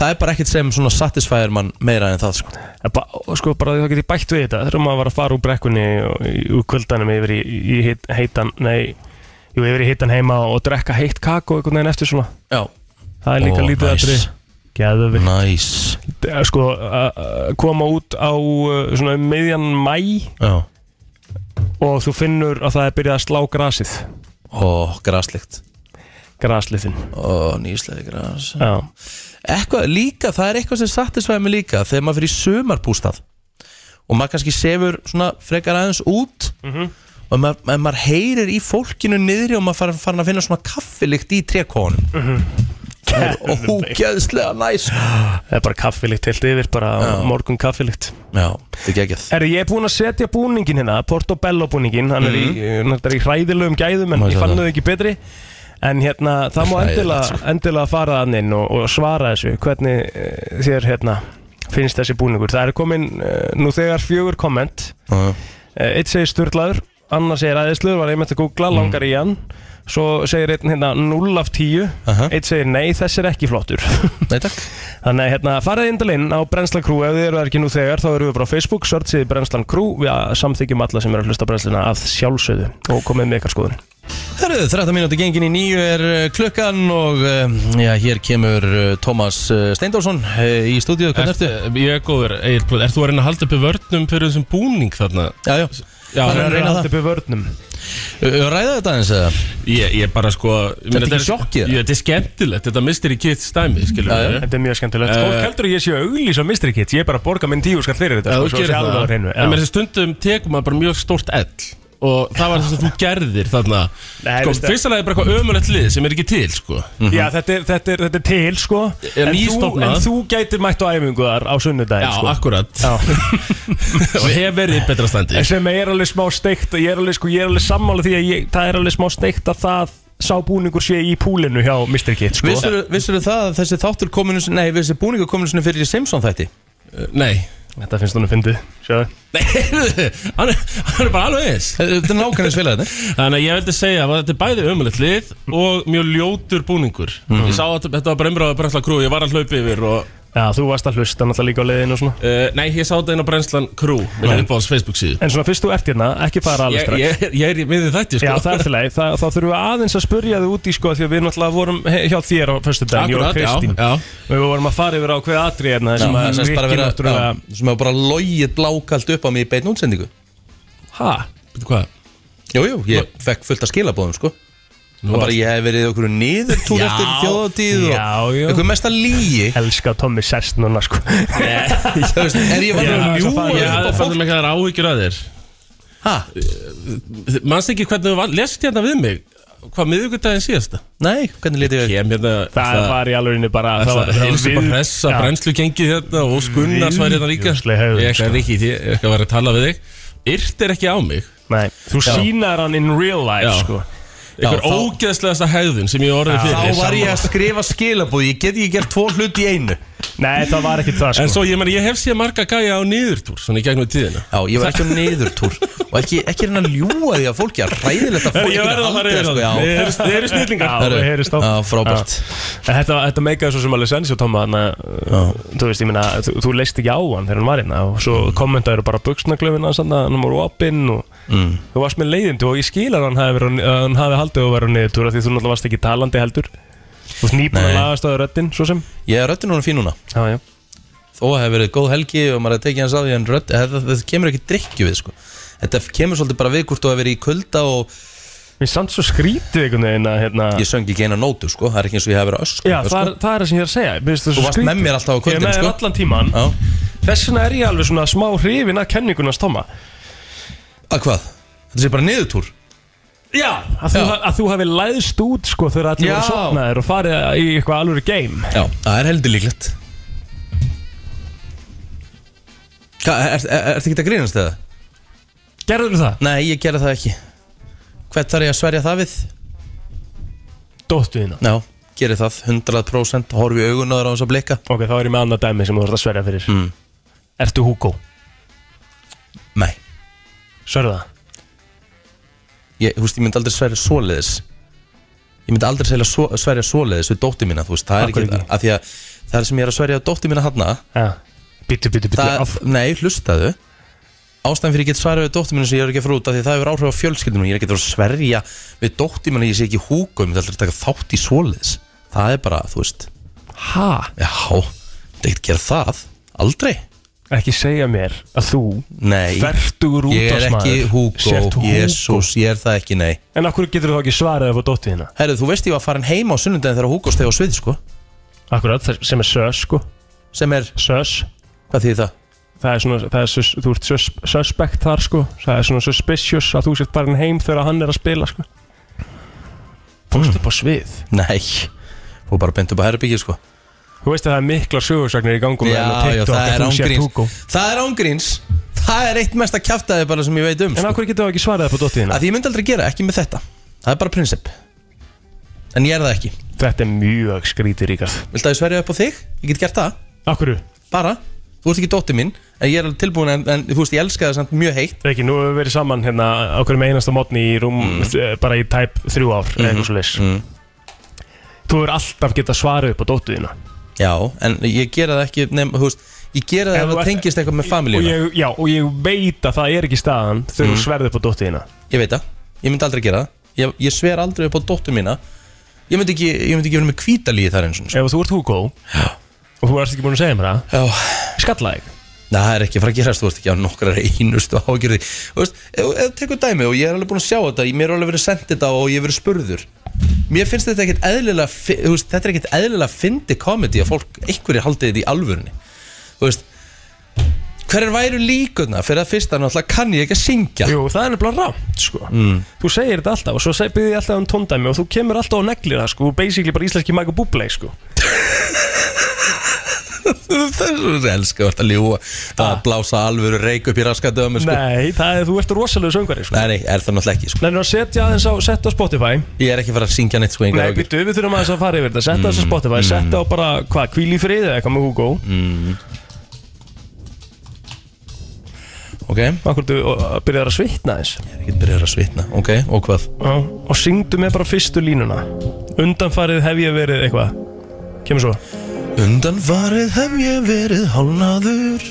Speaker 1: Það er bara ekkert sem svona satisfæðir mann meira en það sko
Speaker 2: En ba- og sko bara þá get ég bætt við þetta þegar maður var að fara úr brekkunni og- í- úr kvöldanum yfir í, í hit, heitan nei, jú, yfir í heitan heima og drekka heitt kakó einhvern veginn eftir svona
Speaker 1: Já,
Speaker 2: það er líka
Speaker 1: Ó,
Speaker 2: lítið
Speaker 1: nice.
Speaker 2: aðri
Speaker 1: næs
Speaker 2: geðvikt
Speaker 1: nice.
Speaker 2: nice. sko að að koma út á uh, svona um miðjan mæ
Speaker 1: Já,
Speaker 2: og þú finnur að það er byrjað að slá grasið
Speaker 1: ó, graslikt
Speaker 2: grasliðin
Speaker 1: Ó, nýslega gras
Speaker 2: já,
Speaker 1: Eitthvað líka, það er eitthvað sem satisfæðir mig líka Þegar maður fyrir sumarbústað Og maður kannski sefur svona frekar aðeins út Og maður, maður, maður heyrir í fólkinu niðri Og maður far, farin að finna svona kaffilikt í trekónum mm -hmm. Og húkjæðslega næs sko.
Speaker 2: það er bara kaffilikt heilt yfir bara morgun kaffilikt
Speaker 1: Já, þetta er geggjað
Speaker 2: Herri, ég er búinn að setja búningin hérna, Portobello búningin, hann er í, mm. er í hræðilegum gæðum en
Speaker 1: Má sjá
Speaker 2: ég fann
Speaker 1: Mhm. það.
Speaker 2: þau ekki betri En hérna, það má
Speaker 1: Hræðilegt,
Speaker 2: endilega,
Speaker 1: sko.
Speaker 2: endilega fara þann inn og, og svara þessu, hvernig uh, þér hérna finnst þessi búningur Það er komin uh, nú þegar fjögur komment,
Speaker 1: Já,
Speaker 2: uh, eitt segir Sturlaður, annar segir Æðisluður, var einmitt að
Speaker 7: Mm.
Speaker 2: googla, langar í hann Svo segir einn hérna 0 af 10,
Speaker 1: Aha.
Speaker 2: eitt segir nei, þessi er ekki flottur
Speaker 1: Nei takk
Speaker 2: Þannig að hérna, farið indal inn á Brennslan Crew ef þið eru það ekki nú þegar, þá eru við bara á Facebook searchið Brennslan Crew, við samþykjum alla sem eru að hlusta á brennsluna að sjálfsögðu og komið með ykkar skoðun.
Speaker 1: Herðu, 13 mínúti gengin í nýju er uh, klukkan og uh, já, hér kemur uh, Tómas uh, Steindórsson uh, í stúdíu, hvernig ertu?
Speaker 7: Ég er góður, Egil Blóð Ert þú að reyna að halda uppi vörnum fyrir þessum búning þarna?
Speaker 1: Já, já,
Speaker 7: Já,
Speaker 1: Hann er að reyna það.
Speaker 2: upp við vörnum.
Speaker 1: Uh, ræða þetta eins eða?
Speaker 7: Ég, ég bara sko ég meina,
Speaker 1: ekki
Speaker 7: Þetta
Speaker 1: sjokkið?
Speaker 7: Jú, Þetta er skemmtilegt, þetta Mystery Kids dæmi skilur
Speaker 1: Já, já.
Speaker 7: við
Speaker 2: Þetta er mjög skemmtilegt.
Speaker 7: Eh.
Speaker 2: Fólk heldur að ég sé að auglýsa Mystery Kit, ég er bara að borga minn tíu skall fyrir þetta.
Speaker 7: Já,
Speaker 2: sko,
Speaker 7: þú
Speaker 2: svo
Speaker 7: gerir
Speaker 2: sé alveg á
Speaker 7: það En
Speaker 2: hreinu, já.
Speaker 7: mér þessi stundum tekum maður bara mjög stórt ell Og það var það sem þú gerðir þarna
Speaker 2: Nei,
Speaker 7: sko,
Speaker 2: veistu-
Speaker 7: Fyrst að það er bara eitthvað ömulegt lið sem er ekki til sko
Speaker 2: Já, þetta er, þetta, er, þetta er til, sko.
Speaker 7: Er
Speaker 2: en, þú,
Speaker 7: nýstofnað.
Speaker 2: en þú gætir mætt á æfingu þar á sunnudaginn,
Speaker 7: Já,
Speaker 2: sko.
Speaker 7: akkurat Og hef verið í betra standi
Speaker 2: En sem er alveg smá steikt og ég er alveg, sko, ég er alveg sammála því að ég, það er alveg smá steikt að það sá búningur sé í púlinu hjá Mr. Kit, sko.
Speaker 1: Vissirðu vissirðu það að þessi þáttur kominu, nei, þessi búninga kominu sinni fyrir í Simpson þætti?
Speaker 7: Nei
Speaker 2: Þetta finnst hún að fyndið Sjáðu
Speaker 7: Nei, hann er, hann er bara alveg eins
Speaker 1: Eh, Þetta er nákvæmlega svilaði þetta
Speaker 7: Þannig að ég vildi segja að þetta er bæði ömulegt lið og mjög ljótur búningur Ég sá að þetta var bara umræða brennslan krú, ég var að hlaupa yfir og
Speaker 2: Já, þú varst að hlusta náttúrulega líka á leiðinu og svona
Speaker 7: uh, Nei, ég sá þetta inn á brennslan krú, minn er upp á hans Facebook síðu
Speaker 2: En svona fyrst þú ert hérna, ekki fara alveg
Speaker 7: Ég,
Speaker 2: strax
Speaker 7: ég, ég er í miðið þætti
Speaker 2: Já,
Speaker 7: sko
Speaker 2: það er til leið, þá þurfum við aðeins að spurja þig út í sko Því að við náttúrulega vorum he- hjá þér á fyrstu dag, Jón
Speaker 7: Akkurat,
Speaker 2: Kristín
Speaker 7: já, já.
Speaker 2: Og Við vorum að fara yfir á hver atri hérna
Speaker 1: Já,
Speaker 2: sem
Speaker 1: það
Speaker 2: að
Speaker 1: sést bara
Speaker 2: Rikki
Speaker 1: vera,
Speaker 2: náttúrulega
Speaker 1: já, sem hefur bara logið blákalt upp á mig í beinu útsendingu
Speaker 7: Hæ, veitu hvað?
Speaker 1: Jú, jú, ég fekk fullt að skilabóðum, sko Það
Speaker 7: Nú
Speaker 1: bara
Speaker 7: varst-
Speaker 1: ég hef verið okkur niður túr
Speaker 7: Já.
Speaker 1: eftir þjóðatíð og
Speaker 2: Já, já.
Speaker 1: einhver mesta lígi
Speaker 2: Elska Tommy Sest núna sko
Speaker 1: Þú veist, Er ég var
Speaker 2: Já,
Speaker 1: að
Speaker 2: svo
Speaker 1: ljúa
Speaker 2: farið-
Speaker 7: Ég
Speaker 1: upp á
Speaker 7: hafði
Speaker 1: fólk
Speaker 7: fannum ekki að það er áhyggjur að þér
Speaker 1: Ha?
Speaker 7: Manst ekki hvernig þú var- lest hérna við mig Hvað miðvikudaginn síðasta?
Speaker 1: Nei, hvernig lítið við?
Speaker 7: Kem hérna
Speaker 2: Það var í alveg bara
Speaker 7: Það var helstu bara
Speaker 2: við-
Speaker 7: hressa
Speaker 2: Já.
Speaker 7: brennslu gengið hérna og skunnars var hérna líka
Speaker 2: Viðbjóðsleg hegðun,
Speaker 7: Ég ekki að ríkja í því, ég ekki að vera að tala við þig Yrt er ekki á mig
Speaker 2: Nei, þú sínar hann in real life
Speaker 7: Já.
Speaker 2: sko
Speaker 7: Einhver
Speaker 1: þá-
Speaker 7: ógeðslegasta hegðun sem ég hef orðið
Speaker 1: Þá
Speaker 7: fyrir
Speaker 1: var ég að skrifa skilabúð, ég get ekki gert tvo hluti í einu
Speaker 2: Nei, það var ekkert það sko
Speaker 7: En svo ég, meni, ég hef séð marga gæja á niðurtúr Svona í gegnum tíðina
Speaker 1: Já, ég var ekki á niðurtúr og ekki, ekki reyna að ljúa því að fólki að ræðilegt að fólki
Speaker 7: Ég verði að
Speaker 1: aldrei,
Speaker 7: fara yfir
Speaker 1: sko, já.
Speaker 7: það Þeir eru- Þeir eru snillingar
Speaker 2: Já, við heyrist á
Speaker 1: Já, frábært.
Speaker 2: Já. En Þetta, þetta meikaði svo sem alveg sens hjá Tomma Þannig að, þú veist, ég meina, þú, þú leist ekki á hann þegar hann var hérna Og svo
Speaker 1: Mm.
Speaker 2: kommentaður bara buksnaglöfin hans Þannig að hann voru opinn og
Speaker 1: Mm.
Speaker 2: þú varst með leiðindu Og ég skilar hann hafi, verið, að hann hafi haldið að vera niður túra Því þú náttúrulega varst ekki talandi heldur Þú veist, nýbúin
Speaker 1: Nei.
Speaker 2: að lagast á röddinn, svo sem
Speaker 1: Ég er röddinn hún fín núna
Speaker 2: Já, já
Speaker 1: Þó að hefur verið góð helgi og maður hefði tekið hans að því en rödd, þetta, þetta kemur ekki drikju við sko. Þetta kemur svolítið bara við hvort þú hefur verið í kulda og
Speaker 2: Mér er samt svo skrítið einhvern veginn að, hérna
Speaker 1: ég söng ekki eina nótu sko. það er ekki eins og ég hef verið að öskra
Speaker 2: Já,
Speaker 1: eitthvað, sko.
Speaker 2: það er það er það sem ég er að segja Mér finnst það
Speaker 1: Þú
Speaker 2: svo
Speaker 1: varst með
Speaker 2: skrýtið.
Speaker 1: mér alltaf á
Speaker 2: Ég er
Speaker 1: kvöldin,
Speaker 2: með þér
Speaker 1: sko.
Speaker 2: allan tíman
Speaker 1: Já.
Speaker 2: Þess vegna er ég alveg svona smá hrifin að kenningunast Tomma
Speaker 1: sko. Að hvað? Þetta sé bara niðurtúr
Speaker 2: Já, að þú,
Speaker 1: Já.
Speaker 2: að þú hafi læðst út sko þegar allir
Speaker 1: Já.
Speaker 2: voru sopnaðir og farið í eitthvað alvöru game
Speaker 1: Já, það er heldur líklegt Hvað, er, er, er, ertu ekki að grínast eða?
Speaker 2: Gerður það?
Speaker 1: Nei, ég gera það ekki Hvert þarf ég að sverja það við?
Speaker 2: Dóttu þína
Speaker 1: Já, gera það 100% horfi í augun á þér á þess að blika
Speaker 2: Ok, þá er ég með annað dæmi sem þú þarfst að sverja fyrir mm. Ertu Hugo?
Speaker 1: Nei,
Speaker 2: Sverðu það?
Speaker 1: ég, þú veist, ég myndi aldrei sverja svoleiðis Ég myndi aldrei sverja, svo, sverja svoleiðis við dóttir mína, þú veist, það er
Speaker 2: Af hverju
Speaker 1: ekki
Speaker 2: ekki?
Speaker 1: að því að það sem ég er að sverja á dóttir mína hann
Speaker 2: Já Bítu, bítu, bítu
Speaker 1: það, Nei, hlustaðu Ástæðan fyrir ég get svarað við dóttir mínu sem ég er ekki að fara út af því að það hefur áhrif á fjölskyldinu ég er ekki að fara að sverja við dóttir mínu ég sé ekki húka um þetta að taka þátt í svoleiðis það er bara, þú veist,
Speaker 2: Ha?
Speaker 1: já, það er ekki að gera það aldrei,
Speaker 2: Ekki segja mér að þú
Speaker 1: nei
Speaker 2: Fertugur
Speaker 1: ég er
Speaker 2: útvarpsmaður
Speaker 1: ekki
Speaker 2: sért
Speaker 1: húko,
Speaker 2: Hugo.
Speaker 1: jésús, ég er það ekki, nei
Speaker 2: En af hverju getur þú þá ekki svarað ef á dóttu þína?
Speaker 1: Herru, þú veist ég var farin heima á sunnundaginn þegar Hugo stegi á svið, sko
Speaker 2: Akkurat, það sem er sös sko
Speaker 1: Sem er,
Speaker 2: Sös
Speaker 1: hvað þýðir það?
Speaker 2: Það er svona, það er, sus, þú ert sus, suspect þar sko Það er svona suspicious að þú sért farin heim þegar hann er að spila sko Fórstu upp á svið
Speaker 1: Nei, fór bara beint upp á herrbyggir, sko
Speaker 2: Þú veist að það er mikla sögursagnir í gangum
Speaker 1: Já, já, það er
Speaker 2: ángrín
Speaker 1: ángríns Það er ángríns Það er eitt mesta kjaftaði bara sem ég veit um,
Speaker 2: En
Speaker 1: sko
Speaker 2: af hverju getur það ekki svarað upp á dottiðina?
Speaker 1: Að ég myndi aldrei gera, ekki með þetta Það er bara prinsip En ég er það ekki
Speaker 2: Þetta er mjög skrítið ríkast
Speaker 1: Viltu að ég sverja upp á þig? Ég get gert það,
Speaker 2: Af hverju?
Speaker 1: bara Þú ert ekki dóttir mín, en ég er alveg tilbúin En, en þú veist, ég elska það samt mjög heitt
Speaker 2: Ekki, nú hefur við verið saman hérna á hverjum einasta mótni í rúm mm. Mhm, bara í tæp þrjú ár eða eitthvað svo Þú hefur alltaf getað svarað upp á dottiðina
Speaker 1: Já, en ég gera það ekki nefn, þú veist, Ég gera það ef það tengist eitthvað með
Speaker 2: og
Speaker 1: familíuna ég,
Speaker 2: ég, Já, og ég veit að það er ekki staðan þegar þú sverð upp á dottiðina
Speaker 1: veit það, ég myndi aldrei gera það Ég, ég sver aldrei upp á dóttur mína Ég myndi ekki, ég myndi ekki verið með kvítalíði þar eins og eins.
Speaker 2: Ef þú ert Hugo og þú ert ekki búin að segja mér það
Speaker 1: Já,
Speaker 2: skalla þig
Speaker 1: Nei, það er ekki að fara að gerast, þú veist ekki á nokkrar einustu ágjörði Þú veist, ef ef þú tekur dæmi og ég er alveg búin að sjá þetta Mér er alveg verið sendt þetta og ég er verið spurður Mér finnst þetta ekkit eðlilega fi- þú veist, Þetta er ekkit eðlilega fyndi komedi að fólk, einhverjir haldi þetta í alvörunni Þú veist Hverjar væru líkurnar fyrir að fyrsta náttúrulega kann ég ekki að syngja
Speaker 2: Jú, það er nefnilega rámt sko. Þú segir þetta alltaf og svo seg- byrði ég alltaf um tóndæmi og þú kemur alltaf og neglir það sko, basically bara íslenski Michael Bublé sko.
Speaker 1: Það er svo þessi elska, þú ert að ljúa Það að blása alvöru reik upp í raskatöðum sko.
Speaker 2: Nei, það er, þú ert rosalega söngveri sko.
Speaker 1: Nei, nei, er það náttúrulega ekki sko.
Speaker 2: Nennir að setja aðeins á, setja á Spotify
Speaker 1: Ég er ekki að fara að syngja neitt sko, engar
Speaker 2: Nei,
Speaker 1: áhyggjur.
Speaker 2: býttu, við þurfum aðeins að fara yfir þetta Setja aðeins á Spotify, setja á bara, hvað, kvíl í friði eða eitthvað með Hugo
Speaker 1: Ok, ég
Speaker 2: Akkur þú byrjar að svitna aðeins
Speaker 1: er ekki byrjar að svitna Ok, og hvað?
Speaker 2: Já, Og syngdu með bara fyrstu línuna Undanfarið hef ég verið eitthvað Kemur svo
Speaker 1: Undanfarið hef ég verið hálnaður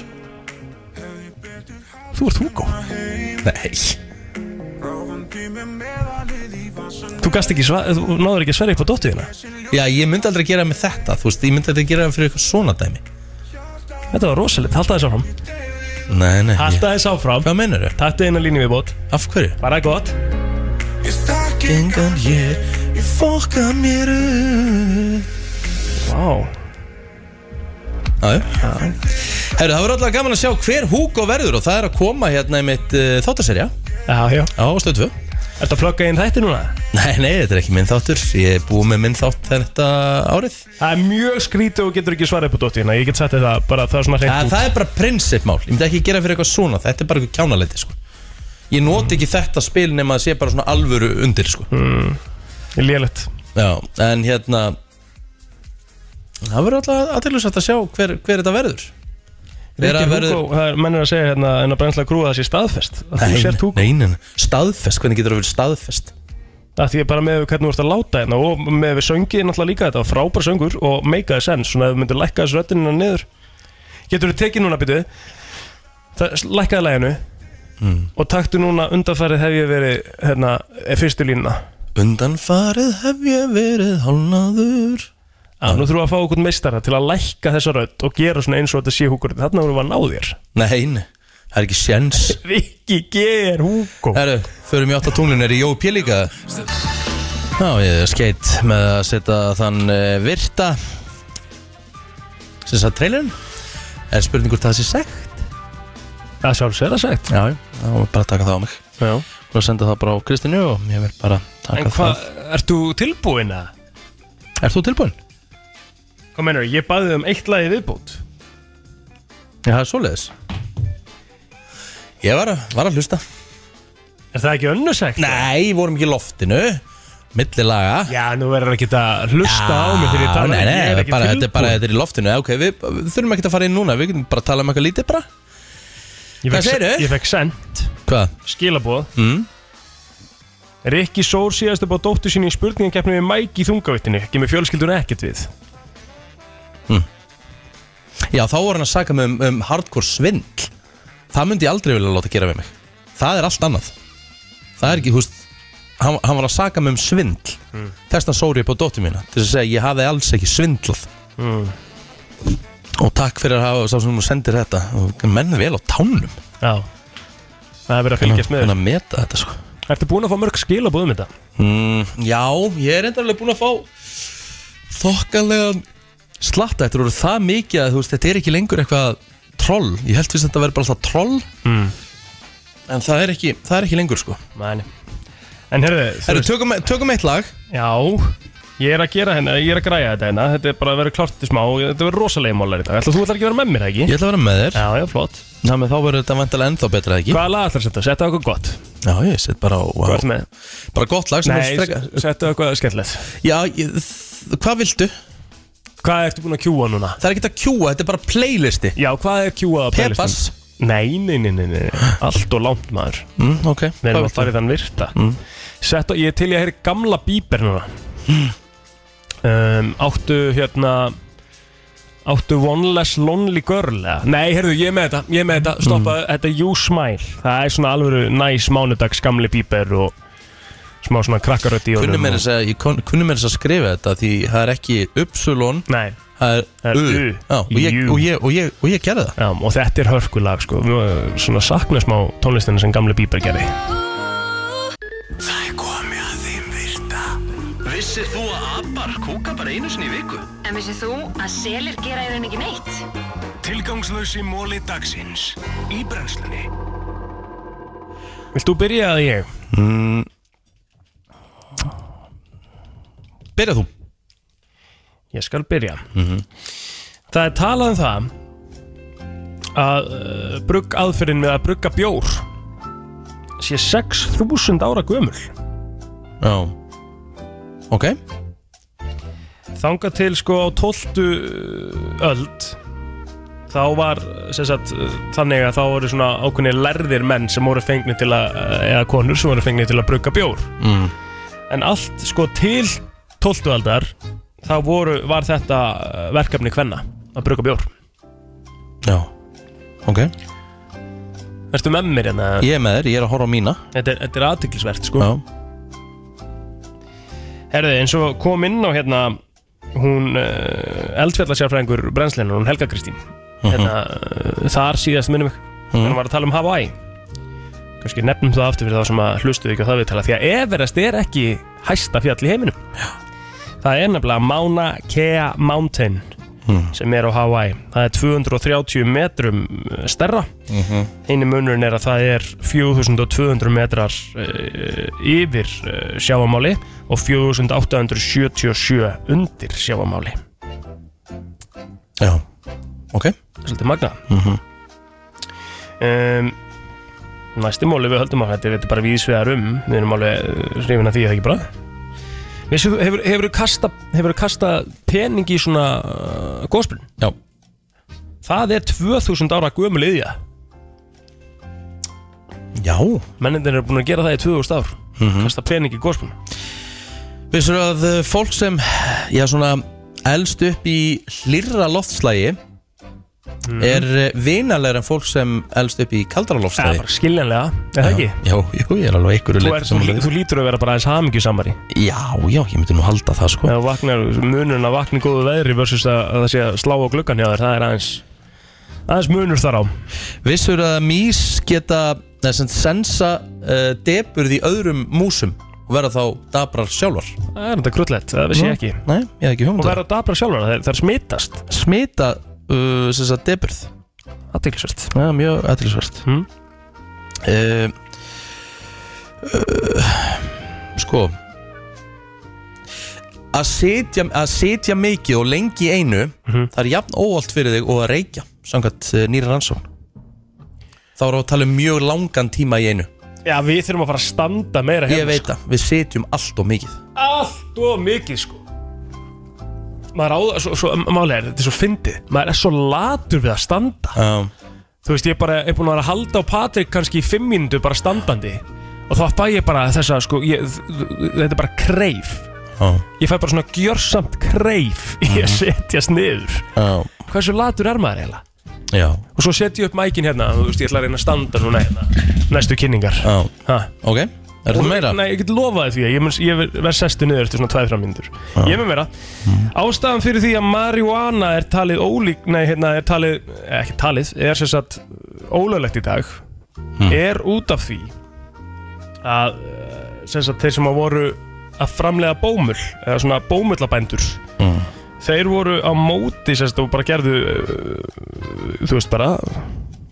Speaker 2: Þú ert Hugo
Speaker 1: Nei
Speaker 2: Þú gast ekki, sva- þú náður ekki að sverja upp á dóttuðina
Speaker 1: Já, ég myndi aldrei gera með þetta Þú veist, ég myndi aldrei gera fyrir eitthvað svona dæmi
Speaker 2: Þetta var rosalegt, halda þess áfram
Speaker 1: Nei, nei ég...
Speaker 2: Halda þess áfram
Speaker 1: Hvað meinar þau?
Speaker 2: Takk eina línu við bót
Speaker 1: Af hverju?
Speaker 2: Bara gott
Speaker 1: Gengan ég, ég fokka mér upp
Speaker 2: Vá
Speaker 1: Jájú Herru, það verður alltaf gaman að sjá hver Hugo verður og það er að koma hérna í mitt uh, þáttaserja
Speaker 2: Já, já
Speaker 1: á stöðfu
Speaker 2: Ertu að plugga inn þætti núna?
Speaker 1: Nei, nei, þetta er ekki minn þáttur Ég er búið með minn þátt þetta árið
Speaker 2: Það er mjög skrítið og getur ekki svarað upp á dóttina Ég get sagt þetta bara það er svona
Speaker 1: Æ,
Speaker 2: hreint út
Speaker 1: Það er bara prinsipmál, ég myndi ekki gera fyrir eitthvað svona Þetta er bara eitthvað kjánaleiti sko. Ég noti ekki þetta spil nema að sé bara svona alvöru undir sko.
Speaker 2: Hmm. Ég er lélegt
Speaker 1: Já, en hérna Það verður alltaf aðtilsvægt að sjá hver, hver þetta verður Vera
Speaker 2: Rikki
Speaker 1: verður-
Speaker 2: Hugo, það er mennir að segja hérna en að brennsla grúa það sé staðfest að þú sér Hugo
Speaker 1: nei, nei, staðfest, hvernig getur það verið staðfest?
Speaker 2: að því er bara með við hvernig þú ert að láta hérna og með við söngið náttúrulega líka þetta var frábær söngur og make a sense svona ef þú myndir lækka þessu röttinina niður getur þú tekið núna byrju lækkaði læginu og taktu núna undanfærið hef ég verið hérna eh, fyrstu línuna
Speaker 1: Undanfarið hef ég verið hálnaður
Speaker 2: að nú þurfum við að fá okkur meistara til að lækka þessa rödd og gera svona eins og þetta sé húkur þarna vorum við að ná þér
Speaker 1: Nei, nei, það er ekki sjens
Speaker 2: Rikki ger húko
Speaker 1: Herru, förum í 8 tunglun, er í Jópi líka? Já, ég er skeitt með að setja þann uh, virta sem sagt trailerinn Er spurning hvort það sé sekt?
Speaker 2: það sjálfsög er það sagt
Speaker 1: Já, já, þá er bara að taka það á mig
Speaker 2: Já.
Speaker 1: og senda það bara á Kristínu og ég vil bara taka
Speaker 2: en hvað, ert þú tilbúin að?
Speaker 1: það Er þú tilbúin?
Speaker 2: Hvað mennur, ég baði um eitt lagi viðbútt
Speaker 1: Já, það er svoleiðis Ég var að, var að hlusta
Speaker 2: Er það ekki önnursækt?
Speaker 1: Nei, vorum ekki í loftinu Milli laga
Speaker 2: Já, nú verður ekki að hlusta á mig þegar ég tala
Speaker 1: Nei,
Speaker 2: Ég
Speaker 1: nei,
Speaker 2: er ekki
Speaker 1: bara, þetta er
Speaker 2: tilbúin.
Speaker 1: bara þetta er í loftinu Ok, við, við þurfum ekki að fara inn núna Við getum bara að tala um eitthvað lítið bara
Speaker 2: Ég
Speaker 1: Hvað
Speaker 2: fekk-
Speaker 1: segirðu?
Speaker 2: Ég fekk send,
Speaker 1: Hvað?
Speaker 2: skilabóð
Speaker 1: Mm.
Speaker 2: Rikki Sór síðast upp á dóttu sín í spurningakeppni við Mike í þungavittinni Ekki með fjölskyldun ekkert við
Speaker 1: Já, þá voru hann að saka mig um, um hardcore svindl Það myndi ég aldrei vilja láta gera við mig Það er allt annað Það er ekki, húst Hann, hann var að saka mig um svindl mm. Þess að sóri upp á dóttu mína Til þess að segja, ég hafði alls ekki svindlað
Speaker 2: Mm.
Speaker 1: Og takk fyrir að hafa Sá sem þú sendir þetta Og Menn vel á tánum
Speaker 2: Já Það er verið að fylgjast með
Speaker 1: Hann
Speaker 2: þér
Speaker 1: að meta þetta sko
Speaker 2: Ertu búin að fá mörg skilabóð um þetta?
Speaker 1: Mm, já, ég er enda alveg búin að fá þokkalega slatta Þetta eru það mikið að þú veist, þetta er ekki lengur eitthvað troll Ég held fyrst að þetta verður bara alltaf troll
Speaker 2: Mm.
Speaker 1: En það er ekki, það er ekki lengur sko
Speaker 2: Mæni En herðu, þú
Speaker 1: Herru, tökum, tökum eitt lag
Speaker 2: Já, ég er að gera hérna, ég er að græja þetta hérna Þetta er bara að vera klart í smá Þetta verður rosalega málar í dag Ætla, Þú ætlar ekki að vera með mér, ekki?
Speaker 1: Ég ætla að vera með þér
Speaker 2: Já, já, flott
Speaker 1: Ná, menn þá verður þetta vantilega ennþá betra eða ekki
Speaker 2: Hvaða lag ætlar að setja? Setja okkur gott
Speaker 1: Já, ég set bara á
Speaker 2: Hvað
Speaker 1: wow.
Speaker 2: ertu með?
Speaker 1: Bara gott lag sem
Speaker 2: Nei,
Speaker 1: er streka
Speaker 2: setja okkur skemmtilegt
Speaker 1: Já, ég, þ- hvað viltu?
Speaker 2: Hvað ertu búin að kjúa núna?
Speaker 1: Það er ekki að kjúa, þetta er bara playlisti
Speaker 2: Já, hvað er kjúað á
Speaker 1: Pepas
Speaker 2: playlistum? Nei, nei, nei, nei, nei, allt og langt maður
Speaker 1: mm, Ok, hvað
Speaker 2: Við erum að
Speaker 1: viltu? Mm.
Speaker 2: fara í þann virta Sett og ég er til ég að heyri gamla bíber núna um, Áttu hérna Áttu One Less Lonely Girl eða? Nei, heyrðu, ég er með þetta, ég er með
Speaker 1: Mm.
Speaker 2: þetta Stoppa, þetta er You Smile Það er svona alvöru næs mánudags gamli bíber og smá svona krakkarödd í
Speaker 1: Kunni mér
Speaker 2: og...
Speaker 1: þess að, ég kon- kunni mér þess að skrifa þetta Því það er ekki Upsilon
Speaker 2: Nei,
Speaker 1: Það
Speaker 2: Það
Speaker 1: er
Speaker 2: er
Speaker 1: U
Speaker 2: U.
Speaker 1: Já, og, ég,
Speaker 2: Jú.
Speaker 1: og, ég, og, ég, og ég gerði það
Speaker 2: já, og þetta er hörkulag sko Nú, eh, Svona sakna smá tónlistinu sem gamli bíber gerði
Speaker 4: Það er komið að þeim virta Vissir þú að abar kúka bara einu sinni í viku?
Speaker 3: En vissið þú að selir gera í rauninni ekki neitt?
Speaker 4: Tilgangslösi móli dagsins Í brennslunni
Speaker 2: Vilt þú byrja að ég?
Speaker 1: Byrja þú
Speaker 2: Ég skal byrja Það er talað um það að uh, brugg aðferðin með að brugga bjór sé 6.000 ára gömul
Speaker 1: Já Ok
Speaker 2: þangað til sko á 12. öld þá var sem sagt, uh, þannig að þá voru svona ákveðni lærðir menn sem voru fengni til að uh, eða konur sem voru fengni til að brugga bjór
Speaker 1: Mm.
Speaker 2: en allt sko til 12. aldar þá voru, var þetta eh, verkefni hvenna að brugga bjór
Speaker 1: Já Ok
Speaker 2: Erstu með mér hérna?
Speaker 1: Ég er með þér, ég er að horfa á mína
Speaker 2: Þetta er, þetta er aðtiklisvert sko
Speaker 1: Já
Speaker 2: Herði, eins og kom inn á hérna hún uh, eldfjallarsjárfræðingur brennslinu, hún Helga Kristín hérna, uh, þar síðast minnum mm. hún var að tala um Hawaii kannski nefnum það aftur fyrir þá sem að hlustu ekki á það viðtala því að Everest er ekki hæsta fjall í heiminum Já. það er nefnilega Mauna Kea Mountain sem er á Hawaii það er 230 metrum eh, stærra eini munurinn er að það er 4200 metrar uh, yfir uh, sjáamáli og 4877 undir sjáamáli
Speaker 1: Já, ok
Speaker 2: svolítið magna um, næsti móli við höldum að þetta er- þetta er bara vísvegar um við erum alveg hrifin að því er það ekki bara Vissu, þú- hefur, hefur, kasta, hefur kasta pening í svona uh, gósbrunn
Speaker 1: Já,
Speaker 2: það er 2000 ára gömul yðja
Speaker 1: já
Speaker 2: mennindir eru búin að gera það í 2000 ár kasta pening í gósbrunn
Speaker 1: Vissur að uh, fólk sem, já svona, elst upp í hlýrra loftslægi er uh, vinalegra en fólk sem elst upp í kaldara
Speaker 2: Mhm. það er
Speaker 1: loftslægi
Speaker 2: bara skiljanlega, er það ekki?
Speaker 1: Já, já, jú, ég er alveg einhverju
Speaker 2: Þú,
Speaker 1: leyti
Speaker 2: er, þú,
Speaker 1: sammála
Speaker 2: lí-
Speaker 1: því.
Speaker 2: þú lítur að vera bara aðeins hamingjusamari
Speaker 1: Já, já, ég myndi nú halda það sko
Speaker 2: Ef þú vaknar, munurinn að vakna í góðu veðri versus að, að það sé að slá á gluggan hjá þér það er aðeins, aðeins munur þar á
Speaker 1: Vissur að mís geta nei, sem sagt, sensa uh, depurð í öðrum músum og verða þá dabrar sjálfar
Speaker 2: Það er þetta krullett, það
Speaker 1: Mm.
Speaker 2: vissi ég ekki
Speaker 1: Nei, ég hef ekki
Speaker 2: Og
Speaker 1: hugmynda
Speaker 2: verða dabra sjálfur, það, það er smitast
Speaker 1: Smita uh, sem sagt depurð
Speaker 2: Aðtilsvært
Speaker 1: Já, mjög aðtilsvært
Speaker 2: Mm.
Speaker 1: uh, uh, Sko að sitja, að sitja mikið og lengi í einu
Speaker 2: Mhm.
Speaker 1: það er jafn óvalt fyrir þig og að reykja samkvæmt uh, nýra rannsókn þá erum við að tala um mjög langan tíma í einu
Speaker 2: Já, við þurfum að fara að standa meira
Speaker 1: ég
Speaker 2: hérna
Speaker 1: veit það, við sitjum allt og mikið
Speaker 2: sko. Allt og mikið sko Maður áða, svo, svo, málega er þetta er svo fyndið Maður er svo latur við að standa
Speaker 1: um,
Speaker 2: Þú veist, ég er bara er búin að vera að halda á Patrik kannski í fimm mínútu bara standandi Og þá fæ ég bara þessa sko ég, Þetta er bara kreif
Speaker 1: um,
Speaker 2: Ég fæ bara svona gjörsamt kreif Í að setjast niður
Speaker 1: um,
Speaker 2: Hversu latur er maður eiginlega?
Speaker 1: Já,
Speaker 2: Og svo setjum ég upp mækin hérna Þú veist, ég ætla að reyna að standa svona hérna Næstu kynningar
Speaker 1: um,
Speaker 2: Ha.
Speaker 1: ok Er það
Speaker 2: Og-
Speaker 1: meira?
Speaker 2: Nei, ég get lofaði því að ég, mun- ég verð sestu niður eftir svona 2-3 mínútur Ég mun vera
Speaker 1: Mm.
Speaker 2: Ástæðan fyrir því að marihuana er talið ólík Nei, hérna er talið, eh, ekki talið Er sem sagt ólöglegt í dag
Speaker 1: Hmm.
Speaker 2: Er út af því Að eh, sem sagt þeir sem að voru að framlega bómull Eða svona bómullabændur
Speaker 1: Hmm.
Speaker 2: Þeir voru á móti sem sagt og bara gerðu eh, Þú veist bara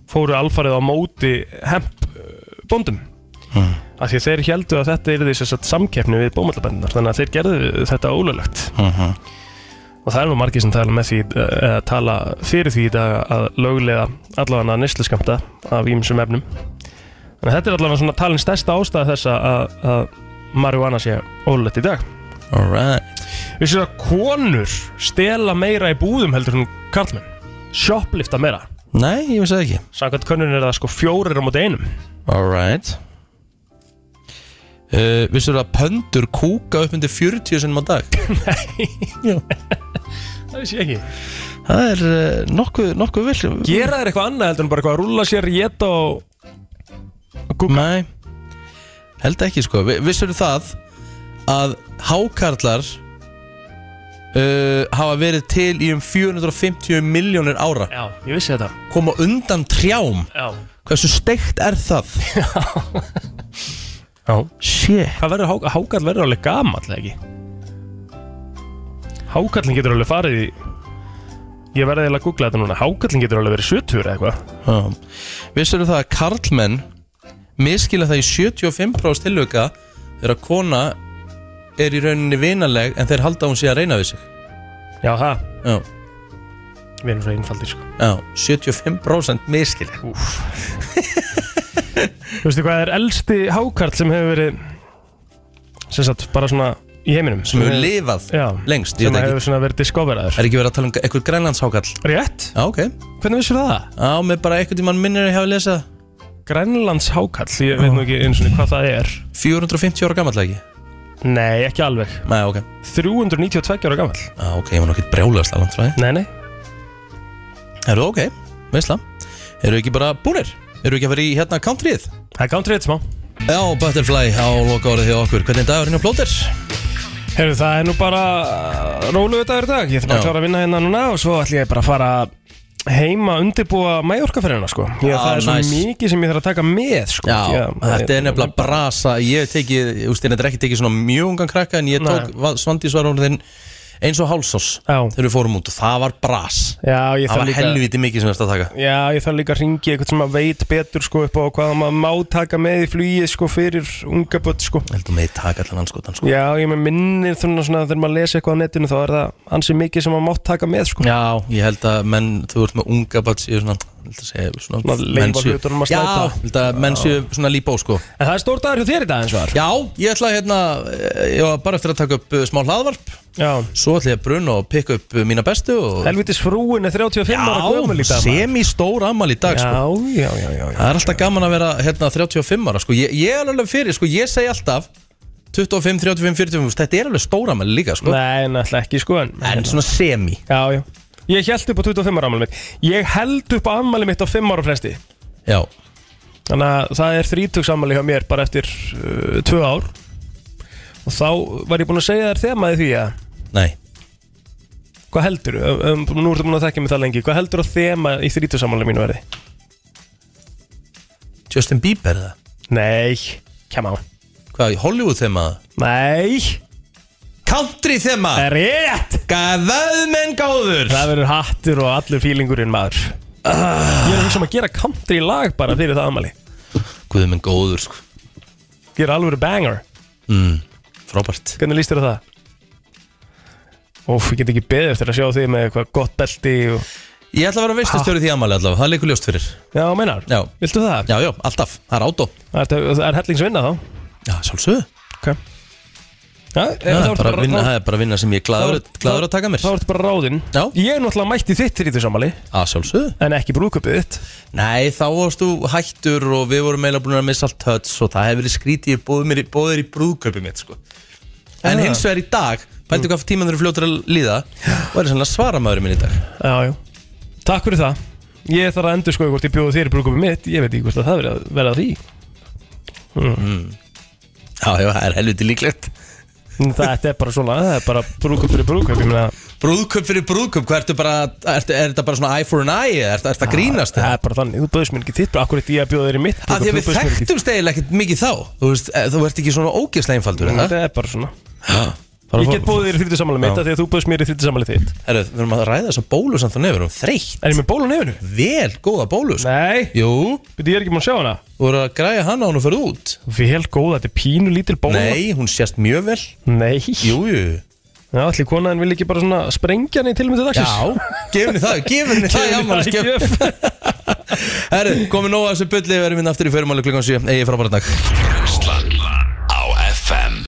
Speaker 2: Fóru alfarið á móti hemp eh, bóndum af því að þeir heldu að þetta yrði sem sagt samkeppni við bómöllabændunar þannig að þeir gerðu þetta ólöglegt og það er nú margir sem tala með því eh, eða tala fyrir því í dag að lögulega allavega nýsluskamta af ímsum efnum þannig að þetta er allavega svona talin stærsta ástæða þess að- að, að marihuana sé ólöglegt í dag
Speaker 1: Alright
Speaker 2: við séum að konur stela meira í búðum heldur en karlmenn shoplifta meira
Speaker 1: Nei, ég vissi það ekki
Speaker 2: samkvæmt konun er það sko fjórir á móti einum
Speaker 1: Alright uh, Vissur að pöndur kúka upp undir 40 sinnum á dag?
Speaker 2: það vissi ég ekki
Speaker 1: Það er uh, nokkuð, nokkuð vill
Speaker 2: gera þér eitthvað annað heldur en bara eitthvað að rúlla sér, geta og
Speaker 1: Nei, held ekki sko Vi- Vissur það að hákarlar uh, hafa verið til í um 450 miljónir ára
Speaker 2: Já, ég vissi þetta
Speaker 1: koma undan trjám
Speaker 2: Já,
Speaker 1: hversu steikt er það?
Speaker 2: Já.
Speaker 1: Shit
Speaker 2: Hvað verður, há- hákarl verður alveg gamall, eða ekki? Hákallin getur alveg farið í Ég verði eiginlega að googla þetta núna Hákallin getur alveg verið 70 eða eitthvað
Speaker 1: Já. Vissur það að karlmenn miskila það í 75% tilvöka þegar kona er í rauninni vinaleg en þeir halda að hún sé að reyna við sig
Speaker 2: Já, það,
Speaker 1: Já,
Speaker 2: við erum svo einfaldir sko
Speaker 1: já 75% miskila
Speaker 2: Úf Þú veistu hvað er elsti hákarl sem hefur verið sem sagt, bara svona í heiminum
Speaker 1: sem hefur lifað
Speaker 2: Já,
Speaker 1: lengst, ég
Speaker 2: sem
Speaker 1: veit ekki
Speaker 2: hefur svona verið discoveraður
Speaker 1: Er ekki verið að tala um eitthvað grænlandshákall?
Speaker 2: Rétt,
Speaker 1: Já, ok
Speaker 2: hvernig vissur það?
Speaker 1: Já, með bara eitthvað tímann minnir að hafa lesað
Speaker 2: Grænlands hákall, ég veit nú ekki eins og hvað það er
Speaker 1: 450 ára gamall ekki
Speaker 2: Nei, ekki alveg
Speaker 1: Nei, ok
Speaker 2: 392 ára gamall
Speaker 1: Já, ok, ég var nokkið brjálega slalom fræði
Speaker 2: Nei, nei
Speaker 1: Eru ok, veistla Eru ekki bara búnir? Eru ekki að vera í hérna countryið?
Speaker 2: Það er gántrið smá
Speaker 1: Já, Butterfly á loka árið hjá okkur Hvernig dagur hérna plóter?
Speaker 2: Herru, það er nú bara róluðu dagur í dag Ég þarf bara
Speaker 1: Já.
Speaker 2: að klára að vinna hérna núna og svo ætlum ég bara að fara heima að undirbúa mæjorkaferðina sko ég,
Speaker 1: Já,
Speaker 2: Það er svo
Speaker 1: Ah, nice.
Speaker 2: mikið sem ég þarf að taka með sko
Speaker 1: Já, þetta er nefnilega brasa Ég hef tekið, þú veist, þetta er ekki tekið svona mjög ungan krakka En ég tók,
Speaker 2: Nei.
Speaker 1: Svandís var hún þinn eins og hálsás
Speaker 2: Já.
Speaker 1: þegar við fórum út og það var bras
Speaker 2: Já,
Speaker 1: það
Speaker 2: ég þarf
Speaker 1: var
Speaker 2: líka
Speaker 1: helviti mikið sem þetta að taka
Speaker 2: Já, ég þarf líka að ringi eitthvað sem að veit betur sko upp á hvað maður má taka með í flugið sko fyrir unga börn sko
Speaker 1: heldur með taka allan anskotan sko.
Speaker 2: Já, ég með minnir þannig svona þegar maður lesi eitthvað á netinu þá er það ansið mikið sem maður mátt taka með sko
Speaker 1: já, ég held að menn, þú ert með unga bat séu svona, ég held að segja svona,
Speaker 2: Svona leyfa
Speaker 1: menn séu-
Speaker 2: hlutunum að
Speaker 1: já,
Speaker 2: slæta.
Speaker 1: ég held að menn séu svona líbó sko.
Speaker 2: En það er stór dagur hjá þér í dag eins og þar
Speaker 1: já, ég ætla að hérna eh, ég var bara eftir að taka upp eh, smá hlaðvarp
Speaker 2: Já,
Speaker 1: svo ætla ég að bruna og pikka upp eh, mína bestu og
Speaker 2: helvitis frúin er 35 ára gömul í
Speaker 1: já,
Speaker 2: dag maður.
Speaker 1: sem í stór ammal í dag sko.
Speaker 2: Já, já, já, já, já.
Speaker 1: Það er alltaf gaman að vera hérna 35 ára sko. ég, ég er alveg fyrir, sko, ég segi alltaf 25, 35, 40, þú veist, sko. þetta er alveg stóra með líka, sko
Speaker 2: Nei, náttúrulega ekki sko en,
Speaker 1: En svona semi
Speaker 2: Já, já Ég held upp á 25 ára afmælið mitt Ég held upp á afmælið mitt á 5 ára fresti
Speaker 1: Já,
Speaker 2: Þannig að það er þrítugs afmæli hjá mér bara eftir 2 ár Og þá var ég búinn að segja þér þemaði því að
Speaker 1: nei,
Speaker 2: Hvað heldur, um, um, nú ertu búin að þekka mig það lengi Hvað heldur að þema í þrítusammáli mínu verði?
Speaker 1: Justin Bieber það
Speaker 2: Nei, kem á
Speaker 1: Hvað, Hollywood þema það?
Speaker 2: Nei,
Speaker 1: Country þema
Speaker 2: það er rétt
Speaker 1: Gæðað menn gáður
Speaker 2: Það verður hattur og allur fílingurinn maður Ég er að hugsa um að gera country lag bara fyrir það afmæli
Speaker 1: Guð menn góður, sko
Speaker 2: Gera alvöru banger,
Speaker 1: mm, Frábært
Speaker 2: hvernig líst þér að það? Óf, ég get ekki beðið eftir að sjá þig með eitthvað gott belti og...
Speaker 1: Ég ætla að vera veistustjóri því amali allavega, það leikur ljóst fyrir
Speaker 2: Já, meinar,
Speaker 1: Já.
Speaker 2: viltu það?
Speaker 1: Já, já, alltaf, það er átó
Speaker 2: Það er, það er hellingsvinna þá
Speaker 1: Já, sjálfsögðu
Speaker 2: Ok Já,
Speaker 1: Það er bara að vinna-
Speaker 2: þá,
Speaker 1: það er bara að vinna sem ég er glaður, glaður að taka mér
Speaker 2: þá ertu bara ráðinn
Speaker 1: Já.
Speaker 2: Ég er náttúrulega mætt í þitt þrítusammáli
Speaker 1: Já, sjálfsögðu
Speaker 2: en ekki brúðköpið þitt
Speaker 1: Nei, þá varst þú hættur og við vorum eiginlega búin að missa allt höts og það hefur verið skrítið ég bóðið mér í, bóðið í brúðköpi mitt sko. En
Speaker 2: Já.
Speaker 1: hins vegar í dag, pæltu hvað tíman þeir eru fljótur að líða og er svona svara maður minn í dag
Speaker 2: Já, já Takk fyrir það Ég þarf að endur skoða hvort ég bjóði þér í brúðköpið mitt Ég veit ekki hvort að það verið að verða því
Speaker 1: Já, já, það er helviti líklegt
Speaker 2: En Þetta er bara svona, það er bara brúðköp fyrir brúðköp Ég meina,
Speaker 1: Brúðköp fyrir brúðköp, hvað ertu bara, ertu, er þetta bara svona eye for an eye eða ertu, ertu að grínast
Speaker 2: það
Speaker 1: það?
Speaker 2: er bara þannig Þú bauðst mér ekki þitt, akkur eitt ég að bjóða þér í mitt brúðkaup,
Speaker 1: Af því að við
Speaker 2: þú bauðst mér ekki þitt.
Speaker 1: þekktumst eiginlega ekkert mikið þá Þú veist, eh, þú ert ekki svona ógeðslega einfaldur eða?
Speaker 2: Þetta er bara svona
Speaker 1: Bara
Speaker 2: Ég
Speaker 1: fór-
Speaker 2: get bóðið þér í þrítusammáli mitt
Speaker 1: Já.
Speaker 2: af því að þú bauðst mér í þrítusammáli þitt
Speaker 1: Herru, Við erum að ræða þess að bólu samt og nefnir, við erum þreytt
Speaker 2: Er ég með bólu á nefinu?
Speaker 1: Vel góða bólu sko.
Speaker 2: Nei,
Speaker 1: Jú,
Speaker 2: betur ég er ekki maður að sjá hana
Speaker 1: þú voru að græja hana á hún og ferð út
Speaker 2: Vel góð, þetta er pínu lítil bóla
Speaker 1: Nei, hún sést mjög vel
Speaker 2: Nei
Speaker 1: jú
Speaker 2: Já, allir konaðin vil ekki bara svona sprengja hann í tilmyndu dagsins
Speaker 1: Já, gefur henni það, gefur henni það í afmælisgjöf.
Speaker 2: Gjöf.
Speaker 1: hérna Herru, komið nóg að þessu bulli Við erum inn aftur í fyrirmáli klukkan 7 Egið frábæra dag
Speaker 4: Brensla